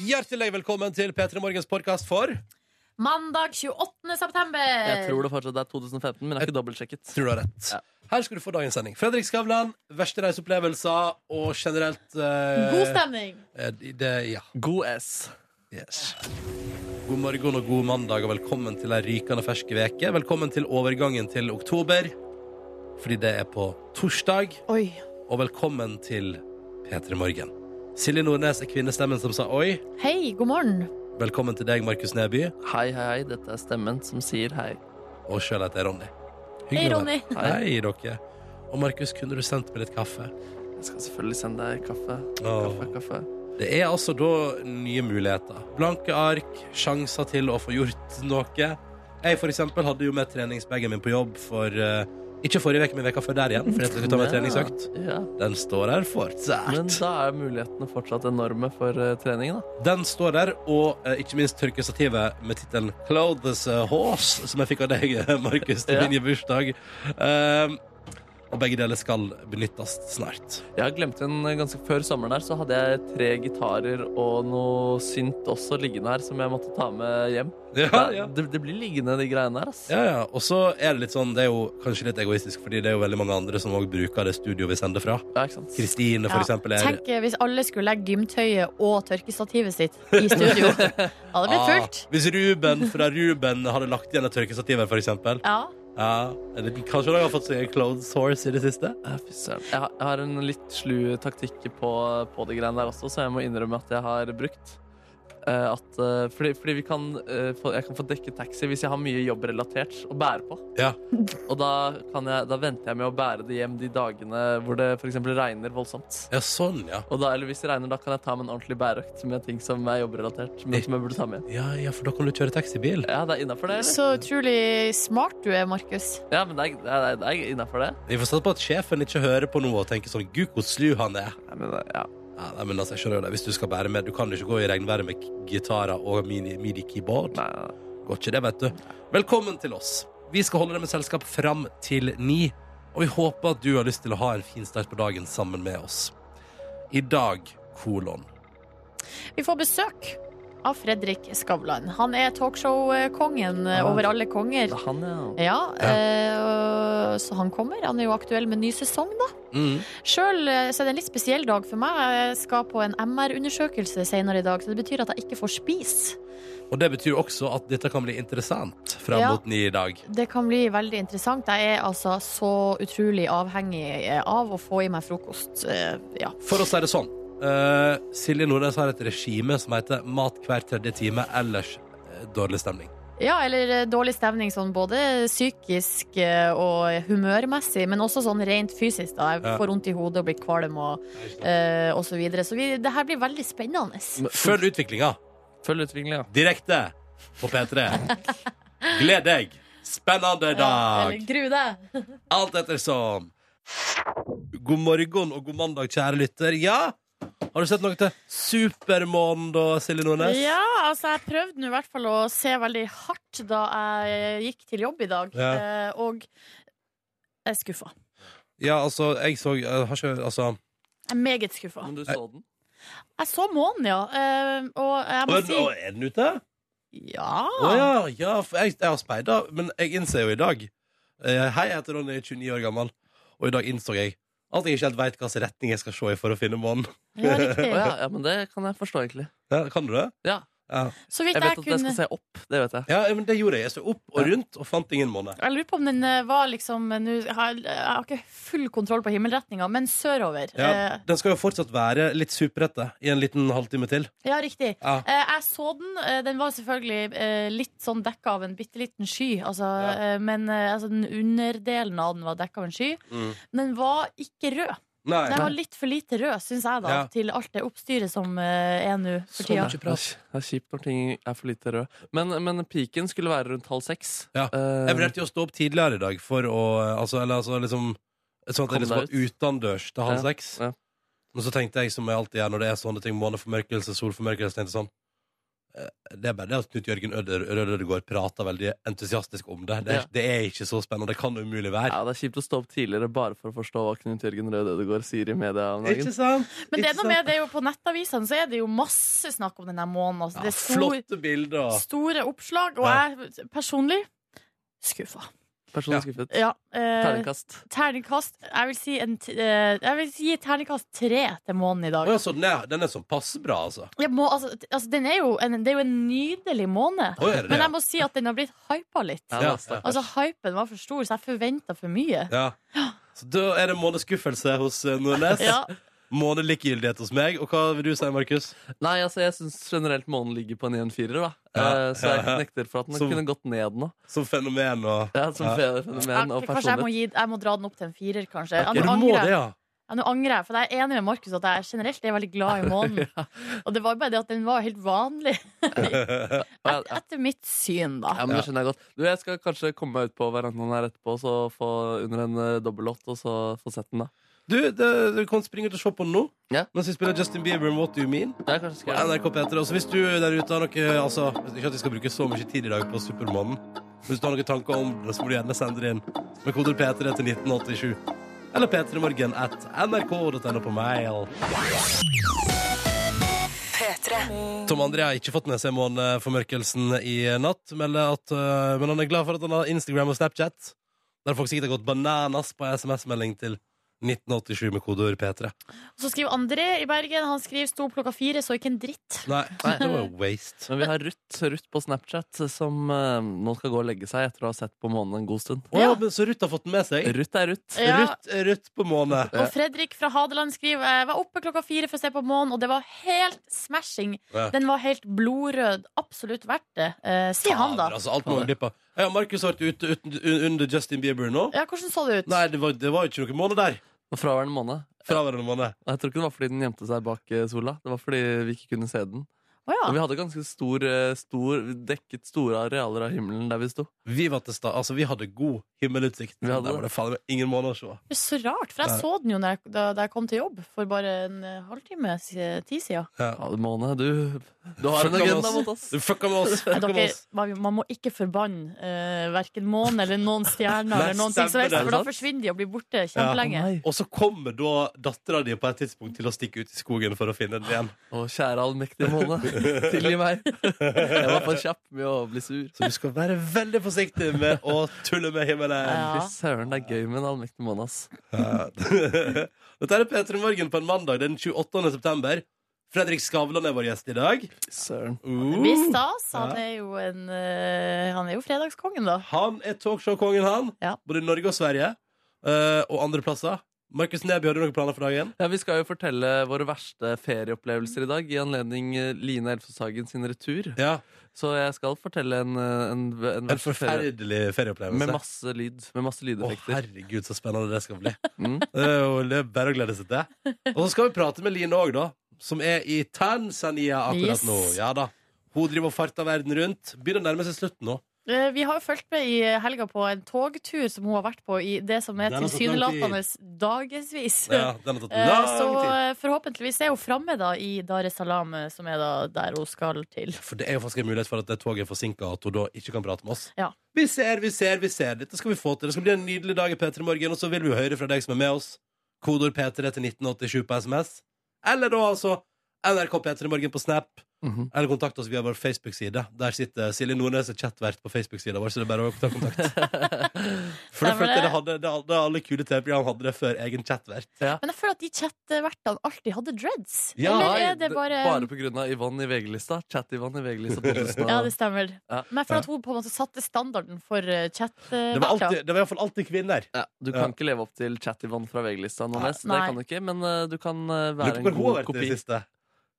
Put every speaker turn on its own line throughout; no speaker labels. Hjertelig velkommen til P3 Morgens podkast for
Mandag 28. september.
Jeg tror det fortsatt er 2015, men jeg har ikke dobbeltsjekket.
Tror du har rett.
Ja.
Her skal du få dagens sending. Fredrik Skavlan, verste reiseopplevelser og generelt eh,
God stemning.
eh, Det, ja.
God S.
Yes. God morgen og god mandag, og velkommen til ei rykende fersk veke. Velkommen til overgangen til oktober, fordi det er på torsdag.
Oi.
Og velkommen til P3 Morgen. Silje Nordnes er kvinnestemmen som sa oi.
Hei, god morgen.
Velkommen til deg, Markus Neby.
Hei, hei, hei. Dette er stemmen som sier hei.
Og sjøl heter jeg Ronny. å
Hei,
være-
Ronny.
Hei, dere. Og Markus, kunne du sendt meg litt kaffe?
Jeg skal selvfølgelig sende deg kaffe.
Åh.
Kaffe, kaffe.
Det er altså da nye muligheter. Blanke ark, sjanser til å få gjort noe. Jeg for eksempel hadde jo med treningsbagen min på jobb for eh, ikke forrige uke, men veka før der igjen. For jeg skulle ta meg
Ja.
treningsøkt.
eh, Ja.
Den står her fortsatt.
Men da er mulighetene fortsatt enorme for eh, treningen, da.
Den står der, og eh, ikke minst tørkestativet med tittelen 'Clothe this eh, Horse', som jeg fikk av deg, eh, Markus, til
Ja.
min bursdag. Ehm, og begge deler skal benyttes snart.
Jeg har glemt en eh, ganske Før sommeren her så hadde jeg tre gitarer og noe synt også liggende her som jeg måtte ta med hjem.
Ja,
Det-
ja.
Det, det blir liggende, de greiene her, ass.
Ja, ja. Og så er det litt sånn, det er jo kanskje litt egoistisk, fordi det er jo veldig mange andre som òg bruker det studioet vi sender fra.
Ja, ikke sant?
Kristine, for
Ja,
eksempel, er
Tenk eh, hvis alle skulle legge gymtøyet og tørkestativet sitt i studio. Ja, det hadde blitt fullt.
Ah, hvis Ruben fra Ruben hadde lagt igjen et tørkestativ her, for eksempel.
Ja.
Ja. eller Kanskje han har fått seg en clothes horse i det siste?
Ja, fy søren. Jeg har- jeg har en litt slu taktikk på, på de greiene der også, så jeg må innrømme at jeg har brukt. eh, at, eh, fordi fordi vi kan, eh, få, jeg kan få dekket taxi hvis jeg har mye jobbrelatert å bære på.
Ja.
Og da, kan jeg, da venter jeg med å bære det hjem de dagene hvor det f.eks. regner voldsomt.
Ja, sånn, ja.
Og da, eller hvis det regner, da kan jeg ta med en ordentlig bæreøkt med ting som er jobbrelatert. Men som jeg burde ta med hjem.
Ja, ja, for da kan du kjøre taxibil.
Ja, det er innafor det, eller?
Så utrolig smart du er, Markus.
Ja, men det er, det er, det er innenfor det.
Vi får satse på at sjefen ikke hører på noe og tenker sånn Gud, hvor slu han er.
Nei, men, det- ja.
Ja, nei, men altså, jeg skjønner jo det. Hvis du skal bære med Du kan ikke gå i regnværet med k- gitarer og mini- midi-keyboard.
Nei, nei, nei.
Går ikke det, vet du. Velkommen til oss. Vi skal holde deg med selskap fram til ni, og vi håper at du har lyst til å ha en fin start på dagen sammen med oss. I dag, kolon.
Vi får besøk av Fredrik Skavlan. Han er talkshow-kongen eh, over alle konger.
Det er han, Ah. ja.
Ja,
Ja.
eh, så han kommer. Han er jo aktuell med ny sesong, da.
Mm.
Sjøl eh, så er det en litt spesiell dag for meg. Jeg skal på en MR-undersøkelse senere i dag, så det betyr at jeg ikke får spise.
Og det betyr også at dette kan bli interessant fram
Ja.
mot ni i dag.
Det kan bli veldig interessant. Jeg er altså så utrolig avhengig eh, av å få i meg frokost. eh, Ja.
For å si det sånn. eh, Silje Nordnes har et regime som heter mat hver tredje time, ellers eh, dårlig stemning.
ja, eller eh, dårlig stemning sånn både psykisk eh, og humørmessig, men også sånn rent fysisk. da Jeg
Ja.
får vondt i hodet og blir kvalm og, eh, og så videre. Så vi, det her blir veldig spennende.
Følg utviklinga
Følg utviklingen, ja.
direkte på P3. Gled deg! Spennende
Ja,
dag!
eller gru deg!
Alt ettersom. God morgen og god mandag, kjære lytter. Ja, har du sett noe til Supermånen da, Silje Nordnes?
Ja, altså jeg prøvde nå i hvert fall å se veldig hardt da jeg gikk til jobb i dag,
Ja.
eh, og jeg er skuffa.
Ja, altså, jeg så jeg har ikke, altså,
Jeg er meget skuffa.
Men du så den?
Jeg så månen, ja, eh, og jeg
Å,
må
er den-
si
å, Er den ute?
ja.
Å ja, ja for jeg, jeg har speida, men jeg innser jo i dag eh, Hei, jeg heter Ronny, 29 år gammel, og i dag innså jeg at jeg ikke helt veit hvilken retning jeg skal se i for å finne månen.
ja, riktig.
Å ja, ja, men det kan jeg forstå, egentlig.
Ja, kan du det?
Ja.
Ja.
Så vidt jeg
Jeg vet at jeg skal
kunne
se opp. Det vet jeg.
ja, men det gjorde jeg. Jeg så opp og
Ja.
rundt og fant ingen måne.
jeg lurer på om den eh, var liksom nå har Jeg jeg har ikke full kontroll på himmelretninga, men sørover.
Ja,
Eh,
den skal jo fortsatt være litt superete i en liten halvtime til.
ja riktig.
Ja.
Eh, Jeg så den. eh, Den var selvfølgelig eh, litt sånn dekka av en bitte liten sky. Altså,
Ja.
eh, Men eh, altså, den underdelen av den var dekka av en sky.
Mm.
Den var ikke rød.
Nei.
Den var litt for lite rød, syns jeg, da,
Ja. Sånn,
til alt det oppstyret som eh, er nå for tida.
Det er det er kjipt når ting er for lite rød. Men, men piken skulle være rundt halv seks.
Ja.
Eh,
Jeg vurderte jo å stå opp tidligere i dag for å altså, Eller altså liksom Sånn at jeg
Kom
liksom var
deg ut.
utendørs til halv
Ja,
seks.
ja.
Men så tenkte jeg som jeg alltid gjør når det er sånne ting, måneformørkelse, solformørkelse, tenkte jeg sånn eh, det er bare det at Knut Jørgen Øder- Rødødegård prater veldig entusiastisk om det. Det er,
Ja.
det er ikke så spennende. Det kan det umulig være.
Ja, Det er kjipt å stå opp tidligere bare for å forstå hva Knut Jørgen Rød Ødegaard sier i media om dagen.
Ikke sant?
Men det
Ikke
er noe
sant?
med det er jo på nettavisene så er det jo masse snakk om denne måneden. Altså. Det er stor,
Flotte bilder.
store oppslag, og jeg personlig skuffa.
Ja.
Personlig skuffet.
Ja, eh,
Terningkast.
terningkast Jeg vil si en t eh, Jeg vil si terningkast tre til måneden i
Å,
dag.
ja, så den er, den er sånn passe bra, altså.
Jeg må, altså, t- altså, den er jo en, det er jo en nydelig måned,
Å, er det
men
det?
jeg må si at den har blitt hypa litt.
Ja,
Ja.
stakkars.
Altså Hypen var for stor, så jeg forventa for mye.
Ja. Så da er det månedskuffelse hos eh, Nordnes.
Ja,
Månelikegyldighet hos meg. Og hva vil du si, Markus?
Nei, altså, jeg syns generelt månen ligger på en 1-4-er, da.
Ja,
Eh, så jeg
ja, ja.
nekter for at den
Som-
kunne gått ned nå.
Som fenomen og
Ja, som
Ja.
fe- fenomen og
jeg, kanskje jeg må,
personlighet.
gi, jeg må dra den opp til en firer, kanskje.
Ja,
Nå
du må
angrer jeg.
det, ja.
Ja, Nå angrer jeg, for jeg er enig med Markus at jeg generelt er veldig glad i månen. Og det var bare det at den var helt vanlig.
Ja,
Et, etter mitt syn,
Ja,
da.
men det skjønner jeg godt. Du, jeg skal kanskje komme meg ut på verandaen her etterpå så få under en eh, dobbellåt, og så få sett den, da.
Du, det, du kan springe ut og se på den nå.
Ja.
Mens vi spiller Justin Bieber What Do You Mean.
Ja, kanskje skal
på
jeg gjøre det.
NRK P3. Også hvis du der ute har noe altså, Ikke at vi skal bruke så mye tid i dag på Supermannen. men Hvis du har noen tanker om det, så må du gjerne sende det inn med kodet P3 til 1987. Eller p3morgen at nrk.no på mail. Tom André har ikke fått med seg måneformørkelsen i natt, melder at, øh, men han er glad for at han har Instagram og Snapchat. Der folk sikkert har gått bananas på SMS-melding til 1987 med kodeord P3.
Så skriver André i Bergen. Han skriver sto opp klokka fire, så ikke en dritt.
Nei, det var jo waste.
Men vi har Ruth, Ruth på Snapchat som eh, nå skal gå og legge seg etter å ha sett på månen en god stund.
Å ja, men så Ruth har fått den med seg?
Ruth er Ruth.
Ja.
Ruth er Ruth på måne.
Og Fredrik fra Hadeland skriver Jeg var oppe klokka fire for å se på månen, og det var helt smashing.
Ja.
Den var helt blodrød. Absolutt verdt det, eh, sier han da.
Fader, Altså, alt må man glippe av. Ja, Markus har vært ute uten, un- under Justin Bieber nå.
Ja, hvordan så det ut?
altså. Nei, det var, det var jo ikke noen måned der.
Og fraværende måne.
Fraværende måned.
Og jeg tror ikke det var fordi den gjemte seg bak eh, sola. Det var fordi vi ikke kunne se den.
Å ja.
Og vi hadde ganske stor, eh, stor Vi dekket store arealer av himmelen der vi sto.
Vi var til sta Altså, vi hadde god himmelutsikt.
Vi hadde
Der var det faen meg ingen måned å se.
Det er Så rart, for jeg
Nei.
så den jo da jeg, da, da jeg kom til jobb for bare en eh, halvtime si- tid siden.
Ja.
Ja, måne, du, du har
Fucka
en
med
agenda
oss.
mot oss.
Du fucka med oss!
Nei,
Fucka med
dere,
oss.
man, man må ikke forbanne uh, verken månen eller noen stjerner, eller noen ting som
stemmer
helst,
det.
for da forsvinner de og blir borte kjempelenge.
Å, nei.
Og så kommer da dattera di på et tidspunkt til å stikke ut i skogen for å finne den igjen.
Å, kjære allmektige måne, tilgi meg. Jeg var for kjapp med å bli sur.
Så du skal være veldig forsiktig med å tulle med himmelen.
Ja.
Fy søren, det er gøy med en allmektig måne, ass.
Ja. Dette er P3 Morgen på en mandag den 28. september. Fredrik Skavlan er vår gjest i dag.
Fy Søren.
Uh.
Det blir stas. Han
Ja.
er jo, en, eh, han er jo fredagskongen, da.
Han er talkshow-kongen, han.
Ja.
Både i Norge og Sverige. eh, og andre plasser. Markus Neby, har du noen planer for dagen?
Ja, vi skal jo fortelle våre verste ferieopplevelser i dag, i anledning eh, Line Elfsåshagen sin retur.
Ja,
Så jeg skal fortelle en, eh, en, en
En
verste ferie
forferdelig ferieopplevelse.
med masse lyd. Med masse
Å,
lydeffekter.
herregud, så spennende det skal bli.
Mm.
Det er jo det er bare å glede seg til. Og så skal vi prate med Line òg, da. Som er i Tanzania akkurat
Yes.
nå. Ja da. Hun driver og farter verden rundt. Begynner å nærme seg slutten nå.
Eh, vi har jo fulgt med i helga på en togtur som hun har vært på i det som er
Den har tatt lang
tilsynelatende dagevis.
Ja, den har tatt
Eh, Så
lang tid.
eh, forhåpentligvis er hun framme da i Dar es Salaam, eh, som er da der hun skal til.
For det er jo faktisk en mulighet for at det toget er forsinka, og at hun da ikke kan prate med oss.
Ja.
Vi ser, vi ser, vi ser. Dette skal vi få til. Det skal bli en nydelig dag i P3 Morgen, og så vil vi jo høre fra deg som er med oss. Kodord P3 til 1987 på SMS. Eller da altså NRK P3 Morgen på Snap,
Mhm.
eller kontakt oss via vår Facebook-side. Der sitter Silje Nordnes er chatvert på Facebook-sida vår, så det er bare å ta kontakt. For det
Stemmer
følte jeg det
det.
hadde, det hadde alle kule TV-program hadde det før egen chatvert.
Men jeg føler at de chatvertene alltid hadde dreads.
Ja,
Eller er eh, det
Nei,
bare
bare på grunn av Yvonne i VG-lista. Chat-Yvonne i VG-lista.
Ja,
2000.
det stemmer.
Ja.
Men jeg føler at hun på en måte satte standarden for eh,
Det var,
chatverter.
alltid, det var i hvert fall alltid kvinner.
Ja, du kan ikke leve opp til Chat-Yvonne fra VG-lista, Nånes. Det
Nei.
kan du ikke, men eh, du kan
Lurer
eh,
på
være en
hvor hun har
god
vært i
kopi.
det siste.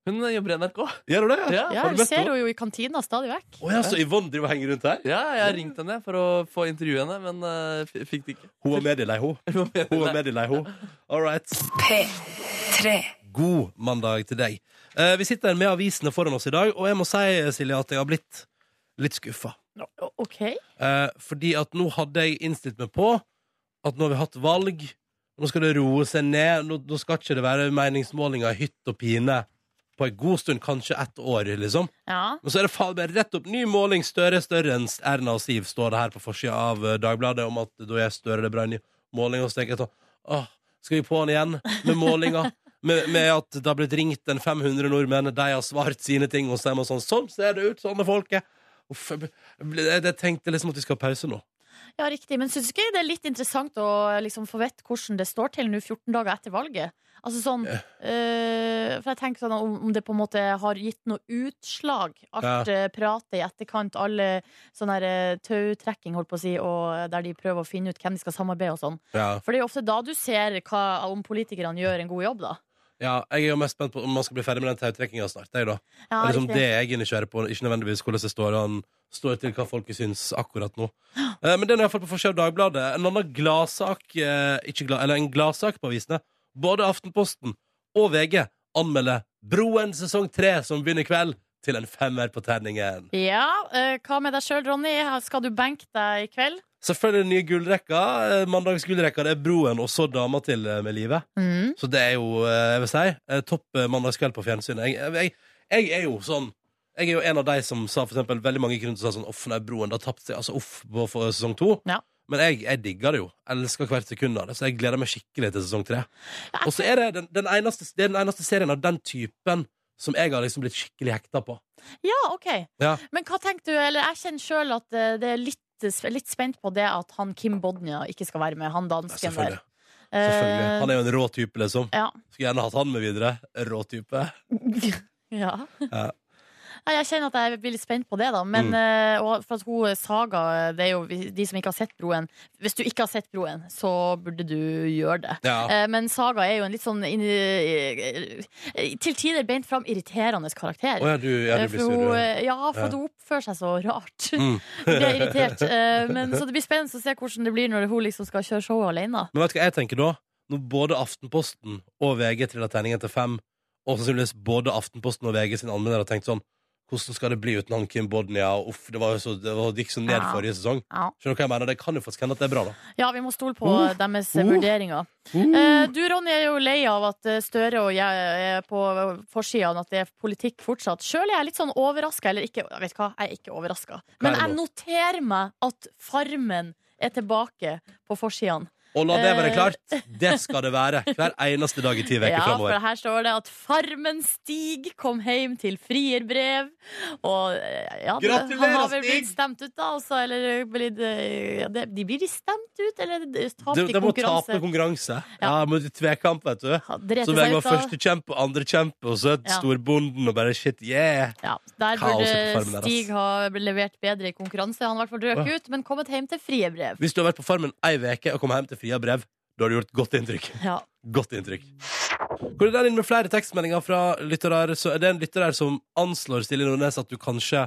Hun eh, jobber i NRK.
Gjør hun det?
Ja.
Ja,
Har du
vi
møtt
ser
henne?
henne jo i kantina stadig vekk.
Å ja, så Yvonne driver og henger rundt her?
Ja, jeg har ringt henne for å få intervjue henne, men eh, f- fikk det ikke.
Hun var medielei, hun. Hun var medielei, hun. All right. God mandag til deg. Eh, vi sitter med avisene foran oss i dag, og jeg må si Silje, at jeg har blitt litt skuffa.
OK?
Eh, fordi at nå hadde jeg innstilt meg på at nå har vi hatt valg, nå skal det roe seg ned, nå, nå skal ikke det være meningsmålinger i hytt og pine på en god stund, kanskje ett år, liksom.
Ja.
Men så er det faen meg rett opp ny måling. Støre er større enn Erna og Siv, står det her på forsida av eh, Dagbladet, om at da er Støre det bra i ny måling. Og så tenker jeg sånn Åh, skal vi på han igjen med målinga? Med, med at det har blitt ringt en 500 nordmenn, de har svart sine ting hos dem, og sånn. Sånn ser det ut, sånn er folket. Uff, jeg, ble- jeg, jeg tenkte liksom at vi skal ha pause nå.
ja, riktig. Men syns du ikke det er litt interessant å liksom få vite hvordan det står til nå 14 dager etter valget? Altså sånn, eh, for jeg tenker sånn om, om det på en måte har gitt noe utslag, alt
Ja.
eh, pratet i etterkant, alle sånn der eh, tautrekking, holdt på å si, og der de prøver å finne ut hvem de skal samarbeide og sånn.
Ja.
For det er jo ofte da du ser hva, om politikerne gjør en god jobb, da.
ja, jeg er jo mest spent på om man skal bli ferdig med den tautrekkinga snart, jeg, da.
Ja,
Det er liksom
riktig.
det jeg egentlig kjører på, ikke nødvendigvis hvordan det står an står til hva folket syns akkurat nå. Eh, Men den er i hvert fall på forsida av Dagbladet. En annen gladsak, eh, ikke glad, eller en gladsak på avisene, både Aftenposten og VG anmelder Broen sesong tre, som begynner i kveld, til en femmer på terningen.
Ja, eh, Hva med deg sjøl, Ronny? Skal du benke deg i kveld?
Selvfølgelig den nye gullrekka. eh, Mandags gullrekka, det er Broen og så dama til eh, med livet.
Mm.
Så det er jo, eh, jeg vil si, eh, topp eh, mandagskveld på fjernsynet. Jeg, jeg, jeg er jo sånn Jeg er jo en av de som sa for eksempel veldig mange grunner til å si sånn Uff, nei, broen, da tapte jeg. Altså uff på for sesong to.
Ja.
Men jeg, jeg digger det jo. Elsker hvert sekund av det. Så jeg gleder meg skikkelig til sesong tre. Og så er det den, den, eneste, det er den eneste serien av den typen som jeg har liksom blitt skikkelig hekta på.
Ja, OK.
Ja.
Men hva tenker du? Eller jeg kjenner sjøl at eh, det er litt, litt spent på det at han Kim Bodnia ikke skal være med, han
Ja,
dansken der.
selvfølgelig. selvfølgelig. Han
Eh,
er jo en rå type, liksom.
Ja.
Skulle gjerne hatt han med videre. Rå type.
ja.
Ja. Mm.
Nei, Jeg kjenner at jeg blir litt spent på det, da. Men, eh, og for at hun Saga, det er jo vi- de som ikke har sett Broen Hvis du ikke har sett Broen, så burde du gjøre det.
Ja.
Eh, Men Saga er jo en litt sånn inn- eh, eh, til tider beint fram irriterende karakter.
Å ja, du, ja, du
Eh,
blir
For
sur.
hun,
du.
eh, ja, for
Ja.
at hun oppfører seg så rart.
Mm.
Blir irritert. Eh, Men, så det blir spennende å se hvordan det blir når hun liksom skal kjøre showet alene.
Men vet du hva jeg tenker da? Når både Aftenposten og VG triller terningen til fem, og sannsynligvis både Aftenposten og VG sin anmelder har tenkt sånn Hvordan skal det bli uten han Kim Bodnia? Og Uff, det, var jo så, det, var, det gikk så ned
Ja.
forrige sesong.
Ja.
Skjønner du hva jeg mener? Det kan jo faktisk hende at det er bra, da.
Ja, vi må stole på
Uh,
eh, deres
uh.
vurderinger. Eh, Du, Ronny, er jo lei av at eh, Støre og jeg er på forsida, at det er politikk fortsatt. Sjøl er jeg litt sånn overraska, eller ikke jeg Vet hva, jeg er ikke overraska. Men
er det
jeg noterer meg at Farmen er tilbake på forsidene.
Og la det være
Eh.
klart, det skal det være hver eneste dag i ti uker
Ja, for
framover.
her står det at Farmen Stig kom hjem til frierbrev. Og eh, ja, det-
Gratulerer,
han har vel
Stig!
blitt stemt ut, da. Altså, eller blitt, eh, ja, det- de blir de stemt ut, eller de- tapt
Det,
i
det må tape
konkurranse?
konkurranse. Ja,
Ja.
mot tvekamp, vet du.
Ja, drete
Så
seg
jeg var
ut av-
førstekjempe og andrekjempe, og så er
Ja.
storbonden og bare shit, yeah!
Ja,
Kaoset
der
på
burde
Farmen der, ass.
Stig ha levert bedre i konkurranse. Han har i hvert fall
Ja.
røket ut, men kommet hjem til frierbrev.
Hvis du har vært på Farmen ei uke og kommer hjem til fria brev, da har du gjort godt inntrykk.
Ja.
Godt inntrykk. Går det der inn med flere tekstmeldinger fra lyttere, så er det en lytter her som anslår Silje Nordnes at du kanskje,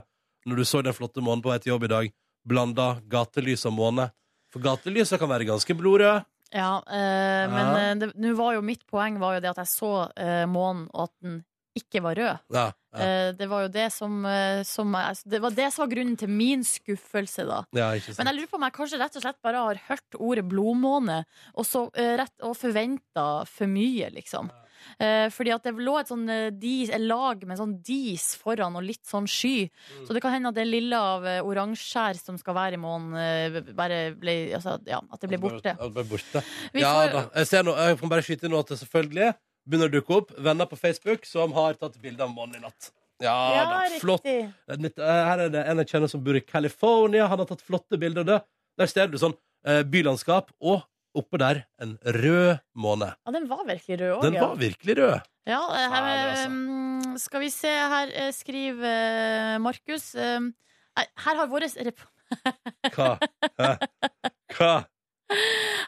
når du så den flotte månen på vei til jobb i dag, blanda gatelys og måne. For gatelysa kan være ganske blodrøde.
Ja, eh, men
Ja.
eh, det, nå var jo mitt poeng var jo det at jeg så eh, månen, og at den ikke var rød.
Ja, ja,
Eh, det var jo det som, eh, som jeg, Det var det som var grunnen til min skuffelse, da.
ja, ikke
Men
sant.
jeg lurer på om jeg kanskje rett og slett bare har hørt ordet blodmåne og, så, eh, rett- og forventa for mye, liksom. Eh, fordi at det lå et sånn eh, dis, et lag med sånn dis foran og litt sånn sky.
Mm.
Så det kan hende at det lille av eh, oransjeskjær som skal være i månen, eh, bare ble altså, Ja, at det ble borte.
Ja, det ble borte.
Vi
Ja
får-
da. Jeg, ser nå, jeg kan bare skyte inn nå at det selvfølgelig begynner å dukke opp venner på Facebook som har tatt bilde av månen i natt. Ja, da.
Ja,
Flott.
riktig.
Mitt, eh, her er det en jeg kjenner som bor i California. Han har tatt flotte bilder. Der, der ser du sånn eh, bylandskap, og oppå der en rød måne.
Ja, den var virkelig rød òg,
Den var virkelig rød.
Ja, eh, her,
Fader, altså.
mm, skal vi se her, eh, skriver eh, Markus eh, nei, Her har vår
Hva? Hæ? Hva?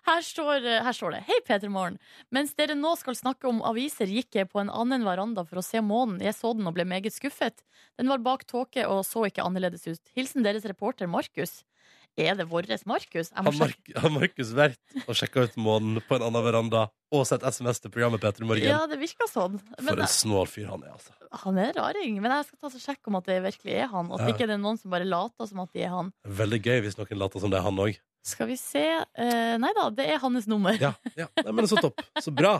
Her står, eh, her står det Hei Peter Morgen Mens dere nå skal snakke om aviser Gikk jeg på en annen veranda for å se månen Jeg så den og ble meget skuffet Den var bak tåke og så ikke annerledes ut Hilsen deres reporter Markus Er det våres Markus? Jeg må
Har
sjekke-
Mark- har Markus vært og sjekka ut månen på en annen veranda og sett SMS til programmet Petter i morgen?
Ja, det virker sånn
For
Men eh,
en snål fyr han er, altså.
han er raring Men jeg skal ta og sjekke om at det virkelig er han At
Ja.
ikke det er noen som bare later som at det er han
Veldig gøy hvis noen later som det er han òg.
Skal vi se Eh, Nei da, det er hans nummer
Ja, ja. Nei, men så topp. Så bra.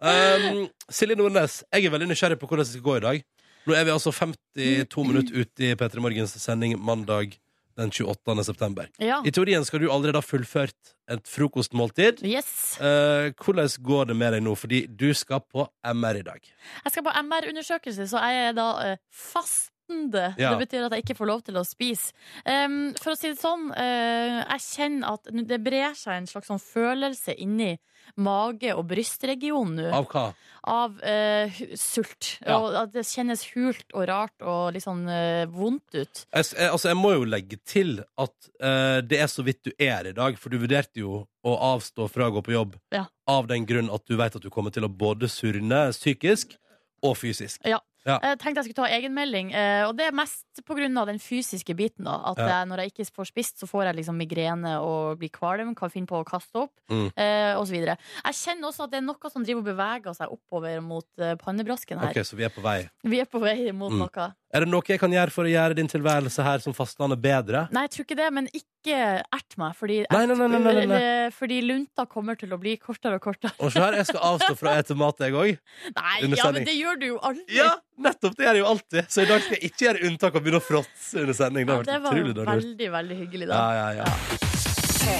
Um, Silje Nordnes, jeg er veldig nysgjerrig på hvordan det skal gå i dag. Nå er vi altså 52 minutter ute i P3 Morgens sending mandag den 28. september.
Ja.
I teorien skal du allerede ha fullført et frokostmåltid.
Yes.
Eh, hvordan går det med deg nå? Fordi du skal på MR i dag.
Jeg skal på MR-undersøkelse, så jeg er da eh, fastende.
Ja.
Det betyr at jeg ikke får lov til å spise. Em, for å si det sånn, eh, jeg kjenner at nå- det brer seg en slags sånn følelse inni mage- og brystregionen nå av,
Av hva?
eh, hu- sult.
Ja.
Og at det kjennes hult og rart og litt sånn eh, vondt ut.
Jeg, s- eh, altså, jeg må jo legge til at eh, det er så vidt du er i dag, for du vurderte jo å avstå fra å gå på jobb
Ja.
av den grunn at du vet at du kommer til å både surne psykisk og fysisk.
Jeg Eh, tenkte jeg skulle ta egenmelding, eh, og det er mest på grunn av den fysiske biten. da At
Ja.
jeg, når jeg ikke får spist, så får jeg liksom migrene og blir kvalm, kan finne på å kaste opp,
Mm.
eh, og så videre Jeg kjenner også at det er noe som driver og beveger seg oppover mot eh, pannebrasken her.
Ok, Så vi er på vei.
Vi er på vei mot
Mm.
noe.
Er det noe jeg kan gjøre for å gjøre din tilværelse her som fastlandet bedre?
Nei, jeg tror ikke det, men ikke ert meg, fordi,
Nei, nei, nei, nei, nei, nei, nei.
eh, fordi lunta kommer til å bli kortere og kortere.
Og se her, jeg skal avstå fra å ete mat, jeg òg.
Nei,
Under
ja,
sending.
men det gjør du jo aldri!
Ja, nettopp! Det gjør jeg jo alltid. Så i dag skal jeg ikke gjøre unntak og begynne å fråtse under sending. Det
Ja,
har vært
det var
utrolig dårlig. gjort.
veldig, veldig hyggelig, da.
Ja, ja, ja.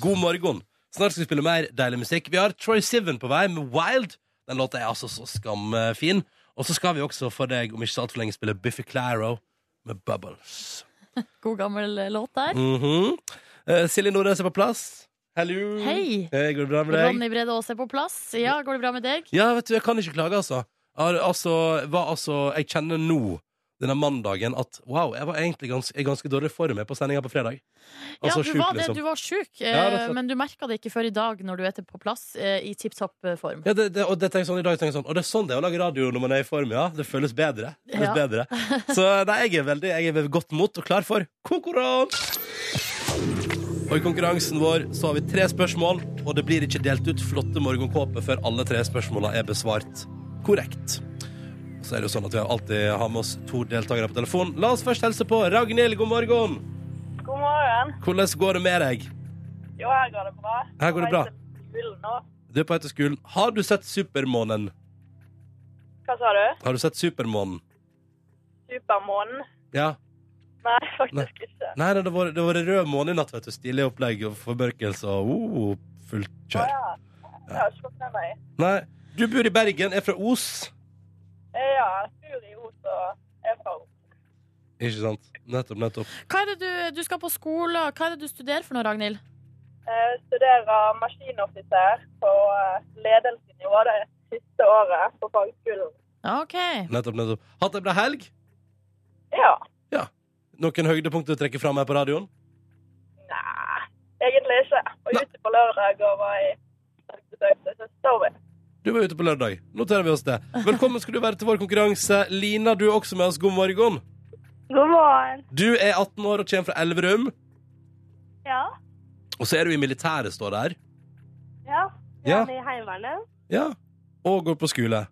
God morgen. Snart skal vi spille mer deilig musikk. Vi har Troy Sivan på vei med Wild. Den låta er altså så skamfin. Og så skal vi også for deg om ikke så altfor lenge spille Biffy Claro med Bubbles.
God gammel eh, låt der.
Mhm. Eh, Silje Nordnes er på plass. Hallo.
Hei.
Går det bra med deg?
Ronny Brede Aas er på plass. Ja, går det bra med deg?
Ja, vet du, jeg kan ikke klage, altså. Jeg har- Altså, var, altså jeg kjenner nå, denne mandagen, at wow, jeg var egentlig gans, i ganske dårlig form jeg på sendinga på fredag. Altså
ja, du
sjuk,
var det,
liksom.
du var sjuk, eh,
Ja, rett og slett.
men du merka det ikke før i dag når du er til på plass eh, i tipp topp eh, form.
Ja, det, det, og det tenker jeg sånn i dag tenker jeg sånn, Og det er sånn det er å lage radio når man er i form, ja. Det føles bedre. Det føles
Ja.
bedre. Så nei, jeg er veldig jeg er ved godt mot og klar for konkurranse! Og i konkurransen vår så har vi tre spørsmål, og det blir ikke delt ut flotte morgenkåper før alle tre spørsmåla er besvart korrekt. Så er det jo sånn at vi alltid har med oss to deltakere på telefon. La oss først helse på Ragnhild, god morgen!
God morgen.
Hvordan går det med deg?
Jo, her går det bra.
Her går det bra.
Jeg heter Julen nå.
Du er på etterskolen. Har du sett Supermånen?
Hva sa du?
Har du sett Supermånen?
Supermånen?
Ja.
Nei, faktisk ikke.
Nei, nei, det var, det var en rød måned i natt, vet du. Stilig opplegg og formørkelse og oh, fullt kjør.
Ja. Jeg har ikke fått med meg.
Nei, du bor i Bergen, er fra Os.
Eh, Ja, jeg bor i Os og er fra Os.
Ikke sant? Nettopp, nettopp.
Hva er det du, du skal på skole, hva er det du studerer for noe, Ragnhild?
Jeg studerer maskinoffiser på eh, ledelsesnivå det siste året på fagskolen.
Ja, OK.
nettopp, nettopp. Hatt ei bra helg?
Ja.
Noen høydepunkter å trekke fram her på radioen?
Nei, egentlig ikke. Og
Nei.
ute på lørdag og var i Saksebøyte, så står vi.
Du var ute på lørdag. Noterer vi oss det. Velkommen skal du være til vår konkurranse. Lina, du er også med oss. God morgen.
God morgen.
Du er 18 år og kommer fra Elverum.
Ja.
Og så er du i militæret, står det her.
Ja.
Ja.
i Heimevernet.
Ja. Og går på skole.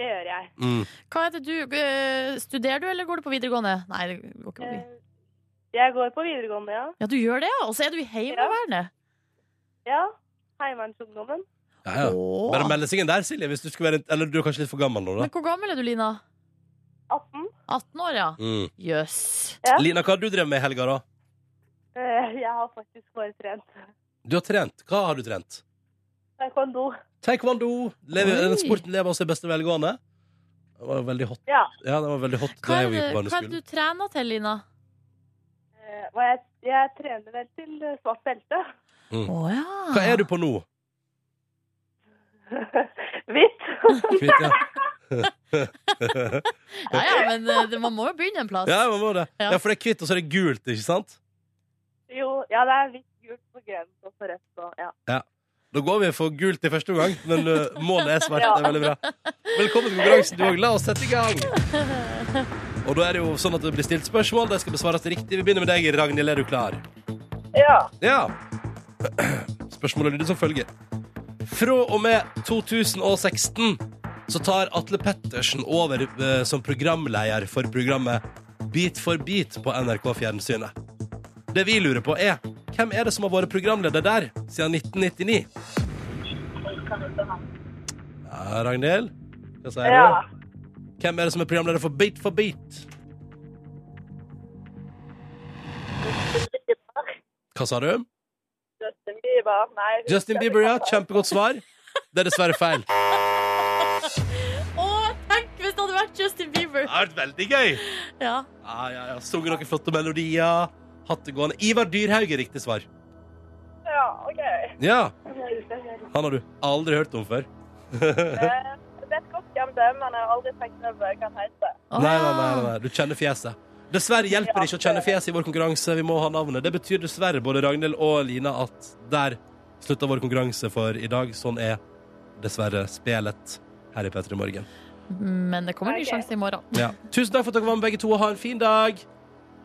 Det gjør jeg.
Mm.
Hva er det du, eh, studerer du, eller går du på videregående? Nei, det går ikke på
Eh.
videregående.
Jeg går på videregående, ja.
Ja, du gjør det, ja. Og så er du i Heimevernet.
Ja. Heimevernsungdommen.
Ja, ja.
Åh.
Bare melde seg inn der, Silje. Hvis du skulle være, eller du er kanskje litt for gammel nå, da.
Men hvor gammel er du, Lina?
18.
18 år, ja.
Mm.
Jøss.
Ja.
Lina, hva har du drevet med i helga, da?
Eh, Jeg har faktisk bare trent
Du har trent. Hva har du trent?
taekwondo.
Taekwondo. Lever,
Oi.
den sporten lever også i beste velgående. Det var veldig hot.
Ja.
Ja, det var veldig hot
Hva
da jeg
er
gikk
det,
på
hva er det
barneskolen.
du trener til, Lina?
Eh, Og jeg, jeg trener vel til eh, svart belte.
Å ja.
Mm. Hva er du på nå?
Hvitt.
Kvitt, ja.
Ja, ja, men eh, det, man må jo begynne en plass.
ja, man må det.
Ja.
Ja, for det er hvitt, og så er det gult, ikke sant?
Jo, ja, det er hvitt, gult og grønt og for rødt og ja.
Da går vi for gult i første omgang, men uh, målet er svart.
Ja.
Det er veldig bra. Velkommen til konkurransen, du òg. La oss sette i gang. Og da er det jo sånn at det blir stilt spørsmål. De skal besvares riktig. Vi begynner med deg, Ragnhild. Er du klar?
Ja.
Ja. Spørsmålet lyder som følger. Fra og med 2016 så tar Atle Pettersen over eh, som programleder for programmet Beat for beat på NRK Fjernsynet. Det vi lurer på, er hvem er det som har vært programleder der siden 1999?
kan ikke ha.
Ja, Ragnhild? Hva sier
Ja.
du? Hvem er det som er programleder for Beat for beat? Hva sa du?
Justin Bieber. Nei. jeg
Justin
husker
Bieber, ja.
ikke.
Kjempegodt svar. Det er dessverre feil. Det
Å, tenk hvis det hadde vært Justin Bieber!
har vært veldig gøy.
Ja.
Ja, ja, ja. Sunget noen flotte melodier. Hatt det gående. Ivar Dyrhaug er riktig svar.
Ja, OK.
Ja, han har du aldri hørt om før.
Eh, Jeg vet godt hvem det er, men jeg har aldri tenkt over hva han heter.
Nei,
Å,
nei,
ja.
nei, nei. Du kjenner fjeset. Dessverre hjelper det ikke å kjenne fjeset i vår konkurranse. Vi må ha navnet. Det betyr dessverre, både Ragnhild og Lina, at der slutter vår konkurranse for i dag. Sånn er dessverre spelet her i P3 Morgen.
Men det kommer en ny
Ok.
sjanse i morgen.
Ja. Tusen takk for at dere var med, begge to, og ha en fin dag.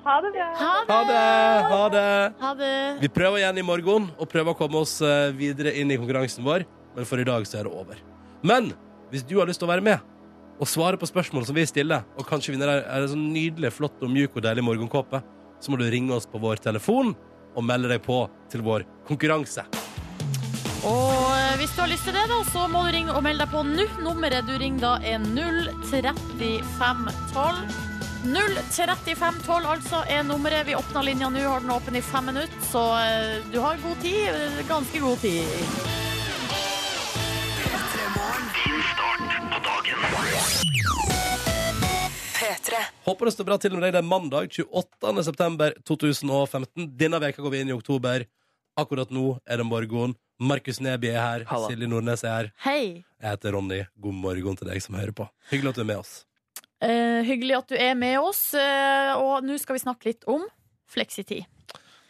Ha det bra.
Ha det!
Ha det! Ha det!
Ha det.
Vi prøver igjen i morgen, og prøver å komme oss eh, videre inn i konkurransen vår. Men for i dag så er det over. Men hvis du har lyst til å være med og svare på spørsmål som vi stiller, og kanskje vinne der er det sånn nydelig, flott og mjuk og deilig morgenkåpe, så må du ringe oss på vår telefon og melde deg på til vår konkurranse.
Og eh, hvis du har lyst til det, da, så må du ringe og melde deg på nå. Nummeret du ringer da, er 03512. 03512 altså er nummeret. Vi åpna linja nå, har den åpen i fem minutter. Så eh, du har god tid. eh, Ganske god tid.
Håper det står bra til med deg. Det er mandag 28. september 2015. Denne veka går vi inn i oktober. Akkurat nå er det morgen. Markus Neby er her.
Halla.
Silje Nordnes er her.
Hei.
Jeg heter Ronny. God morgen til deg som hører på. Hyggelig at du er med oss.
Eh, hyggelig at du er med oss. eh, og nå skal vi snakke litt om fleksitid.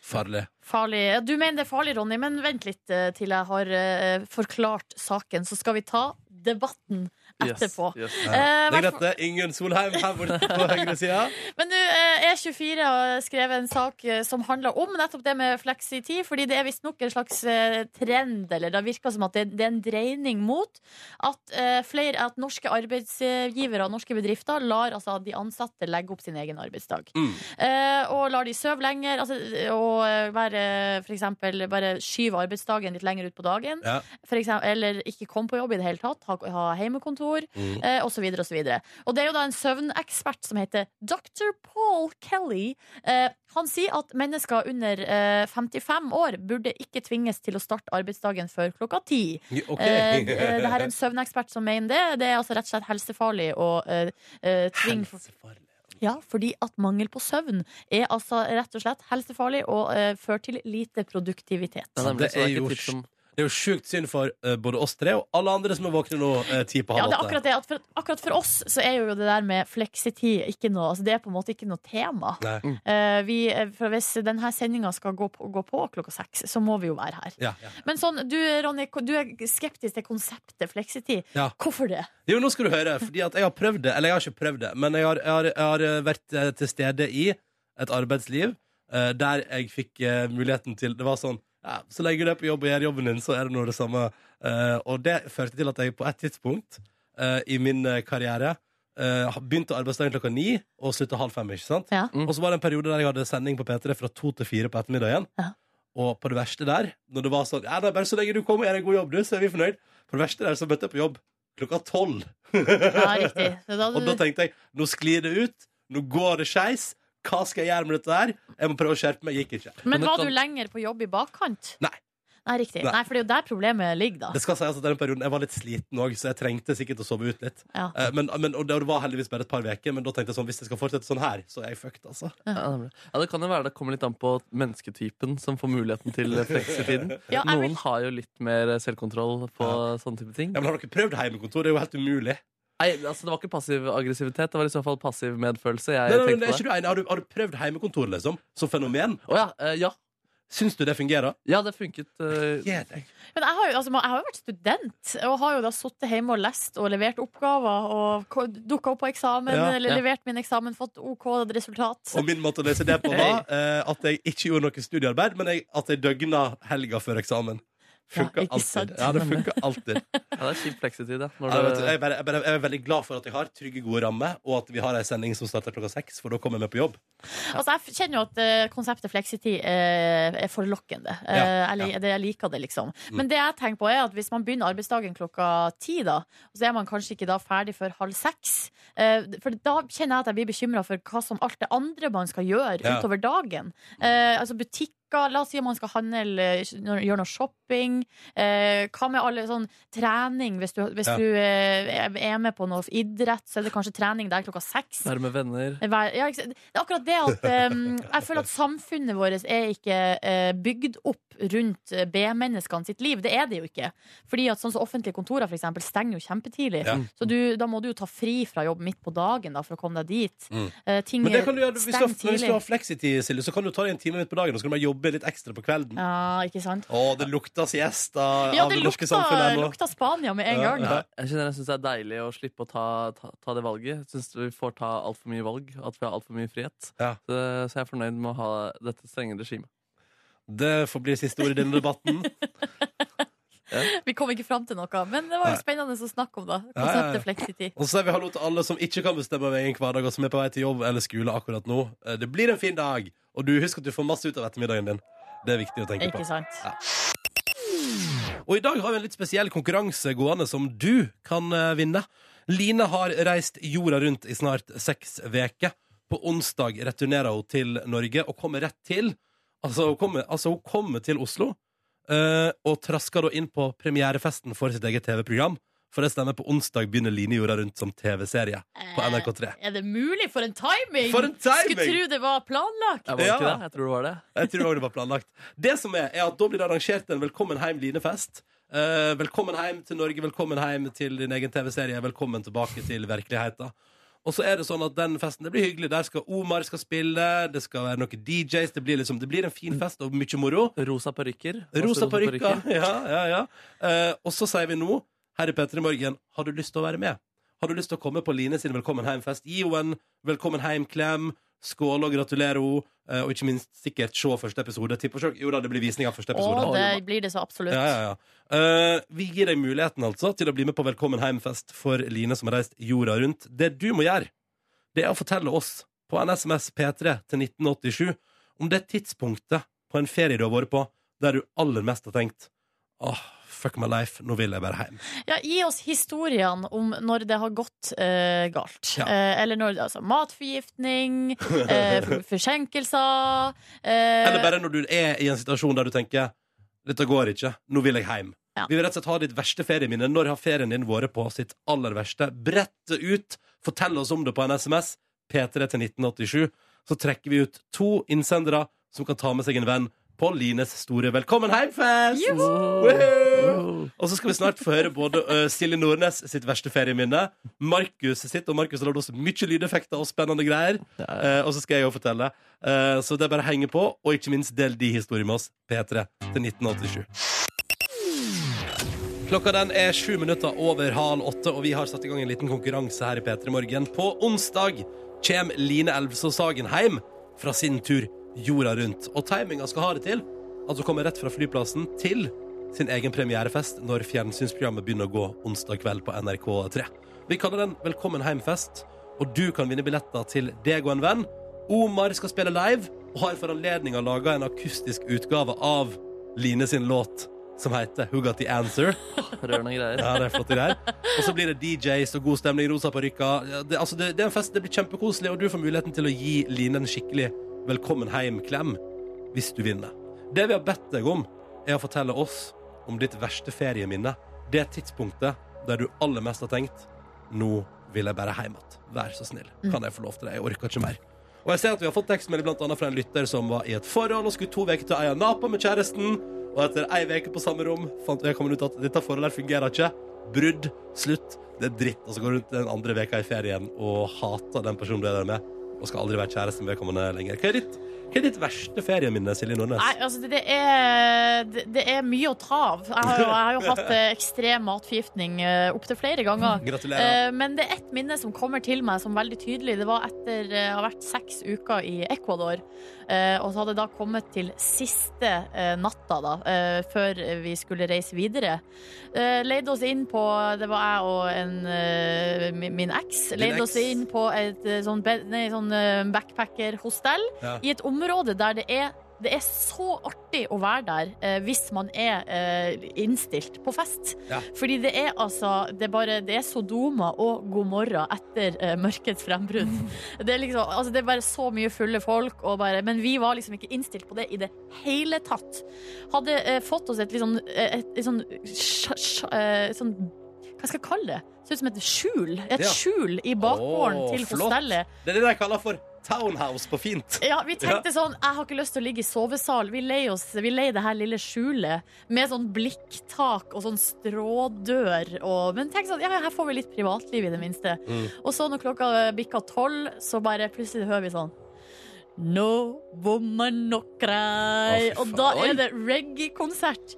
Farlig.
Eh, Farlig. Ja, Du mener det er farlig, Ronny, men vent litt eh, til jeg har eh, forklart saken. Så skal vi ta debatten etterpå.
Yes, yes.
Eh,
Det er
hvertfall-
greit, det. Ingunn Solheim her borte på høyre sida.
men nå eh, E24 har skrevet en sak eh, som handler om nettopp det med fleksitid. Fordi det er visstnok en slags eh, trend, eller det virker som at det, det er en dreining mot at, eh, flere, at norske arbeidsgivere og norske bedrifter lar altså, de ansatte legge opp sin egen arbeidsdag.
Mm.
Eh, og lar de sove lenger, altså, og eh, være, for eksempel, bare skyve arbeidsdagen litt lenger ut på dagen.
Ja.
For eksempel, eller ikke komme på jobb i det hele tatt, ha, ha hjemmekontor
Mm.
eh, og så videre og så videre. Og det er jo da en søvnekspert som heter Dr. Paul Kelly. Eh, han sier at mennesker under eh, 55 år burde ikke tvinges til å starte arbeidsdagen før klokka ti.
OK.
Eh, d- eh, det her er en søvnekspert som mener det. Det er altså rett og slett helsefarlig å eh, eh, tvinge
Helsefarlig.
ja, fordi at mangel på søvn er altså rett og slett helsefarlig og eh, fører til lite produktivitet.
Det er nemlig
Det
så det er
er
ikke
jo
tips om
Det er jo sjukt synd for eh, både oss tre og alle andre som er våkne nå eh, ti på
Ja,
halv
det er akkurat det. At for, akkurat for oss så er jo det der med fleksitid ikke noe altså Det er på en måte ikke noe tema.
Nei.
Eh, vi, eh, for hvis denne sendinga skal gå på, gå på klokka seks, så må vi jo være her.
Ja, ja.
Men sånn, du Ronny, ko- du er skeptisk til konseptet fleksitid.
Ja.
Hvorfor det?
Jo, nå skal du høre, fordi at jeg har prøvd det. Eller jeg har ikke prøvd det, men jeg har, jeg har, jeg har eh, vært eh, til stede i et arbeidsliv eh, der jeg fikk eh, muligheten til Det var sånn ja, Så lenge du er på jobb og gjør jobben din, så er det nå det samme. Eh, og det førte til at jeg på et tidspunkt eh, i min eh, karriere eh, begynte arbeidsdagen klokka ni og slutta halv fem. ikke sant?
Ja.
Og så var det en periode der jeg hadde sending på P3 fra to til fire på ettermiddagen.
Ja.
Og på det verste der, når det var sånn Ja, det er bare så lenge du kommer og gjør en god jobb, du, så er vi fornøyd. På det verste der så møtte jeg på jobb klokka tolv.
Ja, riktig. Så da,
Og da tenkte jeg nå sklir det ut, nå går det skeis. Hva skal jeg gjøre med dette her? Jeg må prøve å skjerpe meg. Gikk ikke.
men
Men
var
kan-
du lenger på jobb i bakkant?
Nei.
Nei, riktig.
Nei.
Nei, for det er jo der problemet ligger, da.
Det skal sies at den perioden Jeg var litt sliten òg, så jeg trengte sikkert å sove ut litt.
Ja.
Eh, Men, men, og det var heldigvis bare et par uker, men da tenkte jeg sånn hvis jeg skal fortsette sånn her, så er jeg fucked, altså.
Ja, nemlig. ja, Det kan jo være det kommer litt an på mennesketypen som får muligheten til fleksitiden.
Ja, jeg vil-
Noen har jo litt mer selvkontroll på sånne type ting.
Ja, men Har dere prøvd hjemmekontor? Det er jo helt umulig.
Nei, altså Det var ikke passiv aggressivitet, det var i så fall passiv medfølelse. Jeg
Nei, nei, nei,
tenkte
er
på det.
ikke du enig? Har, du, har du prøvd hjemmekontor, liksom? Som fenomen?
Å ja, eh, ja.
Syns du det fungerer?
ja, det funket. eh,
Gjør det.
Men jeg har, jo, altså, jeg har jo vært student, og har jo da sittet hjemme og lest og levert oppgaver. Og dukka opp på eksamen,
Ja,
eller
ja.
levert min eksamen, fått OK resultat.
Og min måte å løse det på var eh, at jeg ikke gjorde noe studiearbeid, men jeg, at jeg døgna helga før eksamen. Funker
ikke sant?
alltid. Ja, det funker alltid.
Ja, det er kjipt fleksetid, ja. Når
Ja, vet du,
du,
jeg, bare, jeg, bare, jeg er veldig glad for at jeg har trygge, gode rammer, og at vi har ei sending som starter klokka seks, for da kommer jeg med på jobb.
Altså, jeg f- kjenner jo at eh, konseptet fleksitid eh, er forlokkende. Eh,
Ja,
jeg, li- det, jeg liker det, liksom.
Mm.
Men det jeg tenker på er at hvis man begynner arbeidsdagen klokka ti, da, så er man kanskje ikke da ferdig før halv seks. Eh, for da kjenner jeg at jeg blir bekymra for hva som alt det andre man skal gjøre
Ja.
utover dagen. Eh, altså butikker, la oss si at man skal handle, eh, gjøre noe shopping. Eh, hva med alle sånn trening? Hvis du, hvis
Ja.
du eh, er med på noe idrett, så er det kanskje trening der klokka seks.
være med venner.
Vær- Ja, ikke, sant? det er akkurat det at em, Jeg føler at samfunnet vårt er ikke eh, bygd opp rundt eh, B-menneskene sitt liv. Det er det jo ikke. Fordi at sånn som Offentlige kontorer for eksempel, stenger jo kjempetidlig.
Ja.
Så du, da må du jo ta fri fra jobb midt på dagen da, for å komme deg dit.
Mm.
Eh, ting
Men det kan du gjøre, hvis du, har,
stenger
hvis du
tidlig.
har fleksitid, Silje, så kan du ta deg en time midt på dagen, og så kan du bare jobbe litt ekstra på kvelden.
Ja, ikke sant?
Å, det lukter siesta
Ja,
av
det
det norske
lukta,
samfunnet her nå.
lukta Spania med en
Ja,
gang.
ja.
Jeg kjenner jeg syns det er deilig å slippe å ta, ta, ta det valget. Jeg syns vi får ta altfor mye valg, at vi har altfor mye frihet.
Ja.
Så, så jeg er fornøyd med å ha dette strenge regimet.
Det får bli siste ord i denne debatten.
Vi kom ikke fram til noe, men det var jo
Nei.
spennende å snakke om, da.
Ja, ja, ja.
Konseptet fleksitid.
Og så sier vi hallo til alle som ikke kan bestemme over egen hverdag, og som er på vei til jobb eller skole akkurat nå. Eh, Det blir en fin dag, og du husker at du får masse ut av ettermiddagen din. Det er viktig å tenke på.
Ikke sant?
Ja. Og i dag har vi en litt spesiell konkurranse gående som du kan eh, vinne. Line har reist jorda rundt i snart seks veker. På onsdag returnerer hun til Norge og kommer rett til Altså, hun kommer, altså, hun kommer til Oslo eh, og trasker da inn på premierefesten for sitt eget TV-program. For det stemmer, på onsdag begynner Line jorda rundt som TV-serie
Eh.
på NRK3.
Er det mulig? For en timing!
For en timing!
Skulle tro det var planlagt.
Jeg var det
Ja.
ikke det. Jeg tror det var det.
Jeg tror også det var planlagt. Det som er, er at Da blir det arrangert en Velkommen heim linefest. Eh, velkommen hjem til Norge, velkommen hjem til din egen TV-serie, velkommen tilbake til virkeligheten. Og så er det sånn at den festen, det blir hyggelig. Der skal Omar skal spille, det skal være noen DJs. Det blir, liksom, det blir en fin fest og mye moro.
Rosa parykker.
Rosa
Masse
parykker. Ja, ja, ja. Eh, og så sier vi nå, herre Petter i morgen, har du lyst til å være med? Har du lyst til å komme på Line sin Velkommen heim-fest? Gi henne en Velkommen heim-klem. Skåle og gratulere henne. eh, og ikke minst sikkert se første episode. Tipper selv- Jo da, det blir visning av første
Å,
episode.
det blir det så absolutt.
Ja, ja, ja. Eh, vi gir deg muligheten altså til å bli med på Velkommen heim-fest for Line som har reist jorda rundt. Det du må gjøre, det er å fortelle oss på en SMS P3 til 1987 om det tidspunktet på en ferie du har vært på der du aller mest har tenkt Åh, fuck my life, nå vil jeg bare hjem.
Ja, gi oss historiene om når det har gått eh, galt.
Ja.
Eh, eller når altså, Matforgiftning, eh, for- forsinkelser eh,
Eller bare når du er i en situasjon der du tenker Dette går ikke, nå vil jeg hjem
Ja.
Vi vil rett og slett ha ditt verste ferieminne Når har ferien din vært på sitt aller verste Brett det ut, fortell oss om det på en sms P3 til 1987 Så trekker vi ut to innsendere Som kan ta med seg en venn på Lines store Velkommen heimfest
Juhu!
Woohoo!
parykker.
Og så skal vi snart få høre både ø, Silje Nordnes sitt verste ferieminne, Markus sitt, og Markus har lagd oss mye lydeffekter og spennende greier. Eh, og så skal jeg jo fortelle. Eh, så det er bare å henge på, og ikke minst del de historiene med oss, P3, til 1987. Klokka den er sju minutter over halv åtte, og vi har satt i gang en liten konkurranse her i P3 Morgen. På onsdag kjem Line Elvsås Sagen heim fra sin tur jorda rundt. Og timinga skal ha det til at hun kommer rett fra flyplassen til sin egen premierefest når fjernsynsprogrammet begynner å gå onsdag kveld på NRK3. Vi kaller den Velkommen heimfest, og du kan vinne billetter til deg og en venn. Omar skal spille live, og har for anledninga laga en akustisk utgave av Line sin låt, som heter Who Got The Answer.
Rørende greier.
Ja, det er flotte greier. Og så blir det DJs og god stemning, rosa parykker. Ja, Det, altså, det, det er en fest, det blir kjempekoselig, og du får muligheten til å gi Line en skikkelig velkommen hjem-klem hvis du vinner. Det vi har bedt deg om, er å fortelle oss om ditt verste ferieminne. Det tidspunktet der du aller mest har tenkt Nå vil jeg bare hjem igjen. Vær så snill.
Mm.
Kan jeg få lov til det? Jeg orker ikke mer. Og jeg ser at vi har fått tekstmelding blant annet fra en lytter som var i et forhold og skulle to uker til Aya Napa med kjæresten. Og etter ei uke på samme rom fant vedkommende ut at dette forholdet her fungerer ikke. Brudd. Slutt. Det er dritt. Og så går du rundt den andre veka i ferien og hater den personen du er der med. Og skal aldri være kjæreste med vedkommende lenger. Hva er ditt Hva er ditt verste ferieminne, Silje Nordnes?
Nei, altså det, det, er, det, det er mye å ta av. Jeg har, jo- jeg har jo hatt eh, ekstrem matforgiftning eh, opptil flere ganger.
Gratulerer.
Eh, Men det er ett minne som kommer til meg som veldig tydelig. Det var etter eh, å ha vært seks uker i Ecuador. Eh, Og så hadde jeg da kommet til siste eh, natta, da, eh, før vi skulle reise videre. Eh, Leide oss inn på Det var jeg og en, eh, min- min eks.
Din
Leide oss
eks.
inn på et eh, sånn, bed- nei, sånn eh, backpackerhostell
Ja.
i et område der det er det er så artig å være der eh, hvis man er eh, innstilt på fest.
Ja.
Fordi det er altså Det er, bare, det er Sodoma og god morgen etter eh, mørkets frembrudd. Det, er liksom, altså, det er bare så mye fulle folk, og bare, men vi var liksom ikke innstilt på det i det hele tatt. Hadde eh, fått oss et litt sånn eh, et, et sånn, sj- sj- eh, sånn Hva skal jeg kalle det? Ser ut som et skjul. Et
Ja.
skjul i bakgården
Åh,
til
flott.
hostellet.
Det er det de kaller for townhouse på fint.
Ja, vi tenkte sånn, jeg har ikke lyst til å ligge i sovesal. Vi leier oss, vi leier det her lille skjulet med sånn blikktak og sånn strådør. Og, men tenk sånn, ja, her får vi litt privatliv i det minste.
Mm.
Og så når klokka bikka tolv, så bare plutselig hører vi sånn No woman no
Å,
cry.
fy faen.
og da
Oi.
er det reggae-konsert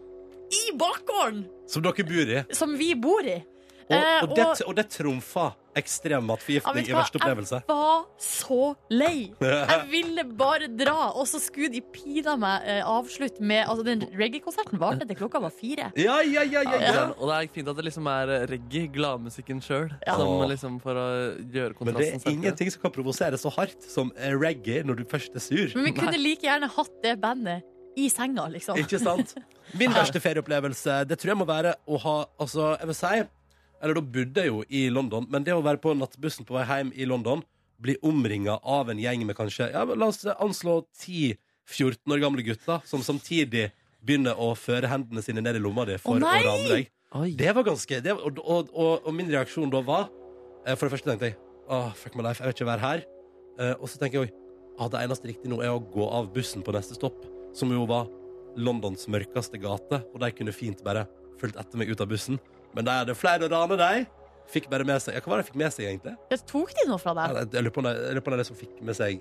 i bakgården
Som dere bor i.
som vi bor i.
Og,
Eh,
og, det, og det trumfa ekstrem
Ja, vet
matforgiftning
du
i
hva?
verste opplevelse.
Jeg var så lei. Jeg ville bare dra, og så skulle de pina meg eh, avslutte med Altså, den reggae-konserten varte til klokka var fire.
Ja, ja, ja,
Ja,
ja,
ikke
ja.
sant? Og det er fint at det liksom er reggae, gladmusikken sjøl,
Ja.
som liksom for å gjøre
Men det
kontrasten
er ingenting som kan provosere så hardt som eh, reggae når du først er sur.
Men vi kunne like gjerne hatt det bandet i senga, liksom.
Ikke sant? Min verste ferieopplevelse, det tror jeg må være å ha Altså, jeg vil si Eller da bodde jeg jo i London, men det å være på nattbussen på vei hjem i London, bli omringa av en gjeng med kanskje ja, men La oss anslå 10-14 år gamle gutter som samtidig begynner å føre hendene sine ned i lomma di for
Å,
å
nei!
rane deg.
Oi.
Det var ganske det, og, og, og, og min reaksjon da var eh, For det første tenkte jeg Åh, fuck my life, jeg vil ikke være her eh, Og så tenker jeg «Oi, ah, Det eneste riktige nå er å gå av bussen på neste stopp Som jo var Londons mørkeste gate Og de kunne fint bare fulgt etter meg ut av bussen Men de hadde flere å rane deg Fikk bare med seg, ja, hva var det de fikk med seg egentlig?
Jeg tok de noe fra
Ja,
deg?
Jeg jeg lurer på om de- jeg lurer på om de liksom fikk med seg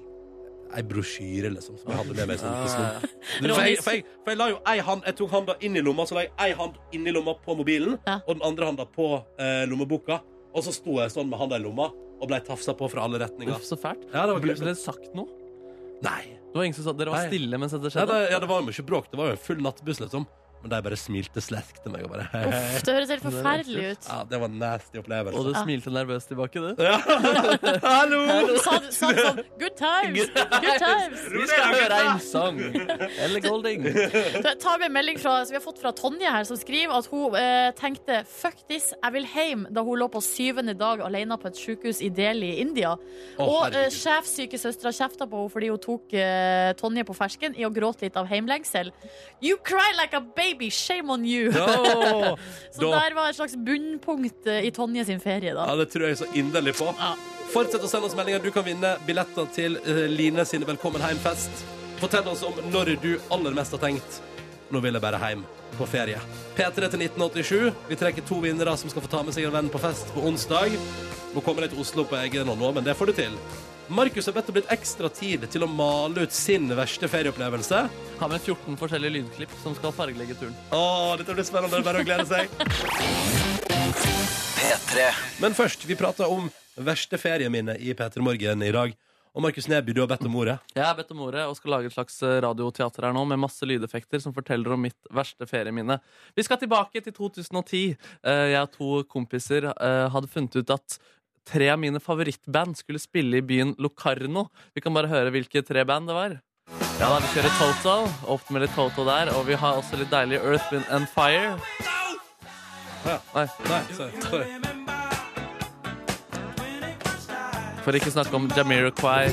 Ei brosjyre liksom Som jeg hadde med meg sånn på snopp
Ja, ja.
for jeg, for, jeg, for jeg la jo ei hand Jeg tok handa inn i lomma, så la jeg ei hand inn i lomma på mobilen,
Ja.
og den andre handa på eh, lommeboka. Og så sto jeg sånn med handa i lomma og blei tafsa på fra alle retninger.
Uff, så fælt.
Ja, det var
Ble
grusomt.
ble det sagt noe?
Nei.
Det var ingen som sa Dere var
Nei.
stille mens dette
Ja, det,
skjedde?
ja, det var jo mye bråk. Det var jo en full nattbuss, liksom. Men de bare smilte slerk til meg og bare
Uff, det høres helt forferdelig ut.
Ja, det var en nasty opplevelse.
Og du
Ja.
smilte nervøst tilbake, du?
Ja. Hallo!
Sa du sa du sånn Good times! Good times!
Vi skal høre en sang! Eller Golding.
Jeg tar med en melding fra, som vi har fått fra Tonje her, som skriver at hun eh, tenkte 'fuck this, jeg vil hjem' da hun lå på syvende dag alene på et sykehus i Delhi i India.
Å,
og eh,
herregud.
sjefsykesøstera kjefta på henne fordi hun tok eh, Tonje på fersken i å gråte litt av heimlengsel. You cry like a baby, shame on you!
Ja,
Så
da-
der var et slags bunnpunkt eh, i Tonje sin ferie, da.
Ja, det tror jeg så inderlig på. Fortsett å sende oss meldinger. Du kan vinne billetter til eh, Line sin Velkommen hjem-fest. Fortell oss om når du aller mest har tenkt Nå vil jeg bare hjem på ferie. P3 til 1987. Vi trekker to vinnere som skal få ta med seg en venn på fest på onsdag. Må komme deg til Oslo på egen hånd nå, men det får du til. Markus har bedt om litt ekstra tid til å male ut sin verste ferieopplevelse.
Har med 14 forskjellige lydklipp som skal fargelegge turen.
Å, dette blir spennende. Det er Bare å glede seg.
P3
Men først, vi prater om verste ferieminne i P3 Morgen i dag. Og Markus Neby, du har bedt om ordet.
Jeg er bedt om ordet og skal lage et slags eh, radioteater her nå med masse lydeffekter som forteller om mitt verste ferieminne. Vi skal tilbake til 2010. Eh, Jeg og to kompiser eh, hadde funnet ut at tre av mine favorittband skulle spille i byen Locarno. Vi kan bare høre hvilke tre band det var. Ja da, Vi kjører Toto. Opp med litt Toto der. Og vi har også litt deilig Earth, Wind and Fire.
Ja.
Nei,
Nei, sorry. sorry.
For ikke snakke om Jamiroquai.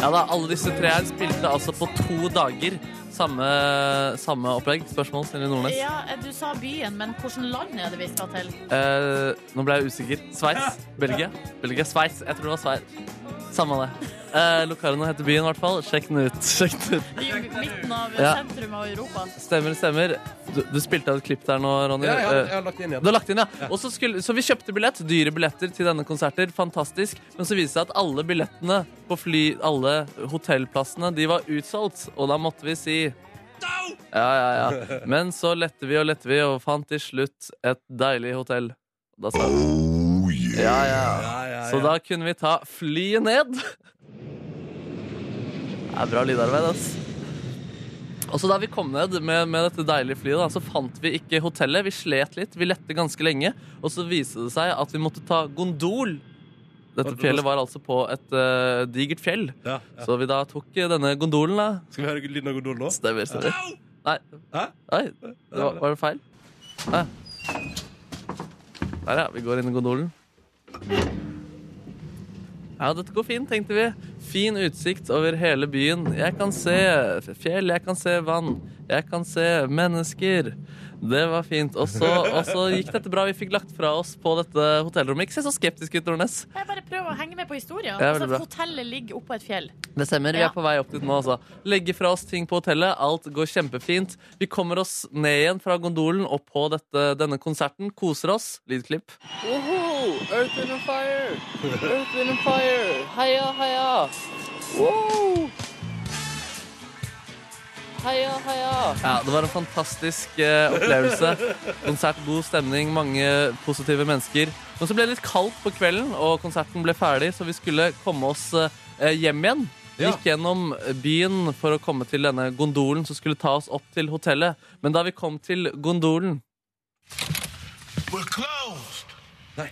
Ja da, alle disse tre her spilte altså på to dager. Samme, samme opplegg. Spørsmål, Silje Nordnes?
Ja, eh, du sa byen, men hvilket land er det vi skal til?
Eh, nå ble jeg usikker. Sveits? Belgia? Belgia? Sveits? Jeg tror det var Sveits. Samme det. Eh, Locarno heter byen, i hvert fall. Sjekk den ut. Sjekk den ut.
I midten av
Ja.
sentrum av Europa.
Stemmer, stemmer. Du, du spilte av et klipp der nå, Ronny.
Ja, jeg har,
Eh,
jeg har lagt det inn
Du
igjen.
har lagt inn, ja. Og så skulle, så vi kjøpte billett, dyre billetter til denne konserter. Fantastisk. Men så viste det seg at alle billettene på fly, alle hotellplassene, de var utsolgt. Og da måtte vi si ja, ja, ja. Men så lette vi og lette vi, og fant til slutt et deilig hotell. Da sa vi ja, ja.
Ja, ja,
Så
ja.
da kunne vi ta flyet ned. Det er bra lydarbeid, ass. Og så Da vi kom ned med, med dette deilige flyet, da, så fant vi ikke hotellet. Vi slet litt. Vi lette ganske lenge, og så viste det seg at vi måtte ta gondol. Dette fjellet var altså på et eh, digert fjell,
Ja, ja.
så vi da tok eh, denne gondolen. da.
Skal vi høre lyden av gondol nå?
Stemmer, stemmer. Nei,
Hæ?
Oi, det var, var det feil? Nei. Der, ja. Vi går inn i gondolen. Ja, dette går fint, tenkte vi. Fin utsikt over hele byen. Jeg kan se fjell, jeg kan se vann, jeg kan se mennesker. Det var fint. Og så, og så gikk dette bra. Vi fikk lagt fra oss på dette hotellrommet. Ikke se så skeptisk ut, Nordnes.
Jeg bare prøver å henge med på historien.
Ja,
altså,
veldig bra.
hotellet ligger oppå et fjell.
Det stemmer. Vi
Ja.
er på vei opp dit nå, altså. Legge fra oss ting på hotellet. Alt går kjempefint. Vi kommer oss ned igjen fra gondolen og på dette, denne konserten. Koser oss. Lydklipp. Woho! Earth, Wind and Fire! Earth, Wind and Fire! Heia, heia! Wow! Heia, heia! Ja, det var en fantastisk eh, opplevelse. Konsert, god stemning, mange positive mennesker. Men så ble det litt kaldt på kvelden, og konserten ble ferdig, så vi skulle komme oss eh, hjem igjen. Vi
Ja.
Gikk gjennom byen for å komme til denne gondolen som skulle ta oss opp til hotellet. Men da vi kom til gondolen
We're closed.
Nei.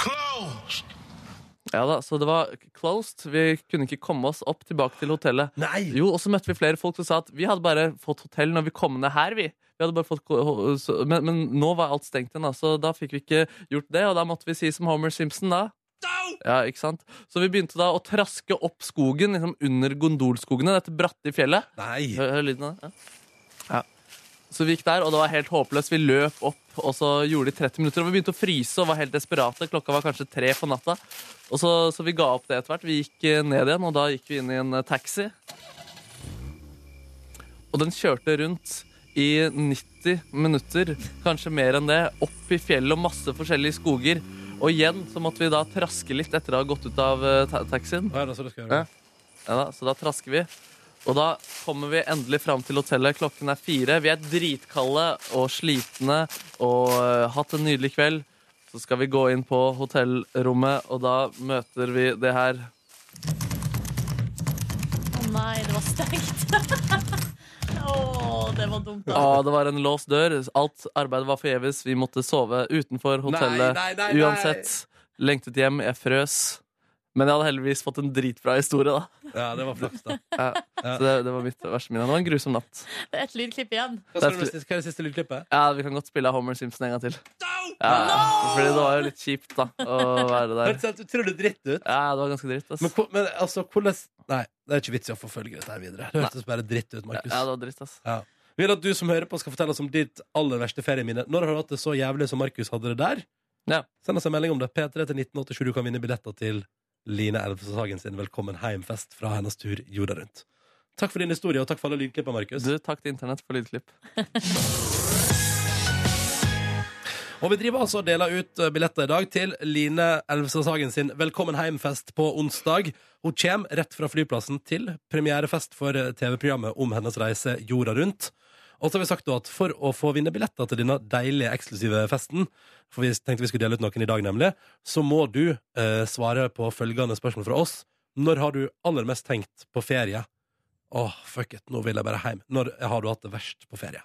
Closed.
Ja da, så det var closed. Vi kunne ikke komme oss opp tilbake til hotellet.
Nei!
Jo, og så møtte vi flere folk som sa at vi hadde bare fått hotell når vi kom ned her, vi. Vi hadde bare fått, ko- så- men, men nå var alt stengt igjen, da, så da fikk vi ikke gjort det. Og da måtte vi si som Homer Simpson, da. Ja, ikke sant? Så vi begynte da å traske opp skogen liksom under gondolskogene, dette bratte fjellet.
Nei.
Hør, hør lyden av det. Ja. Så vi gikk der, og det var helt håpløst. Vi løp opp, og så gjorde de 30 minutter. Og vi begynte å fryse og var helt desperate. Klokka var kanskje tre på natta. Og så, så vi ga opp det etter hvert. Vi gikk eh, ned igjen, og da gikk vi inn i en eh, taxi. Og den kjørte rundt i 90 minutter, kanskje mer enn det, opp i fjellet og masse forskjellige skoger. Og igjen så måtte vi da traske litt etter å ha gått ut av eh, ta taxien.
Ja, det er så du skal gjøre.
Ja da, så da trasker vi. Og da kommer vi endelig fram til hotellet. Klokken er fire. Vi er dritkalde og slitne og eh, hatt en nydelig kveld. Så skal vi gå inn på hotellrommet, og da møter vi det her.
Å nei, det var stengt. Å, det var dumt.
Å,
da.
det var en låst dør. Alt arbeidet var forgjeves. Vi måtte sove utenfor hotellet
Nei, nei, nei, nei.
uansett. Lengtet hjem. Jeg frøs. Men jeg hadde heldigvis fått en dritbra historie, da.
Ja, det var flaks, da.
Ja. Så det, det var mitt verste minne. Det var en grusom natt.
Det er Et lydklipp igjen.
Hva skal du med siste- hva er det siste lydklippet?
Ja, vi kan godt spille av Homer Simpson en gang til. Ja, Fordi det var jo litt kjipt, da, å være
Det
der.
hørtes helt utrolig dritt ut.
Ja, det var ganske dritt, ass.
Men, hvor- men altså, hvordan Nei, det er ikke vits i å forfølge dette her videre. Det hørtes bare dritt ut,
Ja,
Markus.
det var dritt, ass.
Ja. Vi vil at du som hører på, skal fortelle oss om ditt aller verste ferieminne. Når har du hatt det så jævlig som Markus hadde det der?
Ja.
Send oss en melding om det. P3 til 1987. Du kan vinne billetter til Line Elvsåshagen sin Velkommen heimfest fra hennes tur jorda rundt. Takk for din historie, og takk for alle lydklippa, Markus.
Du, takk til internett for lydklipp.
Og vi driver altså og deler ut eh, billetter i dag til Line Elvsåshagen sin Velkommen heimfest på onsdag. Hun kommer rett fra flyplassen til premierefest for eh, TV-programmet om hennes reise jorda rundt. Og så har vi sagt da at for å få vinne billetter til denne deilige, eksklusive festen, for vi tenkte vi skulle dele ut noen i dag, nemlig, så må du eh, svare på følgende spørsmål fra oss. Når har du aller mest tenkt på ferie? Åh, fuck it, nå vil jeg bare hjem. Når har du hatt det verst på ferie?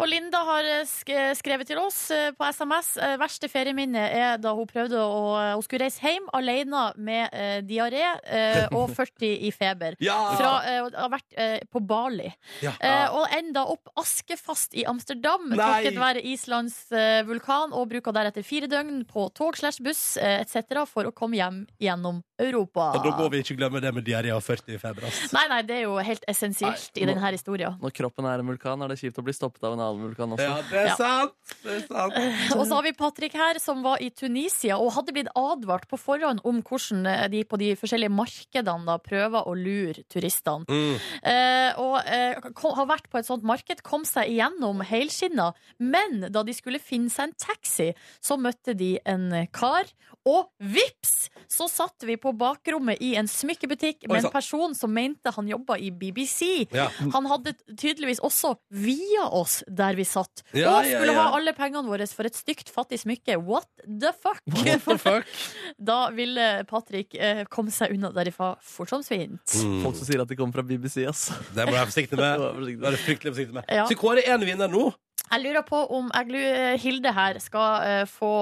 Og Linda har eh, sk- skrevet til oss eh, på SMS eh, verste ferieminne er da hun prøvde å Hun skulle reise hjem alene med eh, diaré eh, og 40 i feber.
Ja!
Fra, eh, og har vært eh, på Bali.
Ja.
Eh, og enda opp askefast i Amsterdam
Nei!
takket være Islands eh, vulkan, og bruker deretter fire døgn på tog slash buss eh, etc. for å komme hjem gjennom Europa.
Og da må vi ikke glemme det med diaré og 40 i feber, ass.
Ah. Nei, nei, det er jo helt helt essensielt
Nei,
i
nå-
denne historien.
Når kroppen er en vulkan, er det kjipt å bli stoppet av en annen vulkan også.
Ja, det er
Ja. Eh,
sant! Det er sant.
Og så har vi Patrick her, som var i Tunisia og hadde blitt advart på forhånd om hvordan eh, de på de forskjellige markedene da prøver å lure turistene.
Mm.
Eh, og eh, kom, har vært på et sånt marked, kom seg igjennom helskinna. Men da de skulle finne seg en taxi, så møtte de en kar. Og vips, så satt vi på bakrommet i en smykkebutikk
Oi,
med
sant.
en person som mente han jobba i BBC.
Ja.
Han hadde tydeligvis også via oss der vi satt.
Ja,
og skulle
ja, ja.
ha alle pengene våre for et stygt, fattig smykke. What the fuck?
What the fuck?
da ville Patrick eh, komme seg unna derifra fort som svint.
Mm.
Folk som sier at de kommer fra BBC, ass.
Det må jeg være forsiktig
Det
med.
var forsiktig.
Det er jeg fryktelig forsiktig med.
Ja.
Så Kåre er en vinner nå.
Jeg lurer på om jeg, lu- Hilde her skal, eh, få,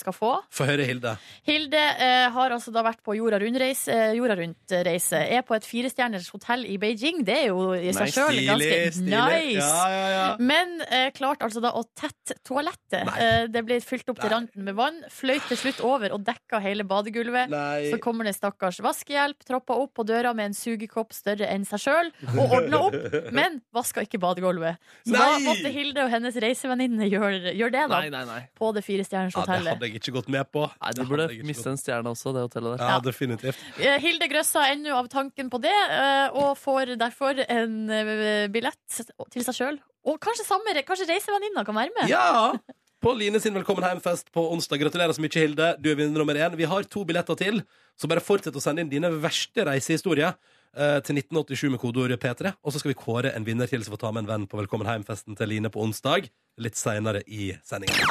skal få.
Få høre, Hilde.
Hilde eh, har altså da vært på jorda rundt-reise. Eh, jorda rundt-reise. Er på et firestjerners hotell i Beijing. Det er jo i seg sjøl ganske nice.
Ja, ja, ja.
Men eh, klarte altså da å tette toalettet.
Nei.
Eh, det ble fylt opp til
Nei.
randen med vann. Fløyt til slutt over og dekka hele badegulvet.
Nei.
Så kommer det stakkars vaskehjelp, troppa opp på døra med en sugekopp større enn seg sjøl og ordna opp, men vaska ikke badegulvet. Så
Nei!
da måtte Hilde og hennes reisevenninne gjøre gjør det, da.
Nei, nei, nei.
På det firestjerners
Ja, det
hotellet.
hadde jeg ikke gått med på.
Nei, Du
Det
burde
hadde jeg ikke
miste
gått-
en stjerne også, det hotellet der.
Ja, definitivt.
Eh, Hilde grøssa ennå av tanken på det, eh, og får derfor en eh, billett til seg sjøl. Og kanskje, samme re- kanskje reisevenninna kan være med?
Ja! På Line sin Velkommen hjem-fest på onsdag. Gratulerer så mye, Hilde. Du er vinner nummer én. Vi har to billetter til, så bare fortsett å sende inn dine verste reisehistorier eh, til 1987 med kodeord P3. Og så skal vi kåre en vinner til som får ta med en venn på Velkommen hjem-festen til Line på onsdag. Litt seinere i sendinga.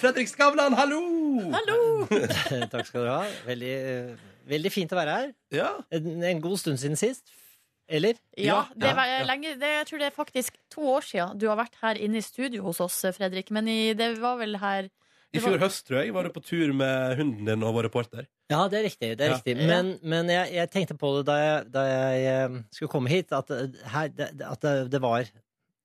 Fredrik Skavlan, hallo!
Hallo!
Takk skal du ha. Veldig, eh, veldig fint å være her.
Ja.
En, en god stund siden sist. Eller?
Ja, det
Ja,
var
ja.
lenge det, Jeg tror det er faktisk to år siden du har vært her inne i studio hos oss, Fredrik. Men i, det var vel her
I fjor høst, tror jeg, var du på tur med hunden din og vår reporter.
Ja, det er riktig. det er
Ja.
riktig. Men, men jeg, jeg tenkte på det da jeg, da jeg eh, skulle komme hit, at, eh, her, det, at det, det var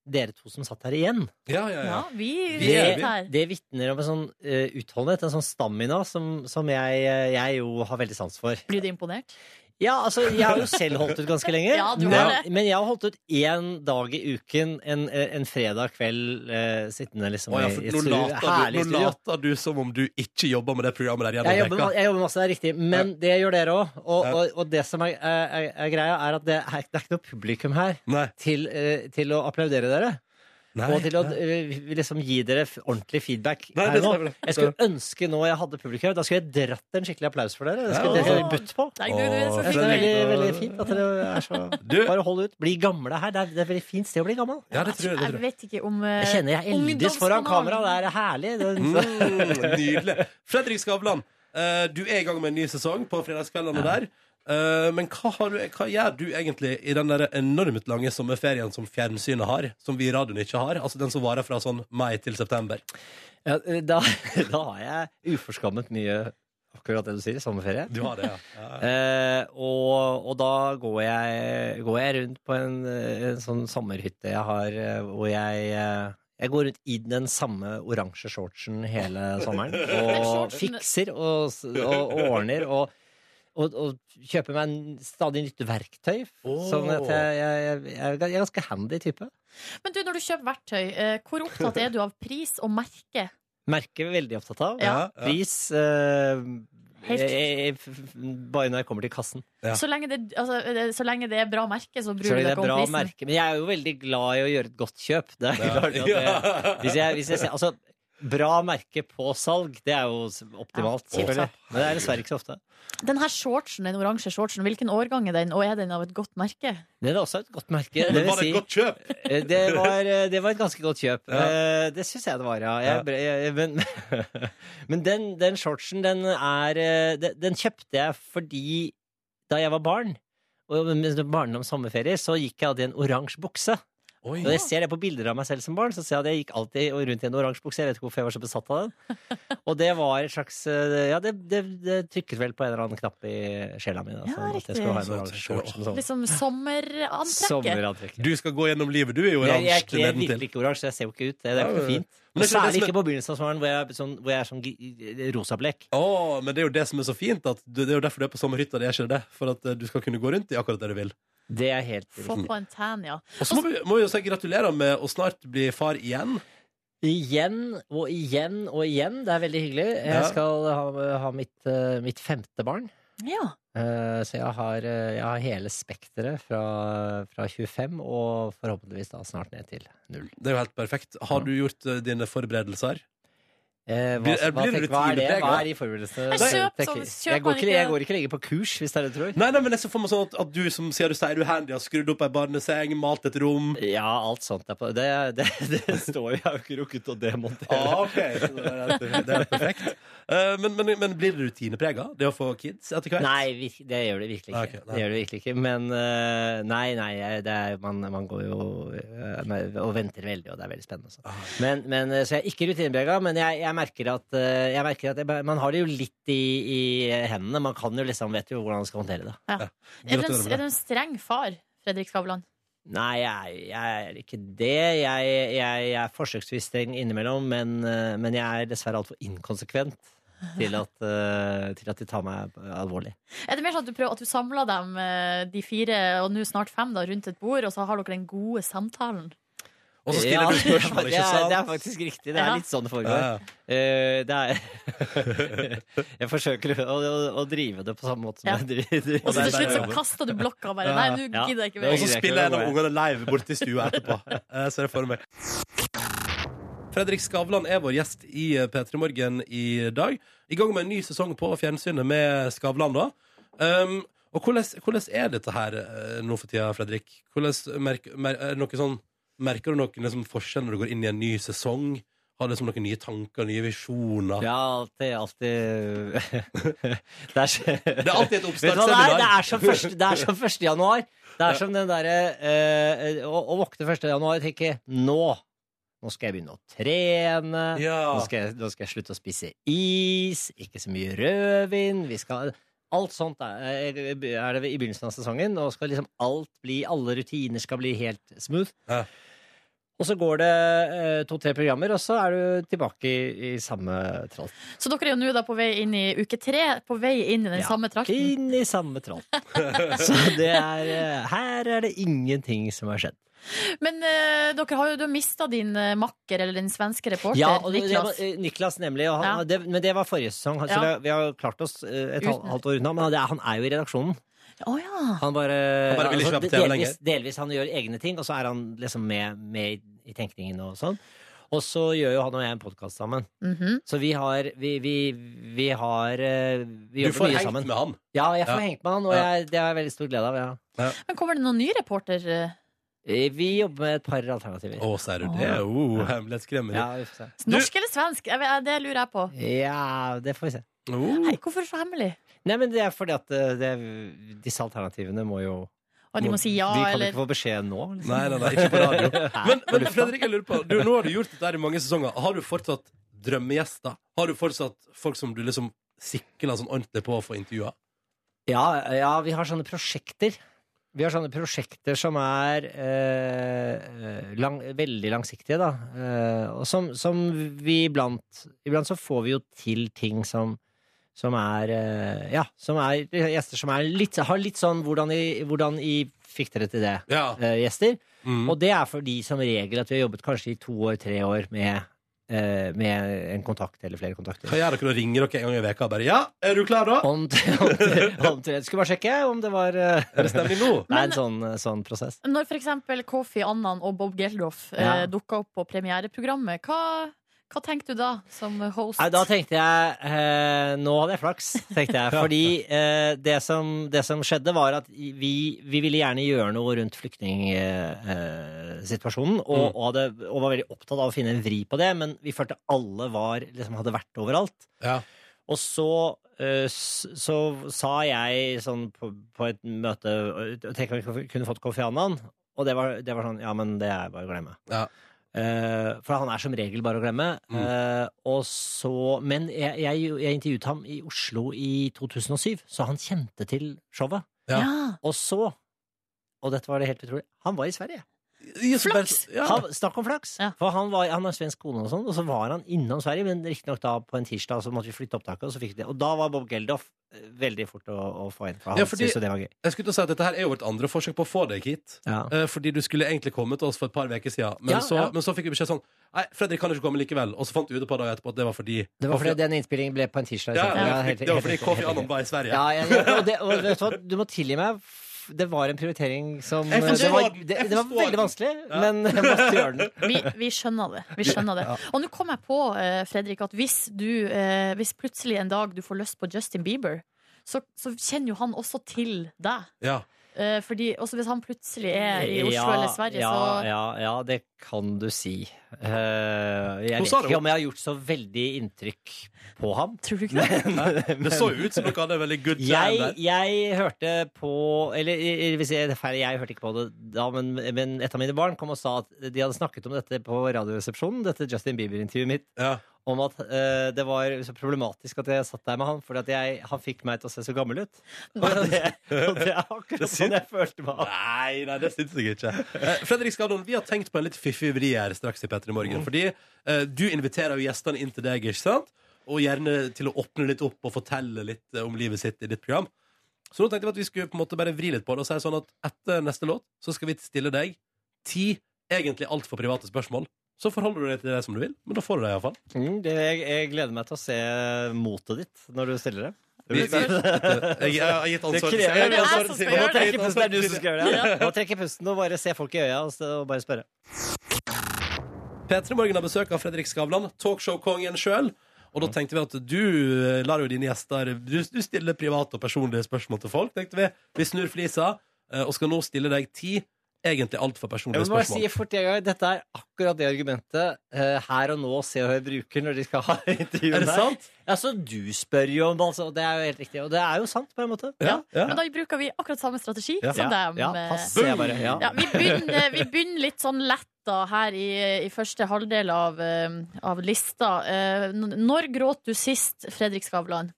dere to som satt her igjen.
Ja, ja, ja.
Ja, vi
Vi er
sitter
vi.
her.
Det vitner om en sånn eh, utholdenhet, en sånn stamina, som, som jeg, eh, jeg jo har veldig sans for.
Blir du imponert?
Ja, altså, jeg har jo selv holdt ut ganske lenge.
Ja, du har
men,
det.
men jeg har holdt ut én dag i uken, en, eh, en fredag kveld, eh, sittende liksom
Å, ja,
i-
for
i et
nå,
studio,
later du,
herlig
nå
studio.
later du som om du ikke jobber med det programmet der
Jeg
gjennom
jobber,
veka.
ma- jeg jobber masse, det er riktig, men det gjør dere òg. Og,
Ja.
og, og det som er, er, er greia, er at det er, det er ikke noe publikum her
Nei.
til, eh, til å applaudere dere.
Nei.
Og til å eh, liksom gi dere f- ordentlig feedback
Nei,
her
det
nå.
stemmer det.
Jeg skulle ønske nå jeg hadde publikum her, da skulle jeg dratt en skikkelig applaus for dere. Det
Ja,
skulle dere
og-
budt på.
Nei, du, du er så
Åh,
Jeg synes
flink.
det er veldig,
Fredrik,
veldig
da-
fint at dere er så
Du-
Bare hold ut. Bli gamle her. Det er, det er veldig fint sted å bli gammel.
Ja, det tror jeg. Det
Jeg
tror jeg.
vet ikke om eh,
Jeg kjenner jeg eldes foran kamera. Det er herlig. Det er
Mm, nydelig. Fredrik Skavlan, eh, du er i gang med en ny sesong på fredagskveldene der. Eh, men hva, har du, hva gjør du egentlig i den der enormt lange sommerferien som fjernsynet har? Som vi i radioen ikke har? Altså den som varer fra sånn mai til september.
Ja, eh, da, da har jeg uforskammet mye akkurat det du sier, sommerferie.
Du har det, ja. ja.
Eh, og, og da går jeg, går jeg rundt på en, eh, en sånn sommerhytte jeg har, eh, hvor jeg eh, jeg går rundt i den samme oransje shortsen hele sommeren. Og
shortsen-
fikser og, s- og ordner og, og, og kjøper meg en stadig nytt verktøy.
Åh.
Sånn at jeg, jeg, jeg, jeg er ganske handy type.
Men du, når du kjøper verktøy, eh, hvor opptatt er du av pris og merke?
Merker veldig opptatt av.
Ja, ja.
Pris eh,
Helt-
jeg, jeg, f- f- Bare når jeg kommer til kassen.
Ja.
Så, lenge det, altså, eh, så lenge det er bra merke, så
Så
bryr du
det
deg
er
ikke
bra
om prisen.
merke. Men jeg er jo veldig glad i å gjøre et godt kjøp. Det er klart at det, hvis jeg, hvis jeg ser, altså, bra merke på salg, det er jo s- optimalt.
Ja, tipp
selvfølgelig. Men det er dessverre ikke så ofte.
Den her shortsen, den oransje shortsen, hvilken årgang er den, og er den av et godt merke?
Det er også et godt merke. Det,
Men
vil
var det
si,
et godt kjøp?
eh, det, var, eh, det var et ganske godt kjøp.
Ja.
Eh, Det syns jeg det var, ja. Jeg, ble- jeg, men men den, den shortsen, den er eh, Den, den kjøpte jeg fordi da jeg var barn, og mens det var barndom sommerferie, så gikk jeg alltid i en oransje bukse.
Oi.
Når jeg ser det på bilder av meg selv som barn, så ser jeg at jeg gikk alltid rundt i en oransje bukse. Jeg vet ikke hvorfor jeg var så besatt av den. Og det var et slags eh, Ja, det, det, det trykket vel på en eller annen knapp i sjela mi. Da,
Ja,
sånn at
riktig.
jeg skulle ha en
Sånn tenker
oransje
jeg
shorts som sommer-
Liksom sommerantrekket.
sommerantrekket.
Du skal gå gjennom livet, du, i
Jeg,
oransje
jeg
til
kler
nedentil.
virkelig ikke oransje, jeg ser jo ikke ut. Det, det er
Ja,
jo
ja, ja.
ikke fint.
Men det er ikke det
Særlig
som er-
ikke på begynnelsen av sommeren, hvor jeg, er sånn, hvor jeg er sånn gi- rosablek.
Å, men det er jo det som er så fint. At du, det er jo derfor du er på sommerhytta. Det er ikke det. For at eh, du skal kunne gå rundt i akkurat det du vil.
Det er helt
Få på en tan, ja.
Og så må vi, må vi jo si gratulerer med å snart bli far igjen.
Igjen og igjen og igjen. Det er veldig hyggelig.
Ja.
Jeg skal ha, ha mitt, eh, mitt femte barn.
ja.
Eh, Så jeg har, eh, jeg har hele spekteret fra, fra 25 og forhåpentligvis da snart ned til null.
Det er jo helt perfekt. Har du gjort eh, dine forberedelser?
Eh, Hva,
Blir- eh,
hva,
blir
tenk,
du
hva er det?
tidlig
Hva
prega?
er de forberedelsene?
Jeg kjøper sånn-
Tenker-
kjøper
jeg, går
man
ikke,
ikke-
jeg går ikke lenger på kurs, hvis det er det du tror.
Nei, nei, men jeg ser for meg sånn at, at du som sier du sier du handy, har skrudd opp ei barneseng, malt et rom
Ja, alt sånt. Er på, det, det, det står jo, jeg har jo ikke rukket å demontere.
Ah, ok, Så det er helt- det er helt perfekt. Eh, men, men, men blir det rutineprega, det å få kids etter hvert?
Nei, vir- det gjør det virkelig
Ok,
ikke.
nei.
det gjør det virkelig ikke. Men eh, nei, nei, jeg- det er, man, man går jo eh, med- og venter veldig, og det er veldig spennende. Også. Men, men, eh, så jeg er ikke rutineprega, men jeg, jeg merker at, eh, jeg merker at jeg, bare- man har det jo litt i, i hendene. Man kan jo liksom, vet jo hvordan man skal håndtere det.
Er du en,
Gratulerer
er
med
du
det.
en streng far, Fredrik Skavlan?
Nei, jeg, jeg er ikke det. Jeg, jeg, jeg er forsøksvis streng innimellom, men, eh, men jeg er dessverre altfor inkonsekvent til at, eh, til at de tar meg alvorlig.
Er det mer sånn at du, prøver, at du samler dem, eh, de fire, og nå snart fem, da, rundt et bord, og så har dere den gode samtalen?
Og så stiller
Ja,
du spørsmål,
det
ikke
er-
sant?
Det er faktisk riktig. Det er
Ja.
litt sånn det foregår.
Ja, ja.
Eh, det er Jeg forsøker å, å, å drive det på samme måte som
Ja.
jeg driver- driver
Og så
det er
til slutt så
bare-
kaster du blokka bare.
Ja.
Nei, nå
altså. Ja.
gidder jeg ikke
Det
Og
er
mer.
så
Greit,
spiller en av
det er
ungene live borti stua etterpå. Eh, Jeg ser det for meg. Fredrik Skavlan er vår gjest i eh, P3 Morgen i dag. I gang med en ny sesong på fjernsynet med Skavlan, da. Um, og hvordan, hvordan er dette her eh, nå for tida, Fredrik? Hvordan merker, mer, er det noe sånn, merker du noen liksom, forskjell når du går inn i en ny sesong? Har du liksom noen nye tanker, nye visjoner?
Ja, alltid, alltid Det er, så-
Det er alltid et
Vet du hva det er? Det
oppstartsseminar.
er som første, det er som 1. januar. Det er som den derre eh, å, å våkne 1. januar og tenke Nå! Nå skal jeg begynne å trene. sånn. Nå,
Ja.
skal jeg, nå skal jeg slutte å spise is, ikke så mye rødvin vi skal, Alt sånt er, er det i begynnelsen av sesongen. Nå skal liksom alt bli Alle rutiner skal bli helt smooth.
Ja.
Og så går det eh, to-tre programmer, og så er du tilbake i, i samme tralt.
Så dere er jo nå da på vei inn i uke tre, på vei inn i den
Ja.
samme trakten.
Inn i samme tralt. så det er eh, Her er det ingenting som har skjedd.
Men eh, dere har jo du har mista din eh, makker, eller din svenske reporter,
Ja, og det, det var,
Niklas.
eh, Niklas nemlig. Og han,
Ja.
det, men det var forrige sesong, så
Ja.
vi, har, vi har klart oss eh, et halvt,
Uten-
halvt år unna. Men det er, han er jo i redaksjonen.
Å ja.
Han bare,
Han bare vil ikke være på TV
delvis, delvis han gjør egne ting, og så er han liksom med, med i, i tenkningen og sånn. Og så gjør jo han og jeg en podkast sammen.
Mhm.
Så vi har Vi, vi, vi har eh, Vi
Du
jobber
får
mye
hengt
sammen.
med han.
Ja, jeg får
Ja.
hengt med han, og
Ja.
jeg, det har jeg veldig stor glede av. Ja.
Men kommer det noen ny reporter? eh,
Eh, Vi jobber med et par alternativer.
Å, sier du det? Oh, Hemmelighetskremmeri.
Ja, vi får se.
Norsk eller svensk? Jeg vet, eh, det lurer jeg på.
ja, det får vi se.
Oh.
Nei, hvorfor så hemmelig?
Nei, men det er fordi at eh, det, disse alternativene må jo
Og de må si ja,
De kan
eller
ikke få beskjed nå. Liksom.
Nei, nei, nei, ikke på radio.
Nei,
Men,
på
men
lufta.
Fredrik, jeg lurer på du, Nå har du gjort dette her i mange sesonger. Har du fortsatt drømmegjester? Har du fortsatt folk som du liksom sikler sånn ordentlig på å få intervjua?
Ja, ja, vi har sånne prosjekter. Vi har sånne prosjekter som er eh, lang, veldig langsiktige, da. Eh, og som, som vi iblant Iblant så får vi jo til ting som som er eh, Ja, som er gjester som er litt, har litt sånn hvordan i, hvordan i fikk dere til det?
Ja.
eh, gjester.
Mm.
Og det er fordi som regel at vi har jobbet kanskje i to år, tre år med, eh, med en kontakt eller flere kontakter.
Hva gjør dere? da? Ringer dere en gang i veka og bare 'Ja, er du klar, da?'
Om, om, om, skulle bare sjekke om det var eh,
Er det stemning nå?
Det er en sånn, sånn prosess.
Når for eksempel Kofi Annan og Bob Geldof eh,
Ja.
dukka opp på premiereprogrammet, hva, hva tenkte du da som host?
Nei, da tenkte jeg eh, Nå hadde jeg flaks, tenkte jeg. Fordi eh, det, som, det som skjedde, var at vi, vi ville gjerne gjøre noe rundt flyktningsituasjonen. Eh, situasjonen, og, og, hadde- og var veldig opptatt av å finne en vri på det, men vi følte alle var, liksom, hadde vært overalt.
Ja.
Og så, eh, s- så sa jeg sånn på, på et møte eh, Tenk om vi kunne fått Kofi Annan. Og det var, det var sånn Ja, men det er bare å glemme.
Ja.
Eh, for han er som regel bare å glemme.
Mm.
Eh, og så, men jeg, jeg, jeg intervjuet ham i Oslo i 2007, så han kjente til showet.
Ja.
Ja.
Og så, og dette var det helt utrolig, han var i Sverige.
Ja, så bare-
Flaks!
Ja.
Han, snakk om flaks!
Ja.
For han, var, han har svensk kone, og sånn Og så var han innom Sverige, men riktignok da på en tirsdag. Så måtte vi flytte opptaket, og så fikk vi det. Og da var Bob Geldof eh, veldig fort å, å få inn. For han
Ja, fordi-
syntes jo det var gøy.
Jeg skulle til å si at Dette her er jo vårt andre forsøk på å få deg hit.
Ja.
Eh, Fordi du skulle egentlig komme til oss for et par uker siden, men,
Ja,
så,
ja.
men så fikk vi beskjed sånn Nei, Fredrik kan ikke komme likevel. Og så fant vi ut et par dager etterpå at det var fordi
Det var fordi den innspillingen ble på en tirsdag. i
ja,
så fall.
det var
Ja,
fordi-
helt-
Det var
helt
fordi
riktig, helt
Kofi Annan
riktig.
var i Sverige.
Ja, jeg, og det, og vet du, hva, du må tilgi meg. f- Det var en prioritering som
Jeg forstår
det, var,
den. Jeg
det, det var
forstår
veldig
den.
vanskelig,
Ja.
men jeg måtte gjøre den.
Vi, vi skjønner det. Vi skjønner det. Og nå kom jeg på, eh, Fredrik, at hvis du eh, Hvis plutselig en dag du får lyst på Justin Bieber, så, så kjenner jo han også til deg.
Ja.
Eh, fordi, også hvis han plutselig er i Oslo eller Sverige,
ja,
så
ja, ja, det kan du si. Eh, jeg
Hun
vet
sa det
ikke
jo.
om jeg har gjort så veldig inntrykk på ham.
Tror du ikke det?
Det så jo ut som dere hadde en veldig good jam
Jeg,
der.
jeg hørte på Eller eh, hvis jeg, det er feil, jeg hørte ikke på det da, men, men et av mine barn kom og sa at de hadde snakket om dette på Radioresepsjonen, dette Justin Bieber-intervjuet mitt,
Ja.
om at eh, det var så problematisk at jeg satt der med han, fordi at jeg, han fikk meg til å se så gammel ut. Og det, og det er akkurat sånn jeg følte meg.
Nei, nei, det syns jeg ikke. Eh, Fredrik Skadon, vi har tenkt på en litt fiffig vri her straks i Petter i morgen. Fordi eh, du inviterer jo gjestene inn til deg, ikke sant? Og gjerne til å åpne litt opp og fortelle litt eh, om livet sitt i ditt program. Så nå tenkte vi at vi skulle på en måte bare vri litt på det og si sånn at etter neste låt så skal vi stille deg ti egentlig altfor private spørsmål. Så forholder du deg til det som du vil, men da får du det iallfall.
Mm, det, jeg, jeg gleder meg til å se motet ditt når du stiller det.
Vi, vi, jeg, jeg har gitt ansvar til
Det krever-
jeg har gitt
Det er
ansvar
jeg
til- jeg har gitt ansvar
som skal gjøre det.
Nå må trekke pusten, det er du
til-
som skal gjøre det. Nå trekke pusten og bare se folk i øya og så- og bare spørre.
P3 Morgen har besøk av Fredrik Skavlan, talkshow-kongen sjøl. Og da tenkte vi at du eh, lar jo dine gjester Du, du stiller private og personlige spørsmål til folk, tenkte vi. Vi snur flisa, eh, og skal nå stille deg ti egentlig altfor
Jeg
personlige
må bare
spørsmål.
si fort en gang, Dette er akkurat det argumentet eh, her og nå Se og Hør bruker når de skal ha intervju.
Er det sant?
Altså, du spør jo om det, altså. Det er jo helt riktig. Og det er jo sant, på en måte.
Ja. ja.
Men da bruker vi akkurat samme strategi
Ja.
som dem.
ja,
eh,
pass, sier jeg bare. Ja.
Ja, vi, begynner, vi begynner litt sånn lett da, her i, i første halvdel av, eh, av lista. Eh, n- Når gråt du sist, Fredrik Skavlan?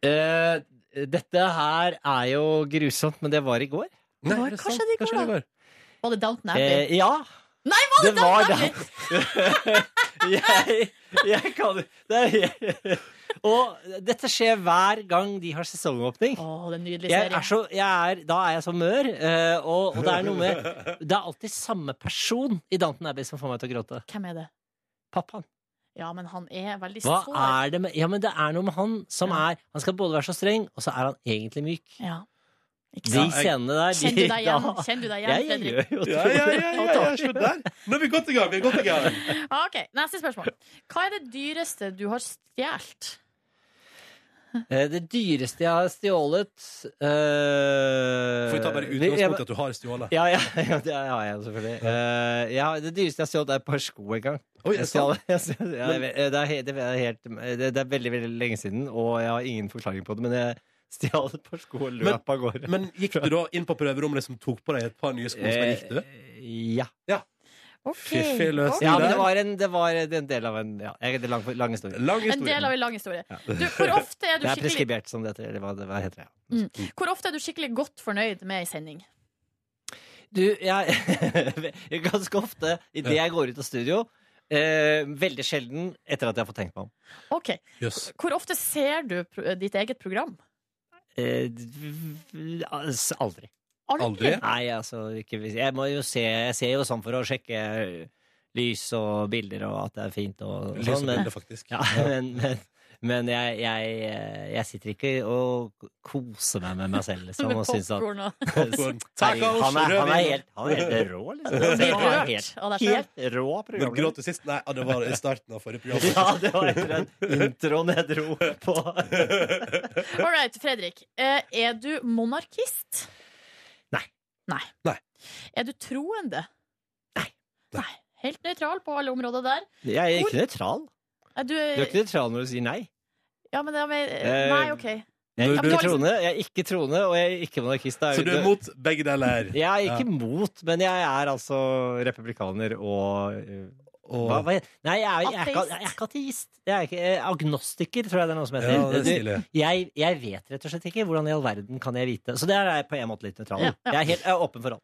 Eh, dette her er jo grusomt, men det var i går.
Nei,
Hva-
er det
hva
sånn.
sant?
skjedde i går,
Hva skjedde i går?
Var det Downton Abbey?
Eh, ja.
Nei,
det var
Downton
det. jeg, jeg kan det er, Og dette skjer hver gang de har sesongåpning.
Å, det er en nydelig
Jeg
serie.
er så, jeg er, da er jeg så mør, eh, og, og det er noe med Det er alltid samme person i Downton Abbey som får meg til å gråte.
Hvem er det?
Pappaen.
Ja, men han er veldig
Hva
sår.
er det med Ja, men det er noe med han som
Ja.
er Han skal både være så streng, og så er han egentlig myk.
Ja. Ikke
De
sant?
jeg-
scenene der de,
Kjenner du deg igjen,
da-
Kjenner du deg igjen
Jeg
Fredrik?
gjør jo
Ja, ja, ja, ja, ja, se der. Nå er vi godt i gang. Vi er godt i gang.
Ah, ok, Neste spørsmål. Hva er det dyreste du har stjålet?
Eh, Det dyreste jeg har stjålet eh,
Får vi ta bare
vi- jeg-
utgangspunkt i at du har stjålet?
Ja, ja, ja, det har jeg jo selvfølgelig. Eh, jeg har- det dyreste jeg har stjålet, er et par sko en gang.
Oi, er
Jeg
det sant?
stjal- jeg stjal- ja, jeg vet- eh, det, er helt, det, er helt, det det er veldig veldig lenge siden, og jeg har ingen forklaring på det, men jeg stjal et par sko og
Men-
løp av gårde.
Men gikk du da inn på prøverommet og liksom tok på deg et par nye sko? Som jeg likte?
Eh, ja.
Okay.
Fiffig løsning.
ja, men det var en, det var en del av en ja, jeg- Det er lang, lang historie.
Lang
En del
historie.
av en lang historie. Du, hvor, ofte er du
Det er
skikkelig,
preskribert, som det heter. Eller hva, det- hva heter det? ja.
hvor ofte er du skikkelig godt fornøyd med ei sending?
Du, jeg Ganske ofte idet jeg går ut av studio. Eh, veldig sjelden etter at jeg har fått tenkt meg om.
Ok,
Jøss.
Hvor ofte ser du pro ditt eget program?
Eh, d- altså, aldri.
Aldri?
Nei, altså ikke, hvis- Jeg må jo se Jeg ser jo sånn for å sjekke lys og bilder og at det er fint og
Lys
sånn,
og
men,
bilde, faktisk.
ja, men, men, men jeg, jeg, eh, jeg sitter ikke og koser meg med meg selv, liksom,
Med
og syns at
popcorn og
Popcorn.
Herregud,
Tacos,
han, er, han, er
rødvin.
helt, han er helt rå, liksom.
blir
Han er
rørt
helt,
av deg selv.
helt rå
Men
programleder.
gråt du sist? Nei, ja, det var i starten av forrige program.
Ja, det var etter den introen jeg dro på.
All right, Fredrik. Eh, Er du monarkist?
Nei.
Nei.
Nei.
Er du troende?
Nei.
Nei. Helt nøytral på alle områder der.
Jeg er ikke nøytral.
Er du,
Du er ikke nøytral når du sier nei.
Ja, men det er med,
Eh,
Nei, OK.
Jeg er
Du-
ikke
du-
troende, jeg er ikke troende og jeg er ikke monarkist. Det
Så du er mot begge deler?
Jeg er ikke mot, men jeg er altså republikaner og eh,
Og-
hva, hva, Nei, jeg er, jeg, er ikke,
Ateist.
jeg er ikke ateist. Jeg er ikke, eh, agnostiker, tror jeg det er noe som heter.
Ja, det er
Du,
stilig.
jeg, jeg vet rett og slett ikke. Hvordan i all verden kan jeg vite? Så det er jeg på en måte litt nøytral.
Ja, ja.
Jeg er helt jeg er åpen for alt.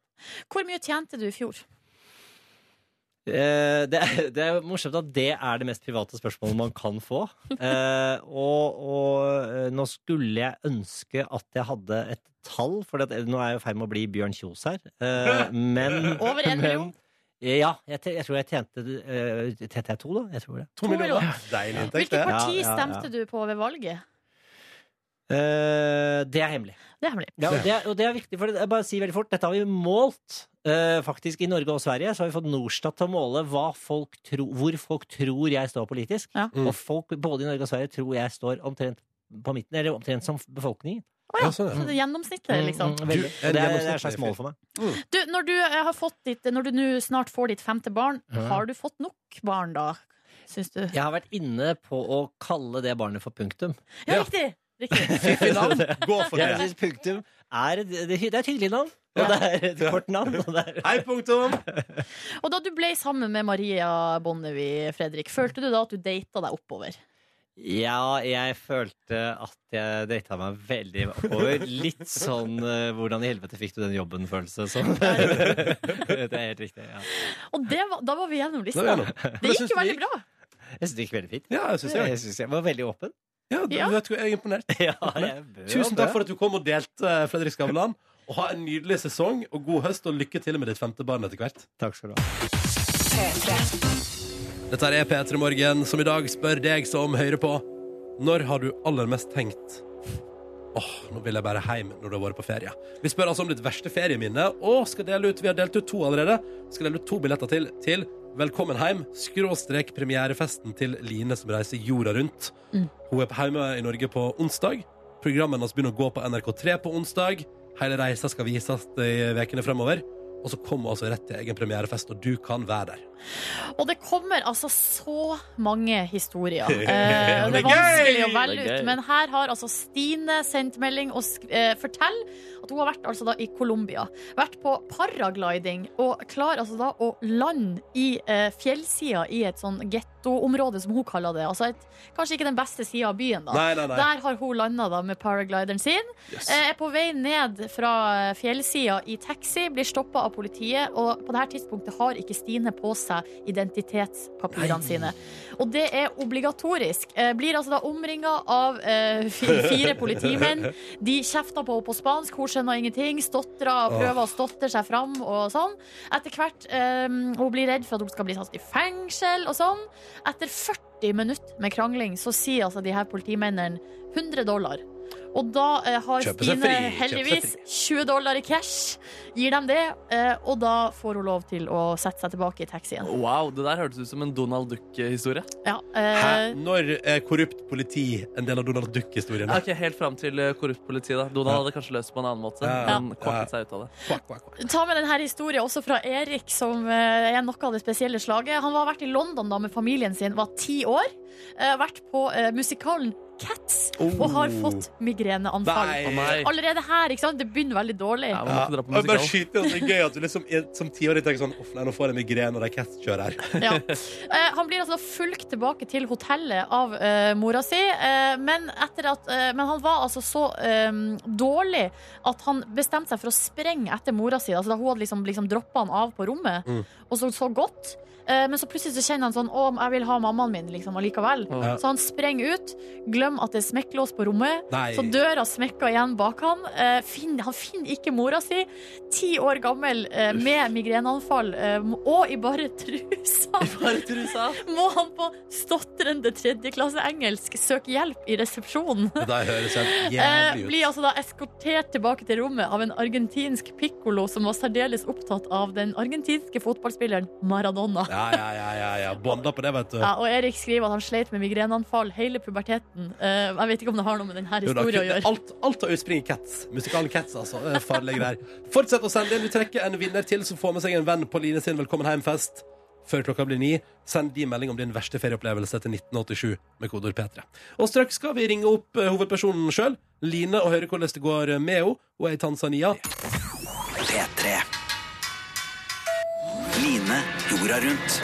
Hvor mye tjente du i fjor?
Eh, Det er, det er jo morsomt at det er det mest private spørsmålet man kan få. Eh, og, og eh, nå skulle jeg ønske at jeg hadde et tall, for det, at- eh, nå er jeg i ferd med å bli Bjørn Kjos her. Eh, men
Over en
men-
million?
Ja. Jeg, te- jeg tror jeg tjente eh, Tjente jeg to, da? Jeg tror det.
To millioner. Deilig inntekt,
Hvilket
det.
par-
parti
Ja, ja, ja.
stemte du på ved valget?
Eh, det er hemmelig.
Det er hemmelig.
Ja, og, det er, og det er viktig, for det, jeg bare sier veldig fort, dette har vi målt. eh, faktisk I Norge og Sverige så har vi fått Norstat til å måle hva folk tro, hvor folk tror jeg står politisk.
Ja.
Mm.
Og folk både i Norge og Sverige tror jeg står omtrent på midten, eller omtrent som befolkningen.
Å ja,
Ja, sånn, ja.
så det er gjennomsnittet, liksom.
Mm, mm, veldig.
Du,
Og det, er, det er et slags mål for meg.
Du, når du, eh, har fått ditt, når du nå snart får ditt femte barn,
Ja.
har du fått nok barn da, syns du?
Jeg har vært inne på å kalle det barnet for punktum.
Ja,
Ja.
riktig! riktig.
Fiffig navn. Gå for
Jeg
det.
synes punktum er, et- det, det er et hyggelig navn, og det er et kort navn. Og det er
Hei, punktum.
Og da du ble sammen med Maria Bonnevie, Fredrik, følte du da at du data deg oppover?
Ja, jeg følte at jeg data meg veldig oppover. Litt sånn eh, 'hvordan i helvete fikk du den jobben'-følelse. Sånn. det er helt riktig. Ja.
Og det var, da var vi gjennom
Da er
lista.
vi gjennom. Men
Det
jeg
gikk
synes
jo veldig
gikk-
bra.
Jeg syns det gikk veldig fint.
Ja, jeg synes det.
Jeg synes jeg var veldig åpen.
Ja,
Ja.
du vet hva, jeg er imponert.
Ja, jeg bør,
Tusen takk for at du kom og delte, eh, Fredrik Skavlan. Og ha en nydelig sesong, og god høst, og lykke til med ditt femte barn etter hvert.
Takk skal du ha.
Dette er P3 Morgen, som i dag spør deg som hører på. Når har du aller mest tenkt Åh, nå vil jeg bare hjem når du har vært på ferie. Vi spør altså om ditt verste ferieminne, og skal dele ut, vi har delt ut to allerede. Skal dele ut to billetter til til Velkommen hjem, skråstrek premierefesten til Line som reiser jorda rundt.
Mm.
Hun er på- hjemme i Norge på onsdag. Programmene hans begynner å gå på NRK3 på onsdag. Hele reisa skal vises i ukene fremover. Og så kommer hun altså rett til egen premierefest, og du kan være der.
Og det kommer altså så mange historier. Eh,
Det
det
er
er vanskelig å
gøy!
velge
Det er
ut.
gøy.
Men her har altså Stine sendt melding og sk eh, fortell at hun har vært altså da i Colombia. Vært på paragliding og klarer altså da å lande i eh, fjellsida i et sånn gettoområde, som hun kaller det. Altså et, kanskje ikke den beste sida av byen, da.
Nei, nei, nei.
Der har hun landa da med paraglideren sin.
Yes.
Eh, Er på vei ned fra eh, fjellsida i taxi, blir stoppa av politiet. Og på dette tidspunktet har ikke Stine på seg identitetspapirene
Nei.
sine. Og det er obligatorisk. Eh, Blir altså da omringa av eh, fi- fire politimenn. De kjefter på henne på spansk, hun skjønner ingenting. Stotrer og prøver å stotre seg fram og sånn. Etter hvert eh, Hun blir redd for at hun skal bli satt i fengsel og sånn. Etter 40 minutter med krangling så sier altså de her politimennene 100 dollar. Og da eh, har
Kjøpe seg
Stine
fri, kjøpe seg
heldigvis 20 dollar i cash. Gir dem det, eh, og da får hun lov til å sette seg tilbake i taxien.
Wow, det der hørtes ut som en Donald Duck-historie.
Ja,
Hæ?
eh,
Når er korrupt politi en del av Donald Duck-historien?
Ok, Helt fram til eh, korrupt politi. da Donald hadde kanskje løst det på en annen måte.
Ja.
Men kvakket seg ut av det
Kvakk, kvakk, kvakk.
ta med denne historien også fra Erik, som eh, er noe av det spesielle slaget. Han har vært i London da med familien sin, var ti år. Eh, vært på eh, musikalen Cats og har fått
Oh.
migreneanfall.
Nei.
Å nei.
Allerede her, ikke sant? Det begynner veldig dårlig.
Ja, man må
Ja,
ikke dra på
og bare
musikal.
skyte inn at Det er gøy at du liksom i- som tiåring tenker sånn Uff, nei, nå får jeg migrene, og det er Cats-kjør her.
Ja. Eh, han blir altså da fulgt tilbake til hotellet av eh, mora si, eh, men, etter at, eh, men han var altså så eh, dårlig at han bestemte seg for å sprenge etter mora si. Altså, da hun hadde liksom, liksom droppa han av på rommet,
Mm.
og så så godt. Eh, men så plutselig så kjenner han sånn Å, jeg vil ha mammaen min liksom, allikevel.
Ja.
Så han sprenger ut, glemmer at det er smekklås på rommet.
Nei.
Så døra smekker igjen bak han. Eh, finn, han finner ikke mora si. Ti år gammel eh, med migreneanfall eh, og i bare trusa.
Bare trusa.
Må han på stotrende tredjeklasse engelsk søke hjelp i resepsjonen?
Det der høres helt
Eh,
jævlig ut.
blir altså da eskortert tilbake til rommet av en argentinsk pikkolo som var særdeles opptatt av den argentinske fotballspilleren Maradona.
Ja, ja, ja, ja, ja. Bonda på det, vet du.
Ja, og Erik skriver at han sleit med migreneanfall hele puberteten. Eh, jeg vet ikke om det har noe med denne
Jo da,
historien å gjøre.
alt, alt har utspring i Cats. Musikalen Cats, altså. Det er Farlige greier. Fortsett å sende inn. Vi trekker en vinner til som får med seg en venn på Line sin Velkommen hjem-fest. før klokka blir ni. Send de melding om din verste ferieopplevelse til 1987 med kodeord P3. Og straks skal vi ringe opp eh, hovedpersonen sjøl, Line, og høre hvordan det går med henne. Hun er i Tanzania.
P3. Line jorda rundt.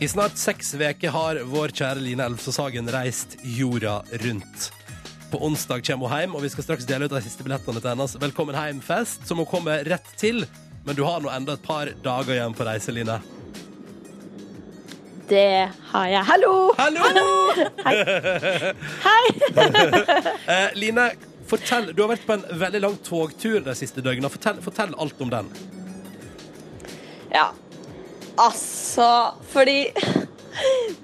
I snart seks veker har vår kjære Line Elvsås Hagen reist jorda rundt. På onsdag kommer hun hjem, og vi skal straks dele ut de siste billettene til hennes Velkommen hjem-fest, som hun kommer rett til. Men du har nå enda et par dager igjen på reise, Line.
Det har jeg. Hallo!
Hallo!
Hei!
Eh, Line, fortell, du har vært på en veldig lang togtur de siste døgnene. Fortell, fortell alt om den.
Ja, altså Fordi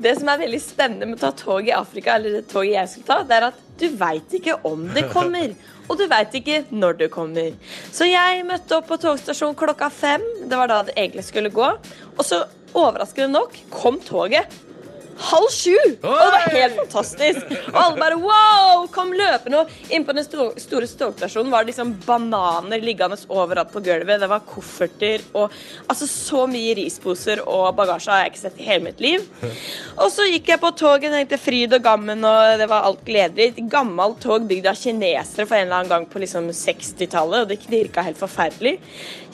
det som er veldig spennende med å ta tog i Afrika, eller det toget jeg skulle ta, det er at du veit ikke om det kommer. Og du veit ikke når det kommer. Så jeg møtte opp på togstasjonen klokka fem. Det var da det egentlig skulle gå. Og så, overraskende nok, kom toget. Halv sju! Og det var helt fantastisk. Og alle bare wow! Kom løpende. Og inne på den sto- store togstasjonen var det liksom bananer liggende overalt på gulvet. Det var kofferter og altså så mye risposer og bagasje har jeg ikke sett i hele mitt liv. Og så gikk jeg på toget og tenkte fryd og gammen, og det var alt gledelig. Et gammelt tog bygd av kinesere for en eller annen gang på liksom 60-tallet, og det knirka helt forferdelig.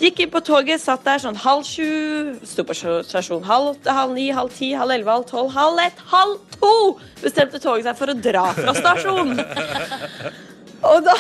Gikk inn på toget, satt der sånn halv sju, sto på stasjon halv åtte, halv ni, halv ti, halv elleve, halv tolv, halv ett, halv to! Bestemte toget seg for å dra fra stasjonen. Og da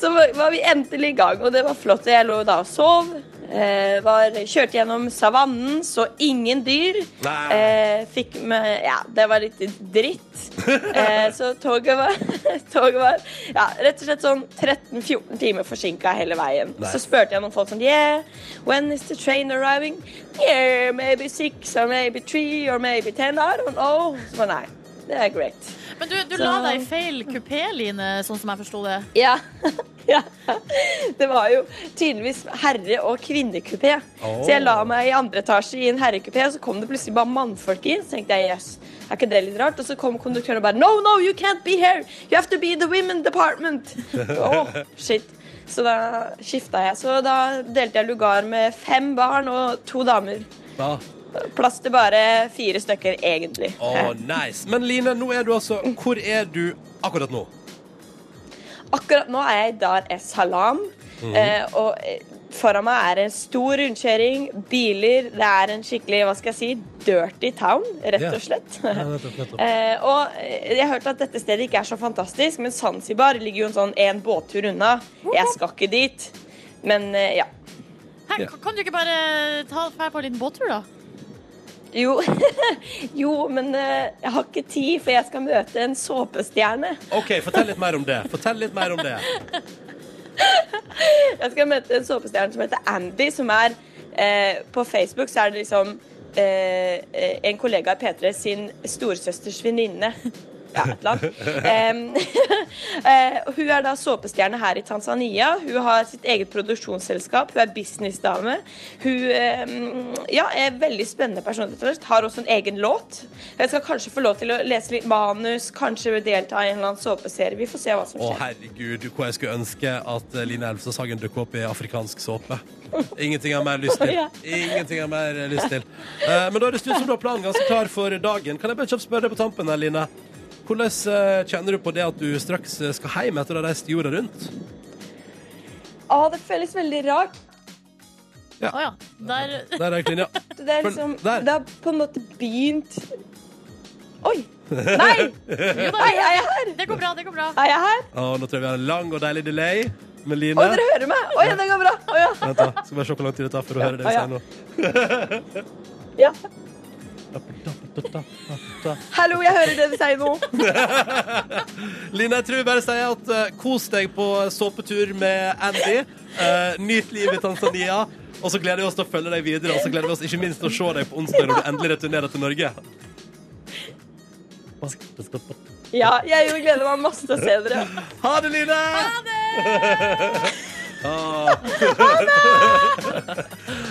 så var var vi endelig i gang, og det var flott. Jeg lå da og sov. Eh, var, kjørte gjennom savannen, så ingen dyr.
Nei.
Eh, fikk med Ja, det var litt dritt. Eh, så toget var, toget var ja, rett og slett sånn 13-14 timer forsinka hele veien.
Nei.
Så spurte jeg noen folk sånn Yeah, when is the train arriving? Yeah, maybe six or maybe three or maybe ten. I don't know. Så bare nei. Det er great.
Men du, du la deg i feil kupé, Line, sånn som jeg forsto det.
Ja. ja. Det var jo tydeligvis herre- og kvinnekupé.
Åh.
Så jeg la meg i andre etasje i en herrekupé, og så kom det plutselig bare mannfolk inn. Så tenkte jeg, jøss, er ikke det litt rart? Og så kom konduktøren og bare No, no, you can't be here! You have to be in the women department! Åh, shit. Så da skifta jeg. Så da delte jeg lugar med fem barn og to damer.
Ja.
Plass til bare fire stykker, egentlig.
Å, nice. Men Line, nå er du altså Hvor er du akkurat nå?
Akkurat nå er jeg i Dar es Salam. eh, og eh, foran meg er en stor rundkjøring, biler. Det er en skikkelig hva skal jeg si, dirty town, rett
Ja.
og slett.
nettopp, nettopp.
Eh, og eh, jeg har hørt at dette stedet ikke er så fantastisk, men Zanzibar ligger jo en sånn en båttur unna. Jeg skal ikke dit. Men eh, ja.
Her, kan du ikke bare ta deg på en liten båttur, da?
Jo, jo men eh, jeg har ikke tid, for jeg skal møte en såpestjerne.
OK, fortell litt mer om det. Fortell litt mer om det.
Jeg skal møte en såpestjerne som heter Andy, som er eh, På Facebook så er det liksom eh, eh, en kollega av P3 sin storesøsters venninne. Ja, et eller annet. Em, eh, og hun er da såpestjerne her i Tanzania. Hun har sitt eget produksjonsselskap. Hun er businessdame. Hun em, ja, er en veldig spennende person. rett og slett. Har også en egen låt. Jeg skal kanskje få lov til å lese litt manus, kanskje delta i en eller annen såpeserie. Vi får se hva som
Å,
skjer.
herregud, hvor jeg skulle ønske at eh, Line Elvsås Hagen dukket opp i afrikansk såpe. Ingenting har jeg mer lyst til.
Ja.
Ingenting har jeg mer lyst til. Eh, men da høres det ut som du har planen ganske klar for dagen. Kan jeg bare kjapt spørre deg på tampen her, Line? Hvordan eh, kjenner du på det at du straks eh, skal hjem etter å ha reist jorda rundt?
Å, det føles veldig rart.
Å ja. Der
Der er klinja.
Så Det er
For-
liksom
der.
Det har på en måte begynt Oi! Nei!
Jo da,
Nei, er jeg her?
det går bra, det går bra.
Er jeg her?
Å, nå tror jeg vi har en lang og deilig delay med
Å,
Line.
dere hører meg? Oi, det går bra. Å, ja.
Vent da, Skal bare se hvor lang tid det tar for å høre det vi
Ja, ja.
sier nå.
ja. Hallo, jeg hører det du sier nå.
Line, jeg tror vi bare sier at eh, kos deg på såpetur med Andy. Eh, nyt livet i Tanzania. Og så gleder vi oss til å følge deg videre, og så gleder vi oss ikke minst til å se deg på onsdag når du endelig returnerer til Norge.
Ja, jeg jo gleder meg masse til å se dere.
Ha det, Line! Ha det!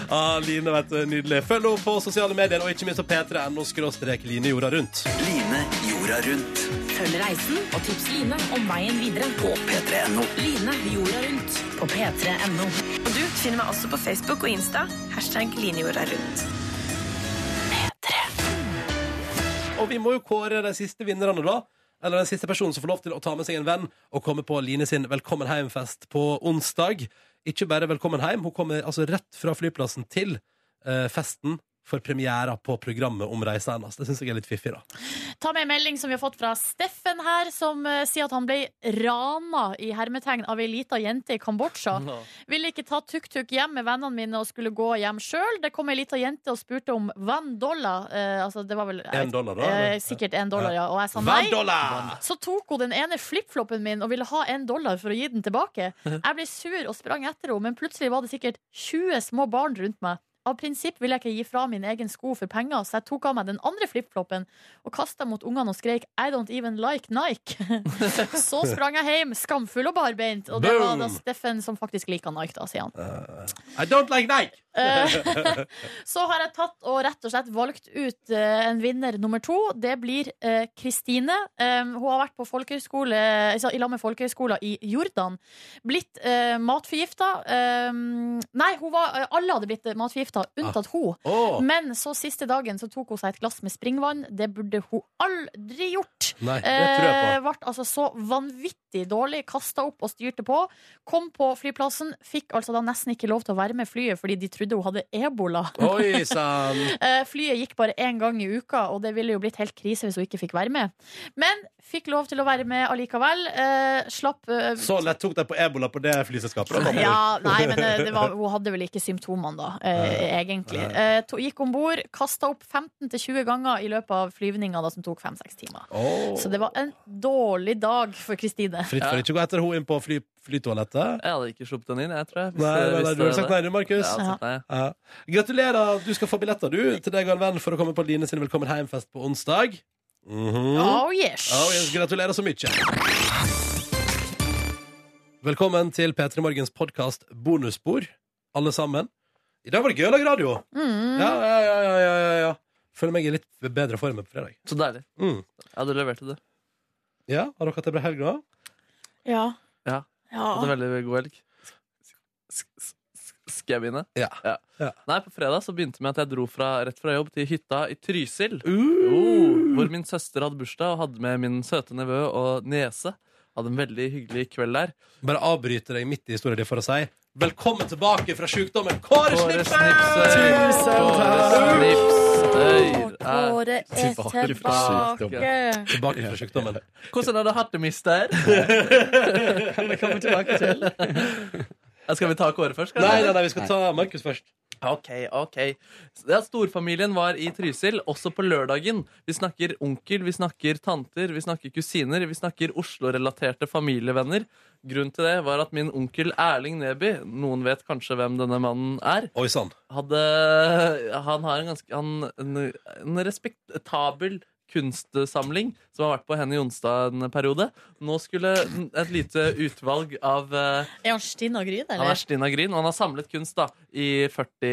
ah, Line, vet du, nydelig. Følg henne på sosiale medier, og ikke minst på p3.no-line jorda rundt.
Line jorda rundt.
Følg reisen og tips Line om veien videre på
På p3.no.
Line jorda rundt på p3.no.
Og du finner meg også på Facebook og Insta. Hashtag linjorda rundt.
Og vi må jo kåre de siste vinnerne, da. Eller den siste personen som får lov til å ta med seg en venn og komme på Line sin Velkommen hjem-fest på onsdag. Ikke bare Velkommen hjem, hun kommer altså rett fra flyplassen til eh, festen for premiera på programmet om reisa hennes. Det syns jeg er litt fiffig, da.
Ta med en melding som vi har fått fra Steffen her, som eh, sier at han ble rana i hermetegn av ei lita jente i Kambodsja.
Nå.
Ville ikke ta tuk-tuk hjem med vennene mine og skulle gå hjem sjøl. Det kom ei lita jente og spurte om one dollar. Eh, altså, det var vel jeg
Én
vet-
dollar, da? eller?
eh, sikkert én dollar, ja. Og jeg sa
Hver
nei.
dollar!
Så tok hun den ene flipfloppen min og ville ha en dollar for å gi den tilbake. Jeg ble sur og sprang etter henne, men plutselig var det sikkert 20 små barn rundt meg. Av prinsipp ville jeg ikke gi fra min egen sko for penger, så jeg tok av meg den andre flipfloppen og kasta mot ungene og skreik 'I don't even like Nike'. så sprang jeg hjem, skamfull og barbeint. Og det var da
Boom!
Steffen som faktisk liker Nike, da, sier han.
I don't like Nike!
Eh, Så har jeg tatt og rett og slett valgt ut eh, en vinner nummer to. Det blir eh, Kristine. Eh, Hun har vært på folkehøyskole altså, i lag med folkehøyskoler i Jordan. Blitt eh, matforgifta. Eh, Nei, hun var, eh, alle hadde blitt matforgifta, unntatt hun.
Åh,
Men så siste dagen så tok hun seg et glass med springvann. Det burde hun aldri gjort.
nei, det tror
Eh,
jeg på.
ble altså så vanvittig dårlig, kasta opp og styrte på. Kom på flyplassen, fikk altså da nesten ikke lov til å være med flyet fordi de trodde hun hadde ebola.
Oi sann!
Eh, flyet gikk bare én gang i uka, og det ville jo blitt helt krise hvis hun ikke fikk være med. Men fikk lov til å være med allikevel. Eh, slapp eh,
Så lett tok de på ebola på det flyselskapet. da, Kambo.
ja, nei, men eh, det var, hun hadde vel ikke symptomene da, eh, egentlig. Eh, to, gikk om bord, kasta opp 15-20 ganger i løpet av flyvninga da, som tok 5-6 timer.
Åh.
Så det var en dårlig dag for Kristine.
Fritt for ikke å gå etter henne inn på fly, flytoalettet.
Jeg hadde ikke sluppet den inn, jeg, tror jeg. hvis
Nei,
jeg
nei, nei,
visste
du har
det.
sagt nei, du,
Jeg
Markus.
hadde sagt nei.
Ja. Gratulerer. Du skal få billetter du til deg og en venn for å komme på Line sin Velkommen hjem-fest på onsdag. Mhm.
Oh yes!
Oh, yes, gratulerer så mye. Velkommen til P3 Morgens podkast Bonusspor, alle sammen. I dag var det gøy å lage radio.
Mm.
Ja, ja, ja, ja, ja, ja, ja. Føler meg i litt bedre form på fredag.
Så deilig.
Mm.
Ja, du leverte det.
Ja, Har dere hatt det bra helg nå?
Ja.
Ja. Hatt
Ah.
en veldig god helg. Sk- sk- sk- Skal jeg begynne?
Ja. Ja.
Nei, På fredag så begynte det med at jeg dro fra, rett fra jobb til hytta i Trysil.
Uh.
Oh, hvor min søster hadde bursdag og hadde med min søte nevø og niese. Hadde en veldig hyggelig kveld der.
Bare avbryter deg midt i historien din for å si velkommen tilbake fra sjukdommen, Kåre
Kåre
Snipsøy!
Tusen takk!
Kåre er
Tilbake
fra
tilbake.
Tilbake fra sjukdommen.
Hvordan har du hatt det, mister?
Kan vi komme tilbake til?
Skal vi ta Kåre først? kanskje?
Nei, nei, nei, vi skal ta Markus først.
Ok, ok. Ja, storfamilien var i Trysil, også på lørdagen. Vi snakker onkel, vi snakker tanter, vi snakker kusiner, vi snakker Oslo-relaterte familievenner. Grunnen til det var at min onkel Erling Neby, noen vet kanskje hvem denne mannen er,
Oi sann.
hadde, han har en, ganske, han, en, en respektabel kunstsamling som har vært på Henny Jonstad en periode. Nå skulle et lite utvalg av eh,
Er han stinn og gryne,
han er
eller?
stinn av gryn, og han har samlet kunst da i 40,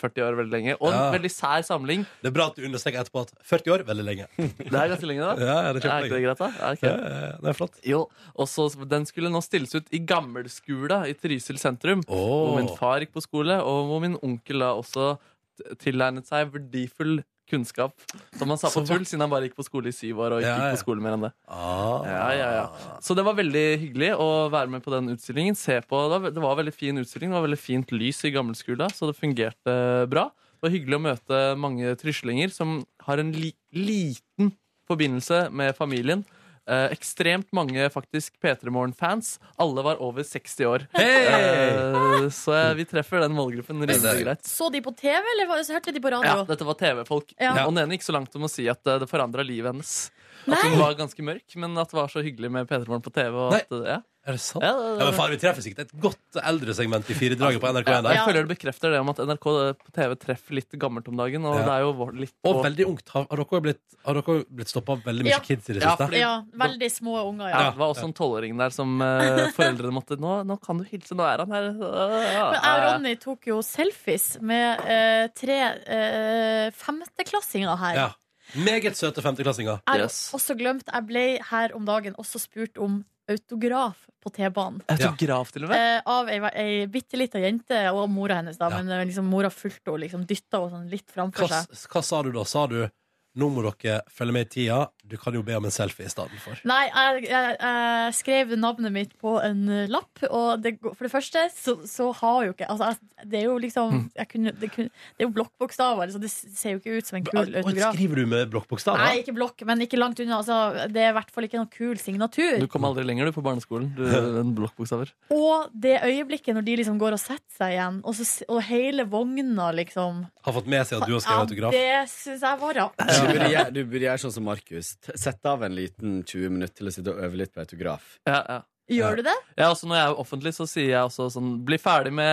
40 år veldig lenge. Og en
Ja.
veldig sær samling.
Det er bra at du understreker etterpå at 40 år veldig lenge.
Det er ganske lenge, da.
Ja, ja, det er
Er ikke det
kjempelenge.
greit, da? Ja, ok.
Ja, ja, ja, det er flott.
Jo, og så Den skulle nå stilles ut i Gammelskula i Trysil sentrum. Hvor min far gikk på skole, og hvor min onkel da også t- tilegnet seg verdifull kunnskap. Som han sa på
Så
tull, siden han bare gikk på skole i syv år. og ikke
Ja, ja.
gikk på skole mer enn det.
Ah.
Ja, ja, ja. Så det var veldig hyggelig å være med på den utstillingen. Se på, det var- det var veldig fin utstilling, det var veldig fint lys i gammelskula, så det fungerte eh, bra. Det var hyggelig å møte mange tryslinger som har en li liten forbindelse med familien. Eh, ekstremt mange faktisk P3 Morgen-fans. Alle var over 60 år.
Hei!
Eh, så vi treffer den målgruppen rimelig greit.
Så de på TV, eller var- så hørte de på
Ja,
radio?
dette var TV-folk.
Ja.
Og den ene gikk så langt som å si at eh, det forandra livet hennes. At
Nei!
hun var ganske mørk, men at det var så hyggelig med P3 Morgen på TV. Og
Nei.
at, eh, ja.
Er det sant?
Ja,
Ja,
det- det-
men faen, Vi treffer sikkert et godt eldresegment i Firedraget på NRK1
Jeg
der.
Ja.
føler det bekrefter det om at NRK på TV treffer litt gammelt om dagen. Og
Ja.
det er jo vår- litt
Og
vår-
veldig ungt. Har har dere blitt, har dere blitt stoppa av veldig mye
Ja.
kids i det
Ja,
siste?
fordi-
Ja, veldig små unger, ja.
ja, Det var også en tolvåring der som eh, foreldrene måtte nå, 'Nå kan du hilse, nå er han her.'
Men jeg og Ronny tok jo selfies med eh, tre eh, femteklassinger her.
Ja. Meget søte femteklassinger.
Jeg har
Yes.
også glemt, jeg ble her om dagen også spurt om autograf på T-banen.
Autograf, til og med.
Eh, av ei, ei bitte lita jente og mora hennes, da,
Ja.
men eh, liksom, mora fulgte henne liksom, dytta henne sånn litt
Hva,
framfor seg.
hva sa du da? Sa du nå må dere følge med i tida, du kan jo be om en selfie istedenfor?
Nei, jeg, jeg, jeg skrev navnet mitt på en eh, lapp, og det, går- for det første så, så har jo ikke altså, jeg, Det er jo liksom
Hmm.
jeg kunne, det, kunne, det er jo blokkbokstaver, så det ser jo ikke ut som en kul
Og
autograf.
skriver du med
Nei,
blokkbokstaver?
ikke blokk, men ikke langt unna. Altså, det er i hvert fall ikke noen kul signatur.
Du kom aldri lenger du på barneskolen. Du, en blokkbokstaver.
Og det øyeblikket når de liksom går og setter seg igjen, og, så, s- og hele vogna liksom
Har fått med seg at du har skrevet
ja,
autograf?
Det syns jeg var rart.
Du burde, gjøre, du burde gjøre sånn som Markus. T- Sette av en liten 20 minutter til å sitte og øve litt på autograf.
Ja, ja.
Gjør du det?
Ja, altså Når jeg er offentlig, så sier jeg også sånn Bli ferdig med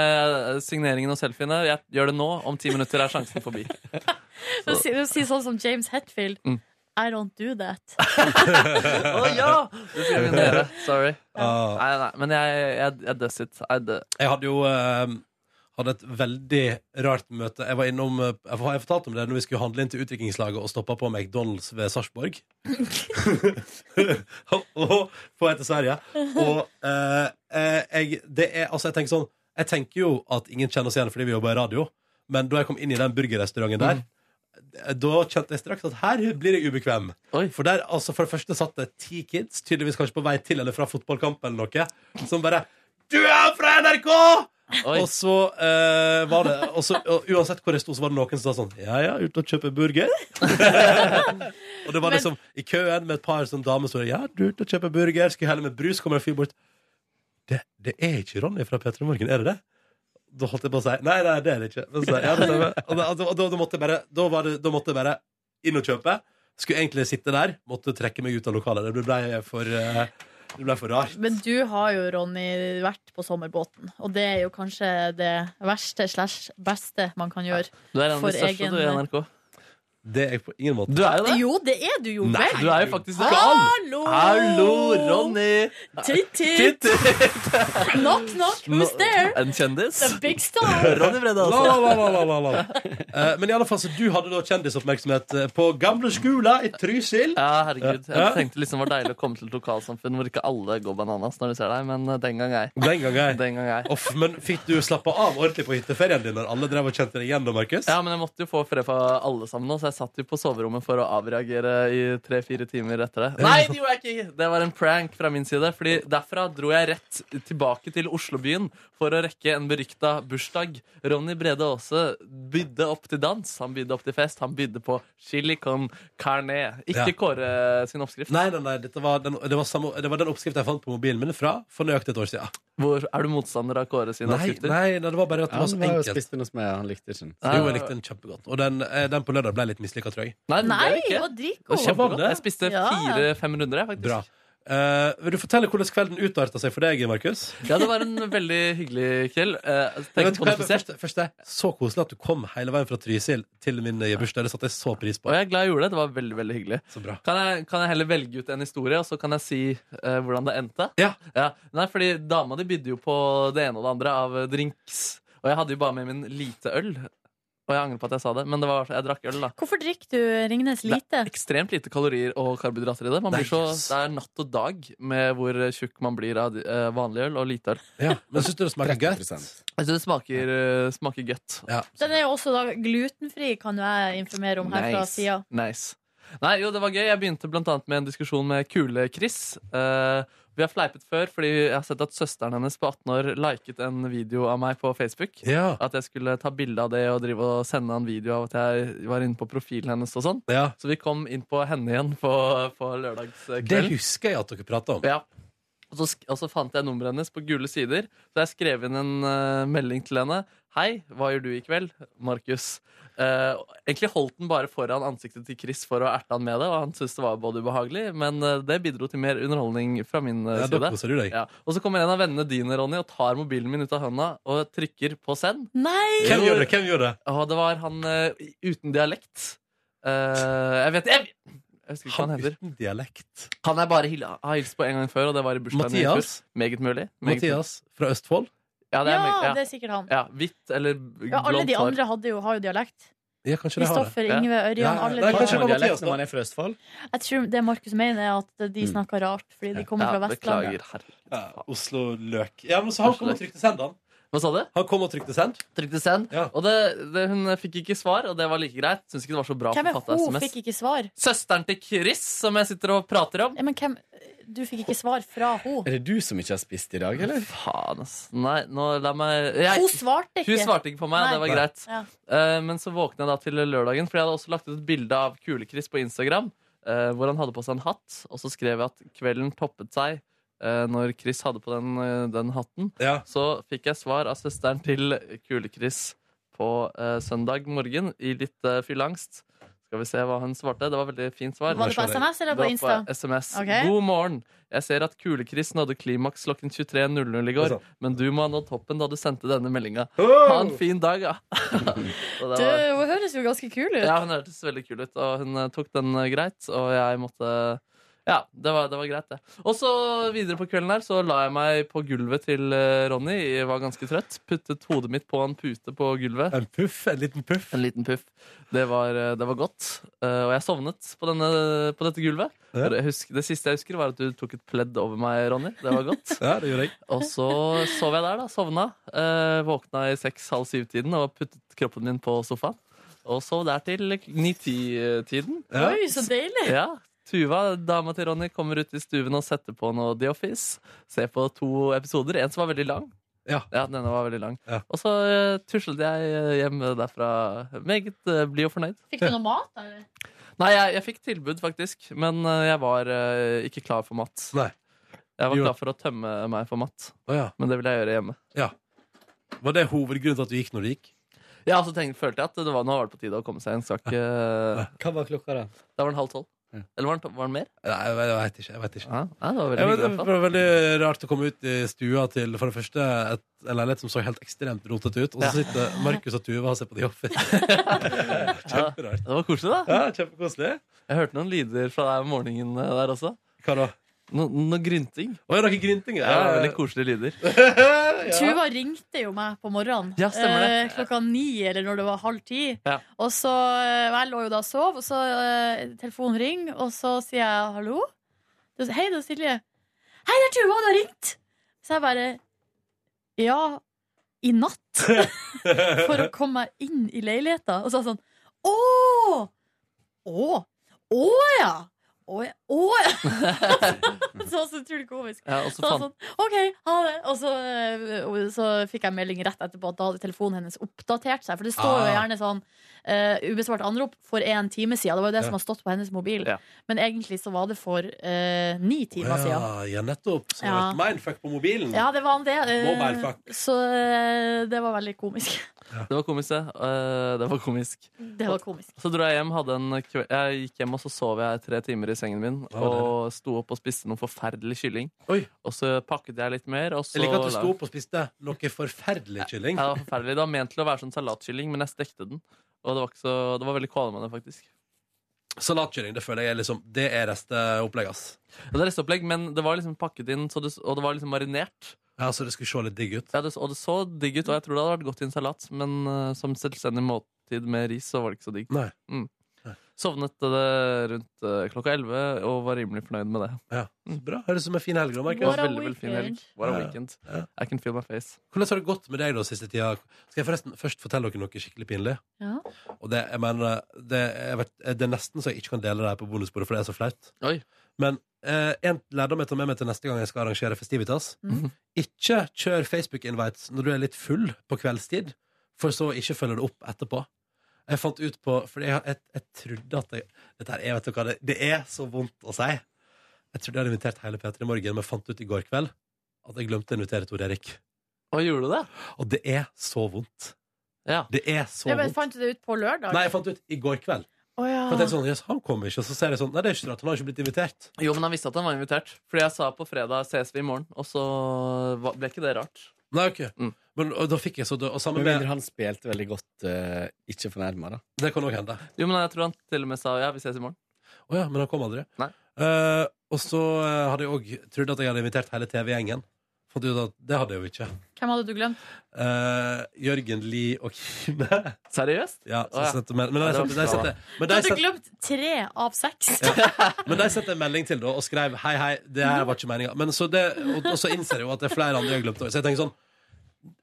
eh, signeringen og selfiene. Jeg gjør det nå. Om ti minutter er sjansen forbi.
Du sier, du sier sånn som James Hetfield.
Mm.
I don't do that.
Å ja! Det sier min dere. Sorry.
Ja.
Nei, nei, men jeg, jeg, jeg does it. I do.
Jeg hadde jo eh, hadde et veldig rart møte. Jeg var innom, eh, jeg har jeg fortalt om det når vi skulle handle inn til utviklingslaget og stoppa på McDonald's ved Sarpsborg. og på vei til Sverige. Og eh, eh, jeg, det er, altså, jeg tenker sånn Jeg tenker jo at ingen kjenner oss igjen fordi vi jobber i radio, men da jeg kom inn i den burgerrestauranten der,
Mm.
da kjente jeg straks at her blir jeg ubekvem.
Oi.
For der, altså for det første satt det ti kids, tydeligvis kanskje på vei til eller fra fotballkamp eller noe, som bare Du er fra NRK!
Oi.
Og så eh, var det og så, og Uansett hvor jeg sto, så var det noen som sa sånn Ja ja, ute og kjøper burger. og det var
Men-
liksom i køen med et par sånn damer som var, Ja, du er ute og kjøper burger, skulle helle med brus, kommer en fyr bort det, det er ikke Ronny fra P3 Morgen, er det det? Da holdt jeg på å si Nei, nei, det er det ikke. Men så, sa jeg, ja, det stemmer. Og da, da, da, da måtte jeg bare Da, var det, da måtte jeg bare inn og kjøpe. Skulle egentlig sitte der, måtte trekke meg ut av lokalet. Det ble for, eh, det ble for rart.
Men du har jo, Ronny, vært på sommerbåten. Og det er jo kanskje det verste slash beste man kan gjøre.
Du er en
For
av de største
egen-
du i NRK.
Det er jeg på ingen måte.
Du er jo det.
Jo, det er du jo,
Nei.
vel?
Du er jo faktisk det.
Hallo!
Hallo, Ronny!
Titt, titt!
Titt!
Knock, knock, who's there?
En kjendis?
The big star!
Ronny Brede,
La,
altså.
la, la, la, la, la, la. Eh, men i alle fall, så du hadde da kjendisoppmerksomhet eh, på gamle skoler i Trysil.
Ja, herregud.
Ja.
Jeg tenkte liksom det var deilig å komme til et lokalsamfunn hvor ikke alle går bananas når de ser deg, men eh, den gang ei.
Den gang jeg.
Den gang ei.
Off, men fikk du slappa av ordentlig på hytteferien din når alle drev og kjente deg igjen, da, Markus?
Ja, men jeg måtte jo få fred fra alle sammen nå, så jeg satt jo på soverommet for å avreagere i tre-fire timer etter det. Nei, det gjorde jeg ikke! Det var en prank fra min side, fordi derfra dro jeg rett tilbake til Oslobyen for å rekke en berykta bursdag. Ronny Brede Aase bydde opp til dans, han bydde opp til fest, han bydde på chili con carne. Ikke
Ja.
Kåre sin oppskrift.
Nei, nei, nei, dette var den, det, var samme, det var den oppskriften jeg fant på mobilen min fra for nøyaktig et år siden.
Hvor, er du motstander av Kåre sine
Nei,
oppskrifter?
nei, nei, det var bare at det
Ja,
var så
han var jo og
enkelt.
spiste den hos meg, han likte ikke den.
Nei,
Jo, jeg likte den kjempegodt. Og den, eh, den på lørdag ble litt mislykka, tror jeg.
Nei, det
Nei,
er ikke.
det var
Det
Hva
var
var
dritgod.
det?
kjempegodt. Jeg spiste
Ja.
fire-fem runder, jeg, faktisk.
Bra. Eh, vil du fortelle hvordan kvelden utarta seg for deg, Markus?
Ja, det var en veldig hyggelig kveld. Eh,
Jeg
tenk
vet
på
hva
det
jeg-
offisielt.
Først, først det. Så koselig at du kom hele veien fra Trysil til min eh, bursdag. Det satte jeg så pris
Og
på.
jeg er glad jeg gjorde det. Det var veldig, veldig hyggelig.
Så bra.
Kan jeg, kan jeg heller velge ut en historie, og så kan jeg si eh, hvordan det endte?
Ja.
Nei, fordi dama di bydde jo på det ene og det andre av eh, drinks. Og jeg hadde jo bare med min lite øl. Og jeg angrer på at jeg sa det, men det var, jeg drakk øl, da.
Hvorfor drikker du Ringnes lite?
Ekstremt lite kalorier og karbohydrater i det. Man
Nei,
blir så,
yes.
det er natt og dag med hvor eh, tjukk man blir av eh, vanlig øl og lite øl.
Ja, men syns du det smaker godt?
30%.
Jeg synes det smaker, eh, smaker godt.
Ja.
Den er jo også da glutenfri, kan jo jeg informere om her fra
Nice.
sida.
Nice. Nei, jo, det var gøy. Jeg begynte blant annet med en diskusjon med Kule-Chris. Eh, vi har fleipet før, fordi jeg har sett at søsteren hennes på 18 år liket en video av meg på Facebook.
Ja.
At jeg skulle ta bilde av det og drive og sende en video av at jeg var inne på profilen hennes. og sånn.
ja.
Så vi kom inn på henne igjen på, på
Det
lørdagskvelden.
husker jeg at dere prata om.
Ja. Og så, sk- og så fant jeg nummeret hennes på gule sider, så jeg skrev inn en eh, melding til henne. Hei, hva gjør du i kveld, Markus? Eh, egentlig holdt den bare foran ansiktet til Chris for å erte han med det, og han syntes det var både ubehagelig, men eh, det bidro til mer underholdning fra min eh,
Ja, da
side.
koser du deg.
Ja. Og så kommer en av vennene dine, Ronny, og tar mobilen min ut av hånda og trykker på send.
Nei!
Hvem gjorde det? Hvem gjorde det?
Og det var han eh, uten dialekt. Eh, jeg vet jeg, jeg husker ikke hva han
Han
heter.
uten dialekt.
Han er bare hil- har hilst på en gang før, og det var i bursdagen min i fjor.
Mathias.
Meget mulig. Meget mulig.
Mathias fra Østfold.
Ja, det er,
Ja,
ja.
det er sikkert han.
ja, hvitt eller
Ja, alle
blondt
de
hår.
andre hadde jo, har jo dialekt.
Ja, kanskje de har det.
Kristoffer, Ingve, Ørjan,
Ja,
alle
nei,
de
kanskje
har
det var Mathias,
Dialekt
da.
når man er fra Østfold?
Jeg tror det Markus mener, er at de snakker rart fordi de kommer fra
Mm. Ja,
Vestlandet.
beklager. Herregud.
Ja, Oslo-løk. Ja, men så han kom og trykte send, han.
Hva sa du?
Han kom og trykte send.
Trykte send.
Ja.
Og det, det, hun fikk ikke svar, og det var like greit. Syns ikke det var så bra
Hvem er
forfatta
hun?
SMS.
Fikk ikke svar.
Søsteren til Chris, som jeg sitter og prater om.
Ja, men hvem Du fikk ikke svar fra hun.
Er det du som ikke har spist i dag, eller?
Faen, ass. Nei, nå la meg jeg,
Hun svarte ikke.
Hun svarte ikke på meg,
Nei.
det var greit.
Ja.
Eh, men så våkna jeg da til lørdagen, for jeg hadde også lagt ut et bilde av Kule-Chris på Instagram. eh, hvor han hadde på seg en hatt, og så skrev jeg at kvelden toppet seg eh, når Chris hadde på den, eh, den hatten.
Ja.
Så fikk jeg svar av søsteren til Kule-Chris på eh, søndag morgen i litt eh, fylleangst. Skal vi se hva hun svarte. Det var veldig fint svar.
Var det på SMS eller
Det var
på Insta?
SMS.
Ok.
God morgen. Jeg ser at Kule-Chris nådde klimaks klokken 23.00 i
Det
går,
er sant.
men du må ha nådd toppen da du sendte denne meldinga. Ha en
Oh!
fin dag, ja.
Du,
Og det var,
hun høres jo ganske kul ut.
ja, hun hørtes veldig kul ut, og hun eh, tok den eh, greit, og jeg måtte ja, det var, det var greit, det. Og så videre på kvelden her så la jeg meg på gulvet til eh, Ronny. Jeg var ganske trøtt. Puttet hodet mitt på en pute på gulvet.
En puff, en liten puff.
En liten puff. Det var, eh, det var godt. Eh, Og jeg sovnet på, denne, på dette gulvet.
Ja.
Jeg husker- Det siste jeg husker, var at du tok et pledd over meg, Ronny. Det var godt.
Ja, det gjorde jeg.
Og så sov jeg der, da. Sovna. Eh, Våkna i seks-halv syv-tiden og puttet kroppen min på sofaen. Og sov der til ni-ti-tiden.
Ja.
Oi, så deilig.
Ja. Tuva, dama til Ronny, kommer ut i stuen og setter på noe The Office. Ser på to episoder. En som var veldig lang.
Ja.
denne var veldig lang.
Ja.
Og så eh, tuslet jeg eh, hjem derfra meget eh, blid og fornøyd.
Fikk du noe mat, eller?
Nei, jeg, jeg fikk tilbud, faktisk. Men eh, jeg var eh, ikke klar for mat.
Nei.
Jeg var
Jo.
klar for å tømme meg for mat,
Å, ja.
men det ville jeg gjøre hjemme.
Var det hovedgrunnen til at du gikk når du gikk?
Ja, så tenkte, følte jeg at det var, nå var det på tide å komme seg en sak. eh,
Hva var klokka, da?
Da var den halv tolv.
Ja.
Eller var den, var den mer?
Nei, jeg vet- jeg vet ikke. Jeg vet ikke.
Ja, ja, det var
Jeg
veldig
vet,
hyggelig. i
det
hvert fall.
var veldig rart å komme ut i stua til for det første et, en leilighet som så helt ekstremt rotete ut, og så
Ja.
sitter Markus og Tuva og ser på The Office. Kjemperart.
Det var koselig, da.
Ja, kjempekoselig.
Jeg hørte noen lyder fra deg om morgenen eh, der også.
Hva da?
No, noe grynting.
Å, er dere gryntinger?
Ja, veldig koselige lyder.
Tuva ringte jo meg på morgenen
Ja, stemmer det.
eh, klokka ni, eller når det var halv ti.
Ja.
Og så, eh, Jeg lå jo da og sov, og så eh, telefonen ringer, og så sier jeg hallo. Da sier- Hei, det er Silje. Hei, det er Tuva, du har ringt! Så jeg bare Ja, i natt. For å komme meg inn i leiligheta. Og så er jeg sånn Å! Å! Å ja! Å ja! Å, ja. så så utrolig komisk.
Ja, og
Så
så
var
fant
det sånn, OK, ha det. Og så, eh, og så fikk jeg melding rett etterpå at da hadde telefonen hennes oppdatert seg. For det står jo
Ah.
gjerne sånn eh, ubesvart anrop for en time siden. Det var jo det
Ja.
som har stått på hennes mobil.
Ja.
Men egentlig så var det for eh, ni timer siden.
Ja, ja, nettopp. Så det var
Ja.
et mindfuck på mobilen.
Ja, det var han det. eh,
Mobilefuck.
Så eh, det var veldig komisk.
Det var komisk, det. Eh, Det var komisk.
Det var komisk.
Så dro jeg hjem, hadde en kve- jeg gikk hjem og så sov jeg tre timer i sengen min.
Ja, det er det.
Og sto opp og spiste noe forferdelig kylling.
Oi.
Og så pakket jeg litt mer. Og så
Jeg liker at du
la-
sto opp og spiste noe forferdelig kylling.
Ja, det var forferdelig. Det var ment til å være sånn salatkylling, men jeg stekte den. Og det var, ikke så, det var veldig kvalmende, faktisk.
Salatkylling, det føler jeg er liksom Det er resteopplegget, ass.
Og det er resteopplegg, men det var liksom pakket inn, så det, og det var liksom marinert.
Ja, så det skulle se litt digg ut.
Ja, det, og det så digg ut, og jeg tror det hadde vært godt i en salat, men eh, som selvstendig måltid med ris, så var det ikke så digg. Mm.
Nei.
Sovnet det rundt eh, klokka 11 og var rimelig fornøyd med det.
Ja. Så Bra. Høres ut som en fin helg, da,
Det
Markus.
What
var
a
veldig, veldig fin
weekend.
helg. What a
Ja.
weekend.
Ja.
I can feel my face.
Hvordan har det gått med deg da siste tida? Skal jeg forresten først fortelle dere noe skikkelig pinlig?
Ja.
Og det, jeg mener, det, jeg vet, det er nesten så jeg ikke kan dele det her på bonusbordet, for det er så flaut.
Oi.
Men eh, en lærdom jeg tar med meg til neste gang jeg skal arrangere festivitas,
Mhm.
ikke kjør Facebook-invites når du er litt full på kveldstid, for så å ikke følge det opp etterpå. Jeg fant ut på For jeg, jeg, jeg trodde at jeg, Dette her, jeg vet dere hva, det, det er så vondt å si. Jeg trodde jeg hadde invitert hele P3 Morgen, men fant ut i går kveld at jeg glemte å invitere Tor Erik.
Hva gjorde du det?
Og det er så vondt.
Ja.
Det er så
Jeg bare
vondt.
fant du det ut på lørdag?
Nei, jeg fant ut i går kveld.
Å, ja.
For jeg tenkte sånn, yes, han kom ikke, og så ser jeg sånn Nei, det er ikke rart, han har ikke blitt invitert.
Jo, men han visste at han var invitert. Fordi jeg sa på fredag ses vi i morgen, og så var- ble ikke det rart.
Nei, ok
Mm.
Men og da fikk jeg så Og sammen
Med
med
mindre han spilte veldig godt eh, Ikke fornærma, da.
Det kan òg hende.
Jo, men jeg tror han til og med sa ja, vi ses i morgen.
Å ja, men han kom aldri.
Nei.
Eh, og så eh, hadde jeg òg trodd at jeg hadde invitert hele TV-gjengen. Fant ut at det hadde jeg jo ikke.
Hvem hadde du glemt?
Eh, Jørgen Lie og Kine.
Seriøst?
Ja, så
Å, ja.
sendte mel- men de
Ja, det var
sendte- de
bra.
sendte- men
Du
de
hadde
sendte-
glemt tre av seks.
men de sendte en melding til da og skrev Hei, hei, det her var ikke meninga. Men så det, og, og så innser jeg jo at det er flere andre jeg har glemt. også. Så jeg tenker sånn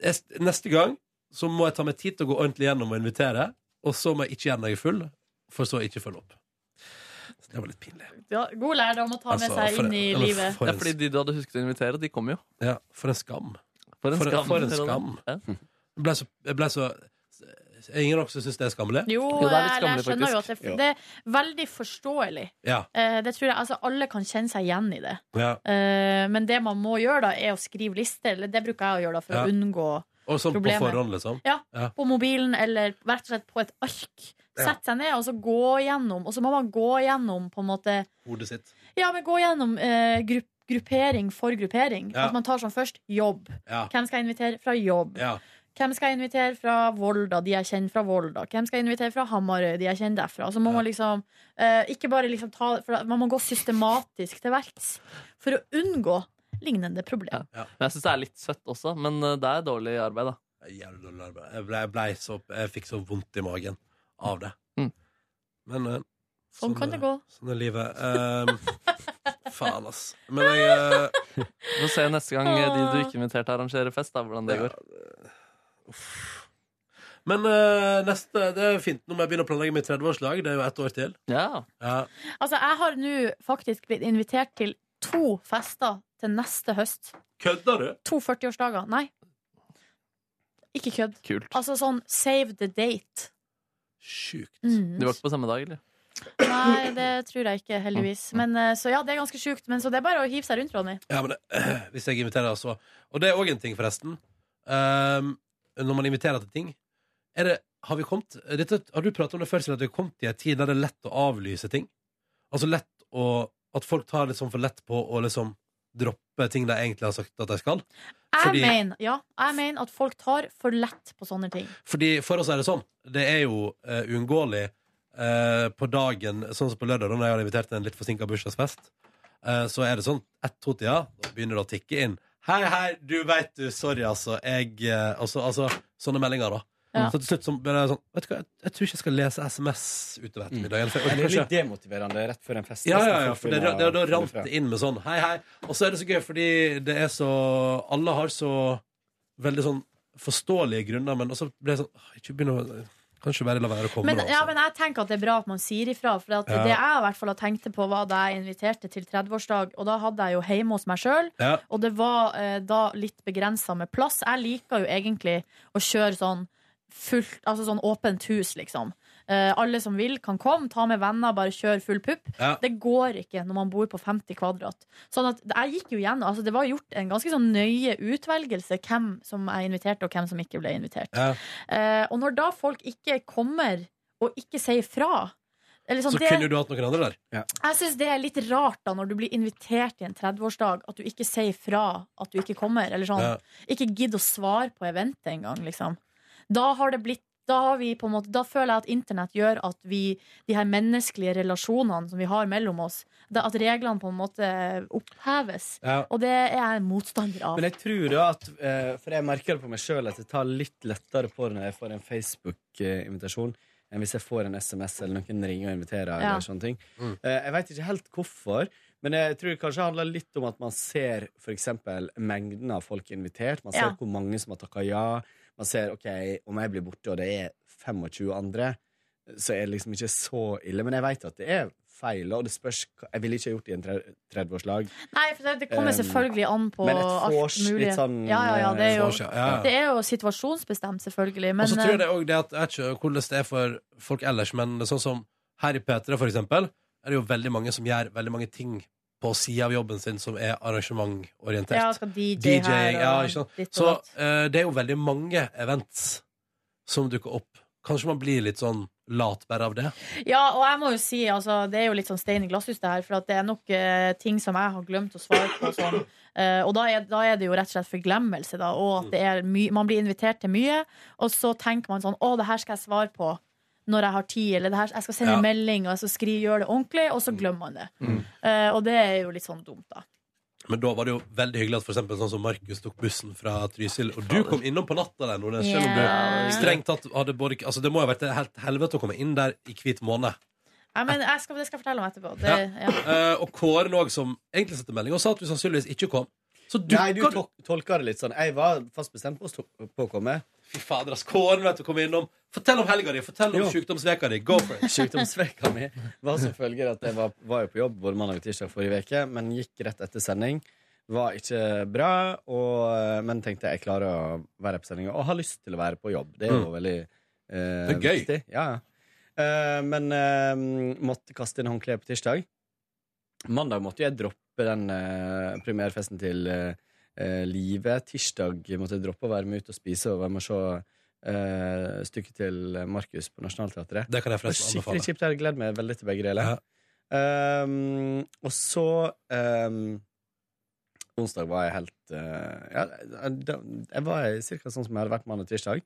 jeg- Neste gang så må jeg ta meg tid til å gå ordentlig gjennom og invitere. Og så må jeg ikke gjøre når jeg er full, for så å ikke følge opp. Så det var litt pinlig.
Ja, god lærdom å ta med
Altså,
seg
for
inn i
en- eller
livet.
For
Det
en,
er fordi de du hadde husket å invitere, de kom jo.
ja, for en skam.
For en
For en-
skam.
for en skam.
Ja.
Jeg ble så, jeg ble så er Ingen av dere som syns det er skammelig?
Jo,
Jo, det er litt
jeg, jeg
skammelig,
skjønner jo at det,
Ja.
det er veldig forståelig.
Ja.
Eh, Det tror jeg, altså Alle kan kjenne seg igjen i det.
ja.
Eh, Men det man må gjøre, da er å skrive lister. Eller det bruker jeg å gjøre da for
Ja.
å unngå
Og sånn på
Problemet.
forhånd, liksom.
på mobilen eller rett og slett på et ark. Sett seg ned og så gå igjennom. Og så må man gå igjennom på en måte
Hodet sitt.
Ja, men gå igjennom eh, grupp, gruppering for gruppering.
Ja.
At man tar sånn først jobb.
Ja.
Hvem skal jeg invitere fra jobb?
ja.
Hvem skal jeg invitere fra Volda, de jeg kjenner fra Volda? Hvem skal jeg invitere fra Hamarøy, de jeg kjenner derfra? Så må man liksom eh, ikke bare liksom ta for Man må gå systematisk til verks for å unngå lignende
Ja.
problem.
Men jeg syns det er litt søtt også, men eh, det er dårlig arbeid, da.
Jævlig dårlig arbeid. Jeg, ble, jeg, ble så, jeg fikk så vondt i magen av det.
Mm.
Men eh,
Sånn kan
er-
det gå.
Sånn er livet. Ehm, faen, ass. Men jeg eh,
Vi får se neste gang eh, de du ikke inviterte, arrangerer fest, da, hvordan det
Ja.
går.
uff. Men eh, neste Det er fint. Nå må jeg begynne å planlegge mitt 30-årslag. Det er jo ett år til.
Ja.
Ja.
Altså, jeg har nå faktisk blitt invitert til to fester til neste høst.
Kødder du?
To 40-årsdager. Nei. Ikke kødd.
Kult.
Altså sånn save the date.
Sjukt.
Mm.
Du var ikke på samme dag, eller?
Nei, det tror jeg ikke, heldigvis. Men, eh, så ja, det er ganske sjukt. Men så det er bare å hive seg rundt, Ronny.
Ja, men eh, hvis jeg inviterer så Og det er òg en ting, forresten. Ehm, når man inviterer til ting er det, Har vi kommet dette, Har du pratet om det før, Silje, at vi har kommet i en tid der det er lett å avlyse ting? Altså lett å At folk tar liksom for lett på å liksom droppe ting de egentlig har sagt at de skal?
Jeg
Fordi-
mener ja, jeg mener at folk tar for lett på sånne ting.
Fordi for oss er det sånn. Det er jo eh, uunngåelig eh, på dagen, sånn som på lørdag, da når jeg har invitert til en litt forsinka bursdagsfest, eh, så er det sånn ett-to-tida, da begynner det å tikke inn. Hei, hei, du veit du, sorry, altså. Jeg eh, altså, altså, sånne meldinger, da.
Ja.
Så til slutt så ble det sånn Vet du hva, jeg, jeg tror ikke jeg skal lese SMS utover ettermiddagen. For jeg
Det
orker
er
ikke.
litt demotiverende rett før en fest.
Ja, ja, ja, for det, det, da rant det inn med sånn Hei, hei, og så er det så gøy fordi det er så Alle har så Veldig sånn forståelige grunner Men også blir det sånn «Åh, Ikke begynne å Kanskje bare la være å komme
Men,
da,
ja,
altså.
men jeg tenker at det er bra at man sier ifra. For at
Ja.
det jeg i hvert fall har tenkt på, var da jeg inviterte til 30-årsdag, og da hadde jeg jo hjemme hos meg sjøl.
ja,
Og det var eh, da litt begrensa med plass. Jeg liker jo egentlig å kjøre sånn fullt, altså sånn åpent hus, liksom. Eh, alle som vil, kan komme. Ta med venner, bare kjør full pupp.
Ja.
Det går ikke når man bor på 50 kvadrat. Sånn at jeg gikk jo gjennom altså Det var gjort en ganske sånn nøye utvelgelse hvem som jeg inviterte, og hvem som ikke ble invitert.
ja.
Eh, og når da folk ikke kommer, og ikke sier fra eller
Så
sånn, det-
kunne jo du hatt noen andre der
jeg syns det er litt rart da når du blir invitert i en 30-årsdag, at du ikke sier fra at du ikke kommer. Eller sånn.
ja.
Ikke gidder å svare på eventet engang, liksom. Da har det blitt da, har vi på en måte, da føler jeg at internett gjør at vi, de her menneskelige relasjonene som vi har mellom oss, da, at reglene på en måte oppheves.
Ja.
Og det er jeg motstander av.
Men jeg tror jo at eh, For jeg merker det på meg sjøl at jeg tar litt lettere på det når jeg får en Facebook-invitasjon enn hvis jeg får en SMS eller noen ringer og inviterer.
Ja.
Eller sånne ting.
Mm.
Eh, jeg veit ikke helt hvorfor, men jeg tror det kanskje handler litt om at man ser f.eks. mengden av folk invitert. Man ser
Ja.
hvor mange som har takka ja. Man ser ok, om jeg blir borte og det er 25 andre, så er det liksom ikke så ille. Men jeg veit at det er feil, og det spørs hva- Jeg ville ikke gjort det i en tre- 30-årslag.
Nei, for det, det kommer
Um,
selvfølgelig an på
men et
alt
vors, litt
mulig.
sånn,
ja, ja, ja, det er jo,
vors, ja, ja.
det er jo situasjonsbestemt, selvfølgelig.
Og
Men eh,
så tror jeg det også det at Jeg vet ikke hvordan det er for folk ellers Men sånn som her i Petra for eksempel Er det jo veldig mange som gjør veldig mange ting På siden av jobben sin som er arrangementorientert
eh, ja, skal DJ,
DJ,
her og
ja, ikke sant.
ditt og
Så
datt.
eh, det er jo veldig mange events som dukker opp. Kanskje man blir litt sånn lat bare av det.
Ja, og jeg må jo si, altså, det er jo litt sånn stein i glasshus det her, for at det er nok eh, ting som jeg har glemt å svare på. Sånn. Eh, og da er, da er det jo rett og slett forglemmelse, da, og at det er my man blir invitert til mye, og så tenker man sånn, å, det her skal jeg svare på når jeg har tid, eller det her, jeg skal sende
Ja.
en melding, og jeg skal skrive, gjøre det ordentlig, og så glemmer man det.
Mm.
Eh, og det er jo litt sånn dumt da.
Men da var det jo veldig hyggelig at for eksempel sånn som Markus tok bussen fra Trysil, og du kom innom på natta der, Nordnes, selv om
Ja.
du strengt tatt hadde både Altså, det må jo ha vært et helt helvete å komme inn der i hvit måned.
Nei, men jeg skal, det skal jeg fortelle om etterpå. Det,
Ja.
ja.
Eh, og Kåren òg, som egentlig sendte melding, og sa at du sannsynligvis ikke kom. Så
Nei, du
dukka du
tol tolka det litt sånn. Jeg var fast bestemt på å stå- på å komme.
Fy fader, ass. Kåren vet du kom innom. Fortell om helga di, fortell om
Jo.
sjukdomsveka di. Go for it.
Sykdomsveka mi var som følger at jeg var, var jo på jobb både mandag og tirsdag forrige uke, men gikk rett etter sending. Var ikke bra, og, eh, men tenkte jeg klarer å være på sending og har lyst til å være på jobb. Det er jo veldig eh,
Mm. Det er gøy.
viktig. Ja. ja. Eh, men eh, måtte kaste inn håndkleet på tirsdag. Mandag måtte jeg droppe den eh, premierfesten til eh, eh, Live. Tirsdag måtte jeg droppe å være med ut og spise og være med og se eh, stykket til Markus på Nationaltheatret.
Det kan jeg
Det var
forresten
Skikkelig
anbefale.
kjipt. Jeg hadde gledet meg veldig til begge deler.
Ja.
Ehm, og så ehm, Onsdag var jeg helt eh, ja, da, Jeg var ca. sånn som jeg hadde vært mandag og tirsdag.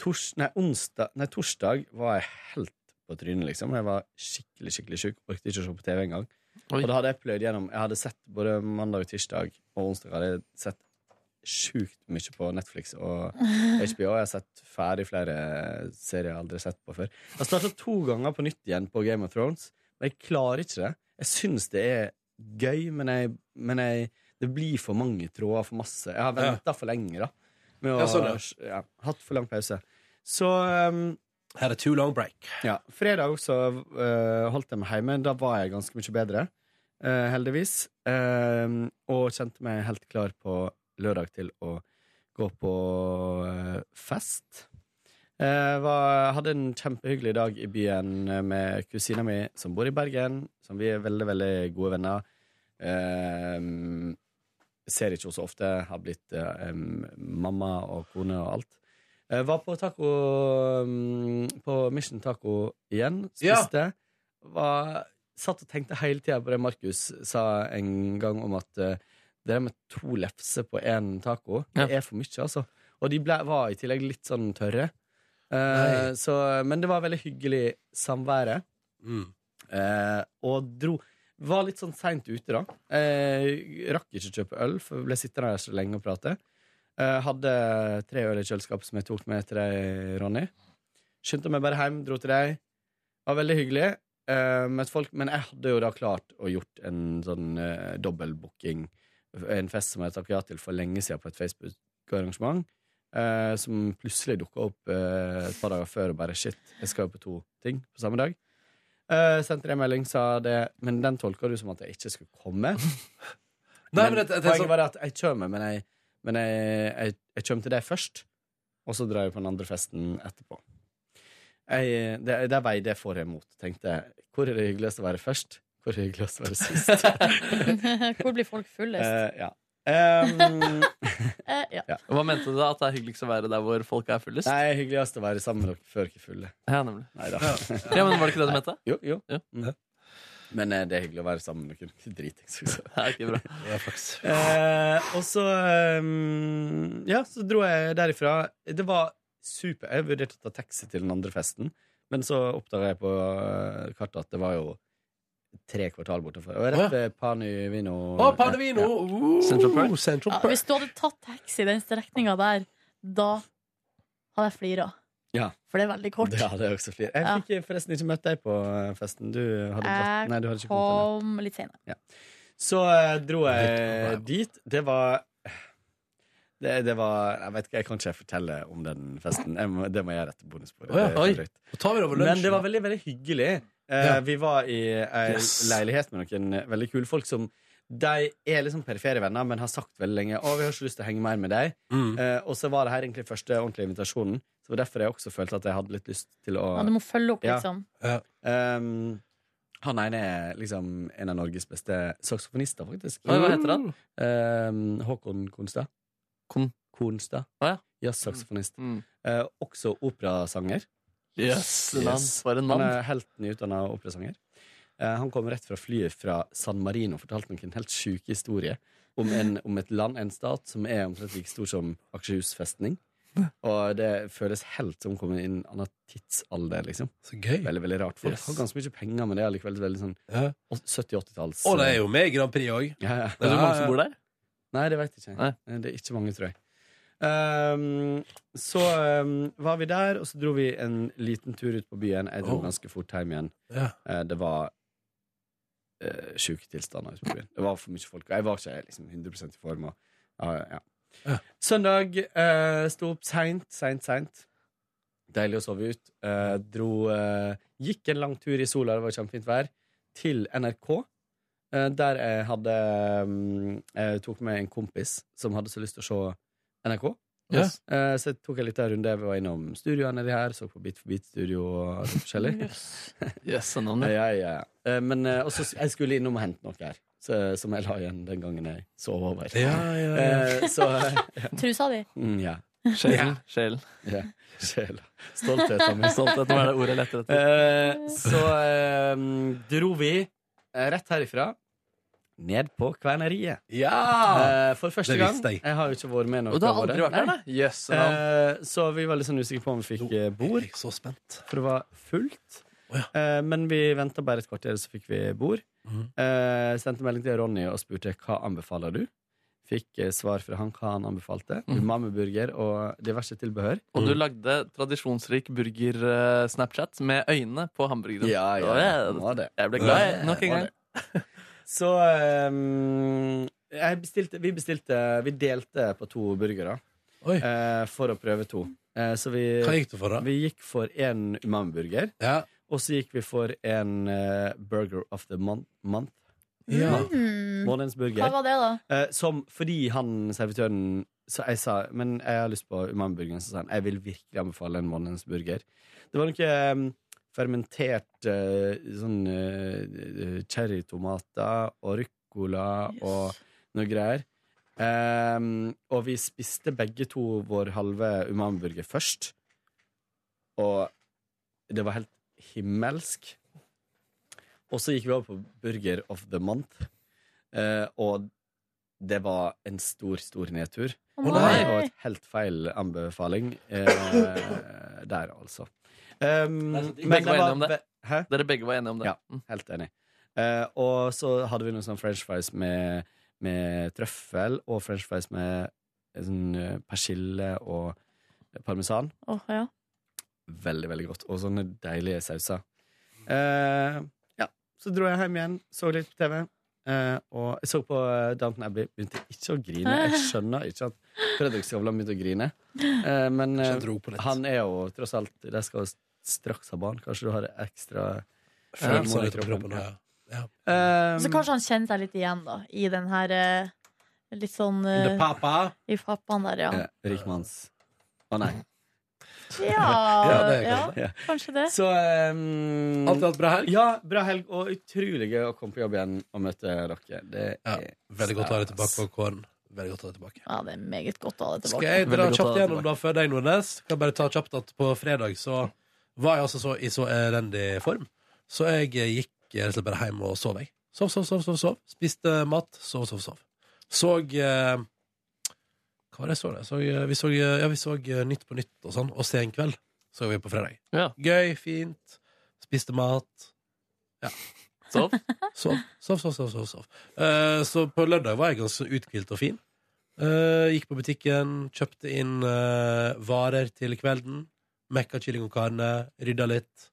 Tors, nei, onsdag, nei, torsdag var jeg helt på trynet, liksom. Jeg var skikkelig skikkelig sjuk. Orket ikke å se på TV engang.
Oi.
Og da hadde jeg pløyd gjennom Jeg hadde sett både mandag og tirsdag og onsdag hadde jeg sett sjukt mye på Netflix og HBO. Jeg har sett ferdig flere serier jeg aldri har sett på før. Jeg har starta to ganger på nytt igjen på Game of Thrones, men jeg klarer ikke det. Jeg syns det er gøy, men, jeg, men jeg, det blir for mange tråder, for masse. Jeg har venta for lenge, da. Med å,
Ja, sånn,
ja, hatt for lang pause. Så ehm,
Her er too long break.
ja. Fredag også øh, holdt jeg meg hjemme. Da var jeg ganske mye bedre, øh, heldigvis. Ehm, og kjente meg helt klar på lørdag til å gå på øh, fest. Jeg var, hadde en kjempehyggelig dag i byen eh, med kusina mi som bor i Bergen, som vi er veldig, veldig gode venner. Ehm, ser ikke henne så ofte. Har blitt eh, em, mamma og kone og alt. Jeg var på taco mm, På Mission Taco igjen.
Ja.
Spiste. Var, satt og tenkte hele tida på det Markus sa en gang om at eh, det der med to lefser på én taco,
Ja.
det er for mye, altså. Og de ble, var i tillegg litt sånn tørre. Eh,
Nei.
så, men det var veldig hyggelig samvære.
Mm.
Eh, og dro Var litt sånn seint ute, da. Eh, rakk ikke å kjøpe øl, for ble sittende der så lenge og prate. Eh, hadde tre øl i kjøleskapet som jeg tok med til deg, Ronny. Skyndte meg bare hjem, dro til deg. Var veldig hyggelig. Eh, møtte folk, men jeg hadde jo da klart å gjort en sånn eh, dobbeltbooking. En fest som jeg takket ja til for lenge siden på et Facebook-arrangement. Eh, som plutselig dukka opp eh, et par dager før og bare shit, jeg skal jo på to ting på samme dag. Eh, sendte deg en melding, sa det, men den tolka du som at jeg ikke skulle komme.
Nei, men sånn- det, det, det,
poenget var det at jeg kommer, men jeg, men jeg, jeg, jeg kommer til deg først. Og så drar jeg på den andre festen etterpå. Jeg, det, det veide jeg for og imot. Tenkte jeg, hvor er det hyggeligst å være først? Hvor er det hyggeligst å være sist?
Hvor blir folk fullest?
Eh, ja. Em,
Eh, ja.
Hva mente du da? At det er hyggeligst å være der hvor folk er fullest?
nei, hyggeligst å være sammen med dere før dere er fulle.
Ja, nemlig.
Nei da.
Ja, men var det ikke det du mente?
Jo, jo.
Ja.
Mm. Men eh, det er hyggelig å være sammen med dere. Dritings, liksom.
Det er ikke bra.
ja, faktisk.
Eh, og så ehm, Ja, så dro jeg derifra. Det var super. Jeg vurderte å ta taxi til den andre festen, men så oppdaga jeg på eh, kartet at det var jo tre kvartal bortenfor. Og
Å, ja.
rett ved Pani Vino.
Å, Panevino! Uh,
Central Perk.
Central
Ja,
Perk.
hvis du hadde tatt taxi den strekninga der, da hadde jeg flira.
Ja.
For det er veldig kort.
Ja, det er også flere. Jeg
Ja.
fikk forresten ikke møtt deg på eh, festen. Du hadde dratt. Nei, du hadde
Jeg
ikke kommet til det.
kom litt seinere.
Så eh, dro
Litt
jeg
av
dit. Det var det, det var Jeg vet ikke, jeg kan ikke fortelle om den festen. Jeg må, det må jeg gjøre etter
Å
bonusbordet.
ja,
Det er
oi.
drøyt.
Nå tar vi det over lunsjen.
Men det var veldig, veldig hyggelig. Eh,
Ja.
Vi var i ei
Yes.
leilighet med noen veldig kule folk som de er liksom perifere venner, men har sagt veldig lenge Å, vi har ikke lyst til å henge mer med deg.
Mm.
Eh, og så var det her egentlig første ordentlige invitasjonen. Så det var derfor jeg også følte at jeg hadde litt lyst til å
Ja, du må følge opp,
Ja.
liksom.
Ehm, Han ene er liksom en av Norges beste saksofonister, faktisk.
Oi, hva heter han?
Ehm, Håkon Konstad.
Kon-
Konstad.
Å, ja.
Jazzsaksofonist.
Mm.
Eh, også operasanger.
Yes,
Yes. eh,
yes. For en
Han
mann.
er helt nyutdanna operasanger. Eh, han kom rett fra flyet fra San Marino og fortalte noen helt sjuke historier om, en, om et land, en stat, som er omtrent like stor som Akershus festning. Og det føles helt som å komme inn i en annen tidsalder, liksom.
Så gøy.
Veldig, veldig rart. Folk
Yes.
har ganske mye penger, men det er likevel veldig sånn
Ja.
70-80-talls
Og det er jo med i Grand Prix òg.
ja, ja.
Vet du hvor mange som bor
der?
Nei, det vet jeg ikke. Eh, Det er ikke mange, tror jeg. Ehm, så ehm, var vi der, og så dro vi en liten tur ut på byen. Jeg dro
Oh.
ganske fort hjem igjen.
Ja.
Eh, det var uh, sjuke tilstander ute på byen. Det var for mye folk. Og jeg var ikke liksom, 100 i form. Og, ja, ja. Søndag uh, sto opp seint, seint, seint. Deilig å sove ut. Eh, dro eh, Gikk en lang tur i sola, det var kjempefint vær, til NRK. eh, der jeg hadde mm, Jeg tok med en kompis som hadde så lyst til å se NRK.
Ja.
Eh, så jeg tok en liten runde. Vi var innom studioene de her, så på Bit for bit-studio og alt forskjellig.
Yes, en
Ja,
annen.
ja, ja. Eh, Men eh, også, s- jeg skulle innom og hente noe her, så, som jeg la igjen den gangen jeg sov over.
Ja, ja, ja.
Eh, så
Trusa di.
mm, ja.
Sjelen. Sjelen.
ja. Sjela. Stoltheten min.
Stolthet. Nå er det ordet jeg leter etter.
Eh, så eh, dro vi eh, rett herifra ned på Kverneriet.
ja.
Eh, for
Ah,
første
Det
gang.
visste jeg.
Jeg har jo ikke vært med noen
Og du har
av
aldri
våre.
vært der, da? Yes, en annen.
Eh, så vi var litt sånn usikre på om vi fikk eh, bord.
Jeg er så spent.
For det var fullt.
Å
Eh, men vi venta bare et kvarter, så fikk vi bord.
Mhm.
Eh, sendte melding til Ronny og spurte hva anbefaler du. Fikk eh, svar fra han hva han anbefalte.
Mhm.
Umami-burger og diverse tilbehør.
Og du lagde tradisjonsrik burger-snapchat med øynene på hamburgeren.
Det
Og jeg-
var det.
Jeg ble glad jeg, nok en gang.
Så eh, jeg bestilte, vi bestilte Vi delte på to burgere
Oi.
eh, for å prøve to. Eh, så vi,
Hva gikk du for, da?
vi gikk for én umami-burger.
Ja.
Og så gikk vi for en eh, burger of the mon month.
ja.
eh,
Mm.
Månedens burger.
Hva var det, da?
Eh, som fordi han servitøren Så jeg sa Men jeg har lyst på umami-burgeren. Så sa han jeg vil virkelig anbefale en månedens burger. Det var noe eh, fermentert eh, sånn eh, cherrytomater og ruccola og noe greier. Eh, og vi spiste begge to vår halve umami-burger først. Og det var helt himmelsk. Og så gikk vi over på Burger of the Month. Eh, og det var en stor, stor nedtur.
Å,
Og
nei.
det var et helt feil anbefaling eh, der, altså. Um,
Det er så digg. Begge var enige om det.
ve- Hæ?
Dere begge var enige om det.
Ja.
Mm.
Helt enig. Eh, og så hadde vi noen sånn french fries med, med trøffel, og french fries med eh, sånn eh, persille og parmesan
Å, ja.
veldig, veldig godt. Og sånne deilige sauser. Eh, ja, så dro jeg hjem igjen, så litt på TV. eh, og jeg så på eh, Downton Abbey. Begynte ikke å grine. Jeg skjønner ikke at Fredrik Skavlan begynte å grine. Eh, men eh,
Kjente ro på litt.
han er jo tross alt De skal jo straks ha barn. Kanskje du har ekstra
Følelser
Ja.
litt på kroppen. Ja.
eh,
Så kanskje han kjenner seg litt igjen, da, i den her eh, litt sånn eh,
papa.
I pappaen der, ja.
eh, Rikmanns Å, nei.
Ja,
Ja, det er
ja,
kanskje
det.
kanskje det.
Så eh,
Alt i alt bra helg?
Ja, bra helg, og utrolig gøy å komme på jobb igjen og møte dere. Det
Ja.
er
Veldig godt å ha deg tilbake på kåren. Veldig godt å ha deg tilbake.
Ja, det er meget godt å ha det
Skal
tilbake.
jeg dra
Veldig godt å ha
kjapt
deg
gjennom da før deg, Nordnes? Kan bare ta kjapt at på fredag så var jeg altså så i så elendig form. Så jeg eh, gikk eh, rett og slett bare hjem og sov, jeg. Sov, sov, sov, sov, sov. Spiste mat, sov, sov, sov. Såg eh, Hva var det jeg så? da? Jeg så eh, vi så, eh, ja, vi så eh, Nytt på Nytt og sånn, og Senkveld så vi på fredag.
Ja.
Gøy, fint. Spiste mat.
Sov.
Sov, sov, sov, sov, sov, sov. Eh, Så på lørdag var jeg ganske uthvilt og fin Eh, Gikk på butikken Kjøpte inn eh, varer til kvelden Mekka kylling og karne Rydda litt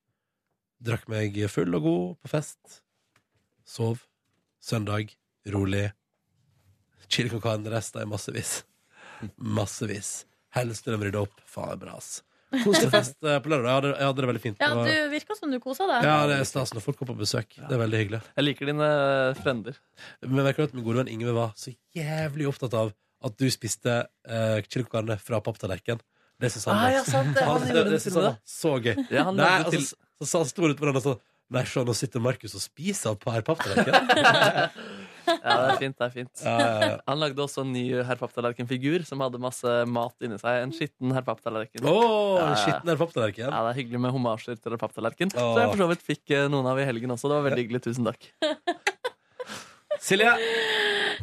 Drakk meg full og god på fest Sov Søndag, rolig Kylling og karne resta i massevis Massevis Hellstrøm rydda opp, faen bra ass Koselig fest eh, på lørdag, jeg hadde, jeg hadde det veldig fint
Ja,
Det var-
du virka som du kosa deg.
ja, det er stas når folk kommer på besøk Det er veldig hyggelig
Jeg liker dine eh, frender.
men merker du at min gode venn Ingve var så jævlig opptatt av at du spiste uh, kyllingokarene fra papptallerken? Det syns han
Ah,
var
ja, sant det. Han
Han-
gjorde det
synes han
til det.
var så gøy.
Ja, han
Nei,
lagde
altså,
til
så, så sa han stor ut på den og sånn Nei, se, nå sitter Markus og spiser av per papptallerken.
Ja, det er fint. det er fint
Ja, ja, ja.
Han lagde også en ny herr Papptallerken-figur som hadde masse mat inni seg. En skitten herr Papptallerken.
Å,
Ja, ja.
en skitten her papptallerken.
Ja, det er hyggelig med homasjer til herr Papptallerken.
Åh.
Så jeg for så vidt fikk eh, noen av i helgen også. Det var veldig hyggelig. Tusen takk.
Silje?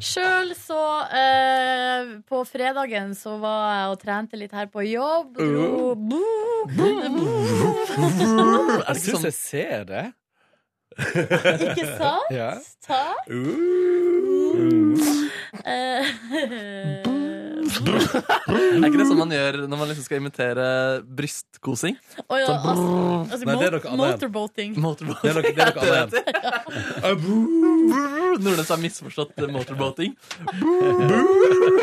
Sjøl så eh, På fredagen så var jeg og trente litt her på jobb. Dro, Boo! Boo!
Jeg syns jeg ser det.
Uh.
Ikke sant?
Ja.
Takk. Mm. Eh,
Er ikke det sånn man gjør når man liksom skal imitere brystkosing?
og ja,
Sånn brrr.
altså,
Nei, det er
altså,
noe annet.
motorboating.
Motorboat.
Det er noe, det er noe annet.
Nordnes har misforstått motorboating. Brrr.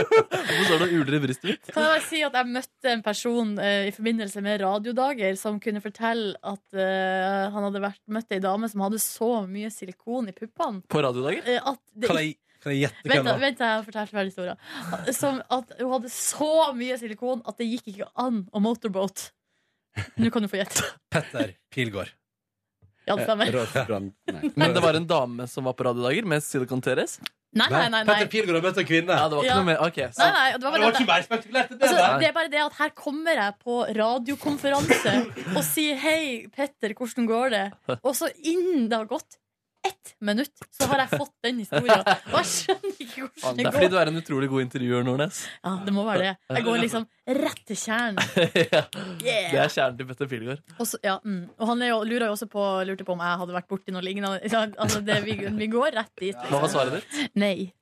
Hvorfor står det og uler i brystet mitt?
Kan jeg bare si at jeg møtte en person eh, i forbindelse med radiodager som kunne fortelle at eh, han hadde vært, møtt ei dame som hadde så mye silikon i puppene
På radiodager?
eh, at det
Kan jeg, kan jeg gjette
Vent,
hvem
da,
det var?
vent, da, jeg har fortalt ferdig historien. Som at hun hadde så mye silikon at det gikk ikke an å motorboat. Nå kan du få gjette.
Petter Pilgaard.
Ja, det stemmer.
Rolf Brand- Nei.
Men det var en dame som var på radiodager med Silicon Teres?
Nei, nei, nei. nei.
Petter Pilgaard har møtt en kvinne.
Ja, det var ikke
Ja.
noe mer. Ok,
nei,
så
nei og det, var
Det
bare
var
det,
ikke mer spektakulært enn det.
altså,
der.
det er bare det at her kommer jeg på radiokonferanse og sier 'Hei, Petter, hvordan går det?' Og så innen det har gått ett minutt, så har jeg fått den historien. Og jeg skjønner ikke
Faen,
hvordan det
Det er fordi
går.
du er en utrolig god intervjuer, Nordnes.
Ja, det må være det. Jeg går liksom rett til kjernen.
Ja.
Yeah.
Det er kjernen til Petter Pilgaard.
Og, så, ja, mm. og han er jo, lurer jo også på, lurte på om jeg hadde vært borti noe lignende. Ikke sant? Altså, det, vi, vi går rett dit.
Hva var svaret ditt?
Nei.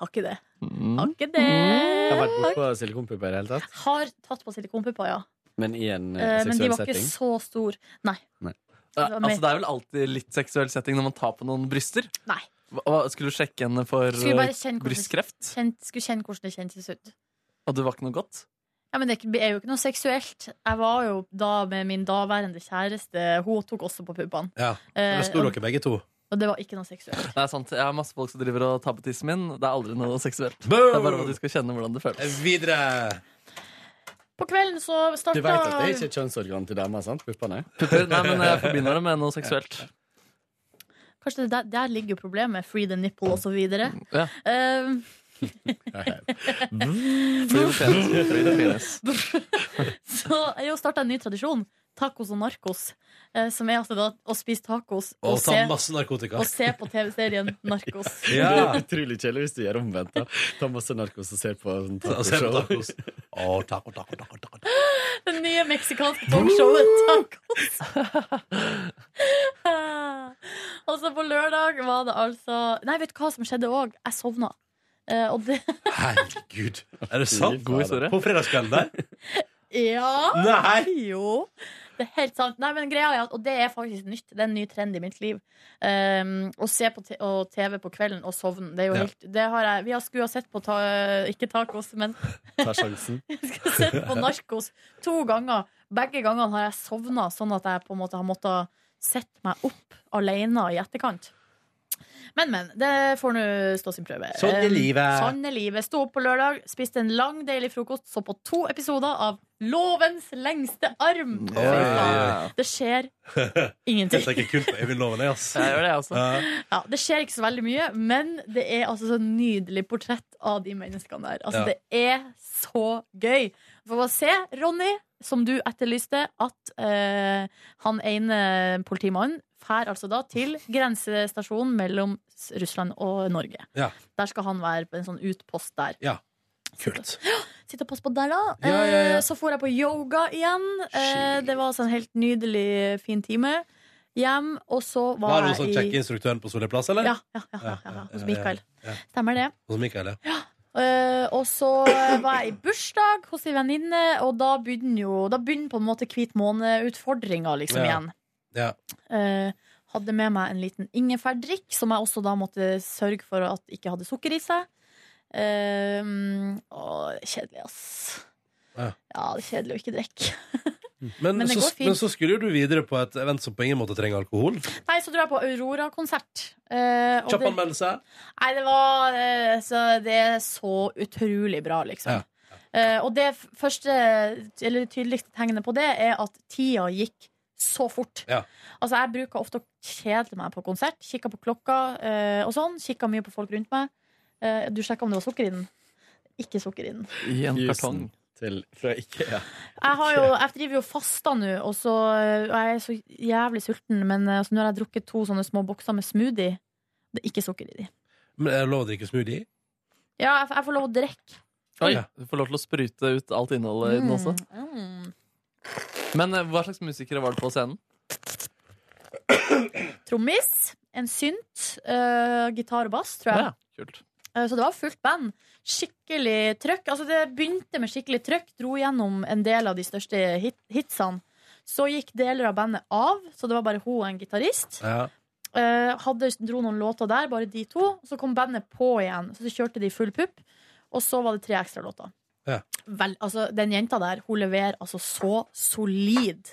Har ikke det.
Mm.
Har ikke det.
Jeg har vært bortpå silikonpupper i det hele tatt.
Har tatt på silikonpupper, ja.
Men i en eh,
Eh, men de
seksuell
var ikke
setting.
så store. Nei.
Ja,
Det var
Altså, det er vel alltid litt seksuell setting når man tar på noen bryster.
Nei.
Hva- hva- Skulle du sjekke henne for
Skulle
eh,
bare kjenne hvordan,
brystkreft?
kjent, skulle kjenne hvordan det kjentes ut.
Og det var ikke noe godt?
Ja, men det er ikke- er jo ikke noe seksuelt. Jeg var jo da med min daværende kjæreste. Hun tok også på puppene.
Ja,
Eh,
Da sto
og,
dere begge to.
og det var ikke noe seksuelt.
Nei, sant. Jeg har masse folk som driver og tar på tissen min. Det er aldri noe seksuelt. Det er bare at
Boom!
du skal kjenne hvordan det føles.
Videre.
På kvelden så
Du
starta
vet at det er ikke kjønnsorgan til damer, sant? Puppene?
Pupper? Nei, men jeg forbinder det med noe seksuelt.
Kanskje det der, der ligger jo problemet. Free the nipple og så videre.
Ja.
Eh,
Free the penis. Free the penis.
Så jeg har starta en ny tradisjon. Tacos og narkos. Eh, som er altså da å spise tacos og,
Og ta
se,
masse narkotika.
og se på TV-serien Narkos.
Ja.
Utrolig kjedelig hvis du gjør omvendt. da. Ta masse narkos og ser på sånn
Og se på
tacoshow.
tacos. Å, taco, taco, taco, taco.
Det nye meksikanske talkshowet Tacos. og så på lørdag var det altså Nei, vet du hva som skjedde òg? Jeg sovna. Eh, og det
Herregud. Er det sant?
God
historie.
På fredagskvelden der?
Ja!
Nei!
Jo. Det er helt sant. Nei, men greia er at, og det er faktisk nytt. Det er en ny trend i mitt liv. Um, å se på te- og TV på kvelden og sovne. Det er jo
Ja.
helt det har jeg, Vi har skulle ha sett på ta, Ikke tacos, men
Ta sjansen.
skulle ha sett på Narkos to ganger. Begge gangene har jeg sovna, sånn at jeg på en måte har måttet sette meg opp alene i etterkant. Men, men. Det får nå stå sin prøve.
Sånn er
Um,
livet.
Sånn er livet. Sto opp på lørdag, spiste en lang, deilig frokost, så på to episoder av Lovens lengste arm.
Oi, oi, oi.
Det skjer
Dette
ingenting.
er ikke kult på Øyvind-loven, jeg, ass.
Jeg gjør det, jeg også.
Ja.
Ja, det skjer ikke så veldig mye, men det er altså så nydelig portrett av de menneskene der. Altså,
Ja.
Det er så gøy. Få bare se, Ronny, som du etterlyste, at eh, han ene politimannen fær altså da til grensestasjonen mellom S- Russland og Norge.
Ja.
Der skal han være på en sånn utpost der.
Kult.
Sitte og passe på der, da.
Ja, ja, ja.
Eh, Så for jeg på yoga igjen. Eh, Det var altså en helt nydelig, fin time. Hjem, og så var,
Var det sånn
jeg i
kjekke instruktøren på Solli plass, eller?
ja, ja, ja, ja, ja, ja. Hos Mikael.
Ja, ja.
Stemmer det.
Hos Mikael, ja.
Eh, og så var jeg i bursdag hos ei venninne, og da begynner jo Da begynner på en måte hvit måne-utfordringa liksom
Ja.
igjen.
ja.
Eh, hadde med meg en liten ingefærdrikk, som jeg også da måtte sørge for at ikke hadde sukker i seg. Eh, og kjedelig, ass.
Ja.
Ja, det er kjedelig å ikke drikke.
Men,
Men det
så,
går fint.
men så skulle jo du videre på et event som på ingen måte trenger alkohol.
Nei, så dro jeg på Aurora-konsert. Eh, og
Kjapp
det-
anmeldelse.
Nei, det var eh, så, Det er så utrolig bra, liksom.
Ja.
Eh, og det f- første, eller det tydeligste tegnet på det, er at tida gikk så fort.
Ja.
Altså, jeg bruker ofte å kjede meg på konsert. Kikka på klokka eh, og sånn. Kikka mye på folk rundt meg. Eh, du sjekka om det var sukker i den. Ikke sukker i den.
I en kartong.
Jusen til fra IKEA.
Jeg, har jo, jeg driver jo fasta nå, og så og jeg er så eh, jævlig sulten. Men eh, altså, nå har jeg drukket to sånne små bokser med smoothie. Det er ikke sukker i de.
Men er det lov å drikke smoothie?
Ja, jeg, jeg får lov å drikke.
Oi, Du får lov til å sprute ut alt innholdet i den også.
Mm.
Men eh, hva slags musikere var det på scenen?
Trommis, en synt, eh, gitar og bass, tror jeg.
Ja, kult.
Eh, Så det var fullt band. Skikkelig trøkk. Altså, det begynte med skikkelig trøkk, dro gjennom en del av de største hit hitsene. Så gikk deler av bandet av, så det var bare hun og en gitarist.
Ja.
Eh, hadde, dro noen låter der, bare de to. Så kom bandet på igjen, så kjørte de full pupp. Og så var det tre ekstra låter.
Ja.
Vel, altså, den jenta der, hun leverer altså så solid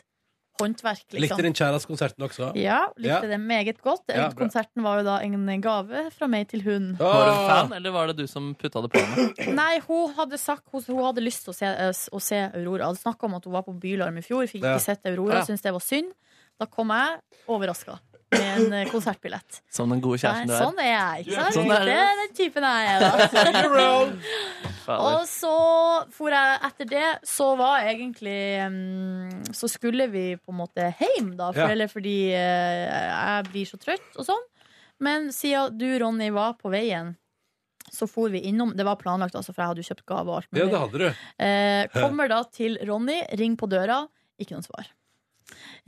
håndverk, liksom.
Likte din kjæreste konserten også?
Ja, likte
Ja.
det meget godt.
Ja, bra.
Konserten var jo da en gave fra meg til hun.
Var du en fan, eller var det du som putta det på henne?
Nei, hun hadde sagt hun, hun hadde lyst til å se, eh, å se Aurora. Hadde snakka om at hun var på Bylarm i fjor, fikk
Ja.
ikke sett Aurora,
Ja.
syntes det var synd. Da kom jeg overraska med en eh, konsertbillett.
Som den gode kjæresten du
Nei,
er.
sånn er jeg, ikke sant?
Sånn er du.
det er den typen jeg er, da. sånn.
Fader.
Og så for jeg etter det, så var egentlig mm, Så skulle vi på en måte hjem, da, for,
Ja.
eller fordi eh, jeg blir så trøtt og sånn. Men siden du, Ronny, var på veien, så for vi innom. Det var planlagt, altså, for jeg hadde jo kjøpt gave og alt
Ja, det hadde du.
Eh, kommer da til Ronny, ring på døra, ikke noen svar.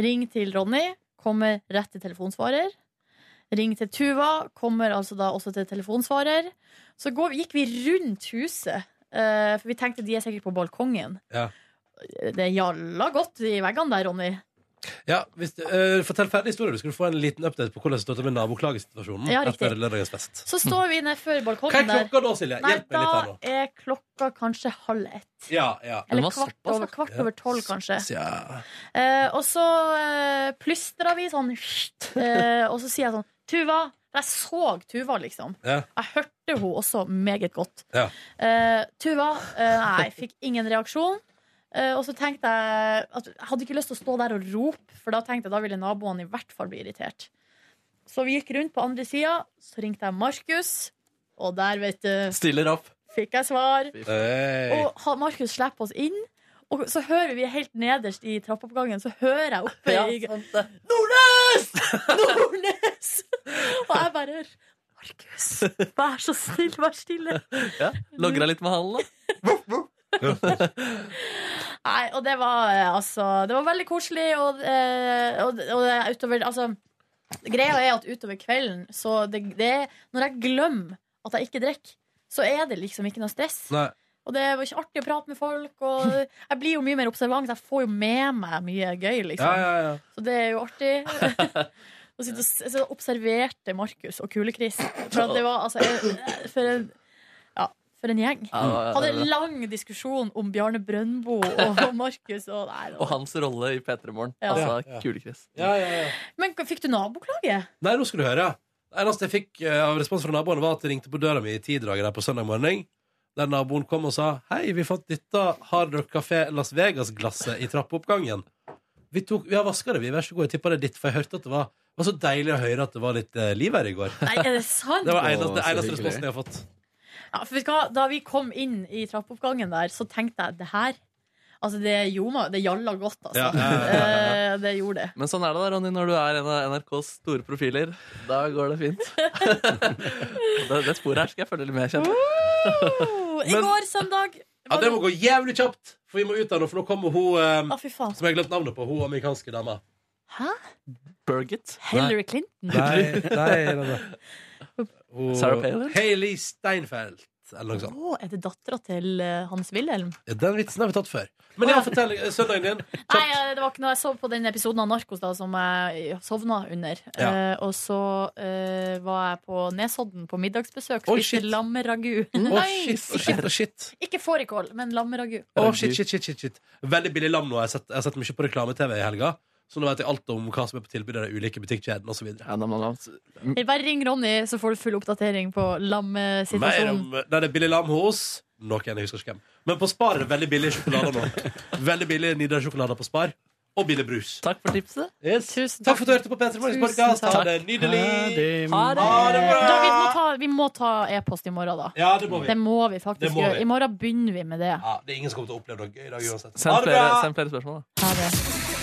Ring til Ronny, kommer rett til telefonsvarer. Ring til Tuva, kommer altså da også til telefonsvarer. Så går, gikk vi rundt huset, eh, for vi tenkte de er sikkert på balkongen.
Ja.
Det gjalla godt i veggene der, Ronny.
Ja, hvis, du- eh, fortell ferdig historien. Du skulle få en liten update på hvordan det står til med naboklagesituasjonen.
Ja, riktig.
etter lørdagens fest.
Så står vi nede før
Hva er
balkongen der.
klokka da, Silje?
Nei,
Hjelp meg litt her
da
nå.
er klokka kanskje halv ett.
Ja, ja.
Eller kvart over, kvart over tolv, kanskje.
Ja.
Eh, og så eh, plystra vi sånn eh, Og så sier jeg sånn Tuva! Jeg så Tuva, liksom.
Ja.
Jeg hørte hun også meget godt.
Ja.
Eh, Tuva eh, Nei, fikk ingen reaksjon. Eh, og så tenkte jeg at jeg hadde ikke lyst til å stå der og rope, for da tenkte jeg da ville naboene i hvert fall bli irritert. Så vi gikk rundt på andre sida, så ringte jeg Markus, og der, vet du,
Stiller opp.
fikk jeg svar.
Hey.
Og han- Markus slipper oss inn. Og så hører vi helt nederst i trappeoppgangen, så hører jeg oppe
Ja,
i Nordnes! Nordnes! Og jeg bare Markus, vær så snill, vær stille.
Ja. Logra litt med halen, da.
Nei, og det var eh, altså Det var veldig koselig, og, eh, og, og det er utover Altså, greia er at utover kvelden, så det, det er Når jeg glemmer at jeg ikke drikker, så er det liksom ikke noe stress.
Nei.
Og det var ikke artig å prate med folk. Og jeg blir jo mye mer observant. Jeg får jo med meg mye gøy, liksom.
Ja, ja, ja.
Så det er jo artig. Og sitte og s- så observerte Markus og Kule-Chris. For at det var altså en- For en, ja, for en gjeng.
Ja, ja, ja,
Hadde
ja.
en lang diskusjon om Bjarne Brøndbo og Markus og nei, det
Og
var-
hans rolle i P3 Morgen.
Ja.
Altså
Ja.
Kule-Chris.
Ja, ja, ja.
Men fikk du naboklage?
Nei, nå skal du høre. Det eneste jeg fikk eh, av respons fra naboene, var at de ringte på døra mi i tidraget der på søndag morgen. Der naboen kom og sa Hei, vi fant dette Hard Rock Café Las Vegas-glasset i trappeoppgangen. Vi, tok, vi har vaska det, vi. Vær så god. Jeg tippa det er ditt, for jeg hørte at det var det var så deilig å høre at det var litt eh, liv her i går.
Nei, er det sant?
Det var eneste, det
så
eneste
hyggelig.
responsen jeg har fått.
Ja, for vet du hva? Da vi kom inn i trappeoppgangen der, så tenkte jeg det her Altså, det gjorde meg Det gjalla godt, altså.
Ja, ja, ja, ja,
Eh, Det gjorde det.
Men sånn er det da, Ronny, når du er en av NRKs store profiler. Da går det fint. Og det, det sporet her skal jeg følge litt med. kjenner jeg.
I går søndag
Ja, det må gå jævlig kjapt, for vi må ut av nå, for nå kommer hun eh,
Å, fy faen.
som jeg har glemt navnet på, hun amerikanske dama.
Hæ?
Birgit.
Hillary Clinton?
Nei, nei, nei, nei. Hun-
Sarah Palin?
Hailey Steinfeld, eller noe sånt.
Å, er det dattera til eh, Hans Wilhelm?
Den vitsen har vi tatt før. Men ja, fortell eh, søndagen din.
Nei, eh, det var ikke noe jeg sov på den episoden av Narkos da som jeg sovna under.
Ja.
Eh, og så eh, var jeg på Nesodden på middagsbesøk.
Oi,
Spiste
shit.
lammeragu.
Å,
Nei,
shit, å, shit, å, shit.
ikke fårikål, men lammeragu.
Å, Oh, shit, shit, shit, shit, shit. Veldig billig lam nå. Jeg har sett, jeg har sett mye på reklame-TV i helga. Så nå vet jeg alt om hva som er på tilbud i de ulike butikkjedene osv.
Ja, da må man-
Bare ring Ronny, så får du full oppdatering på
Mer om
lammesituasjonen.
Nei, det er billig lam hos noen jeg husker ikke hvem. Men på Spar er det veldig billig sjokolade nå. Veldig billig Nidar-sjokolade på Spar. Og billig brus.
Takk for tipset.
Yes.
Tusen
takk. for
takk.
at du hørte på P3 Morgens
Tusen
podcast. Ha
takk.
det nydelig.
Ha det!
Ha det bra.
Da, vi må ta, vi må ta e-post i morgen, da.
Ja, det må vi.
Det må vi faktisk
Det må
gjøre.
vi.
I morgen begynner vi med det.
Ja, det er ingen som kommer til å oppleve noe gøy i dag uansett. Ha
Send
det bra!
flere, send flere spørsmål, da.
Ha det.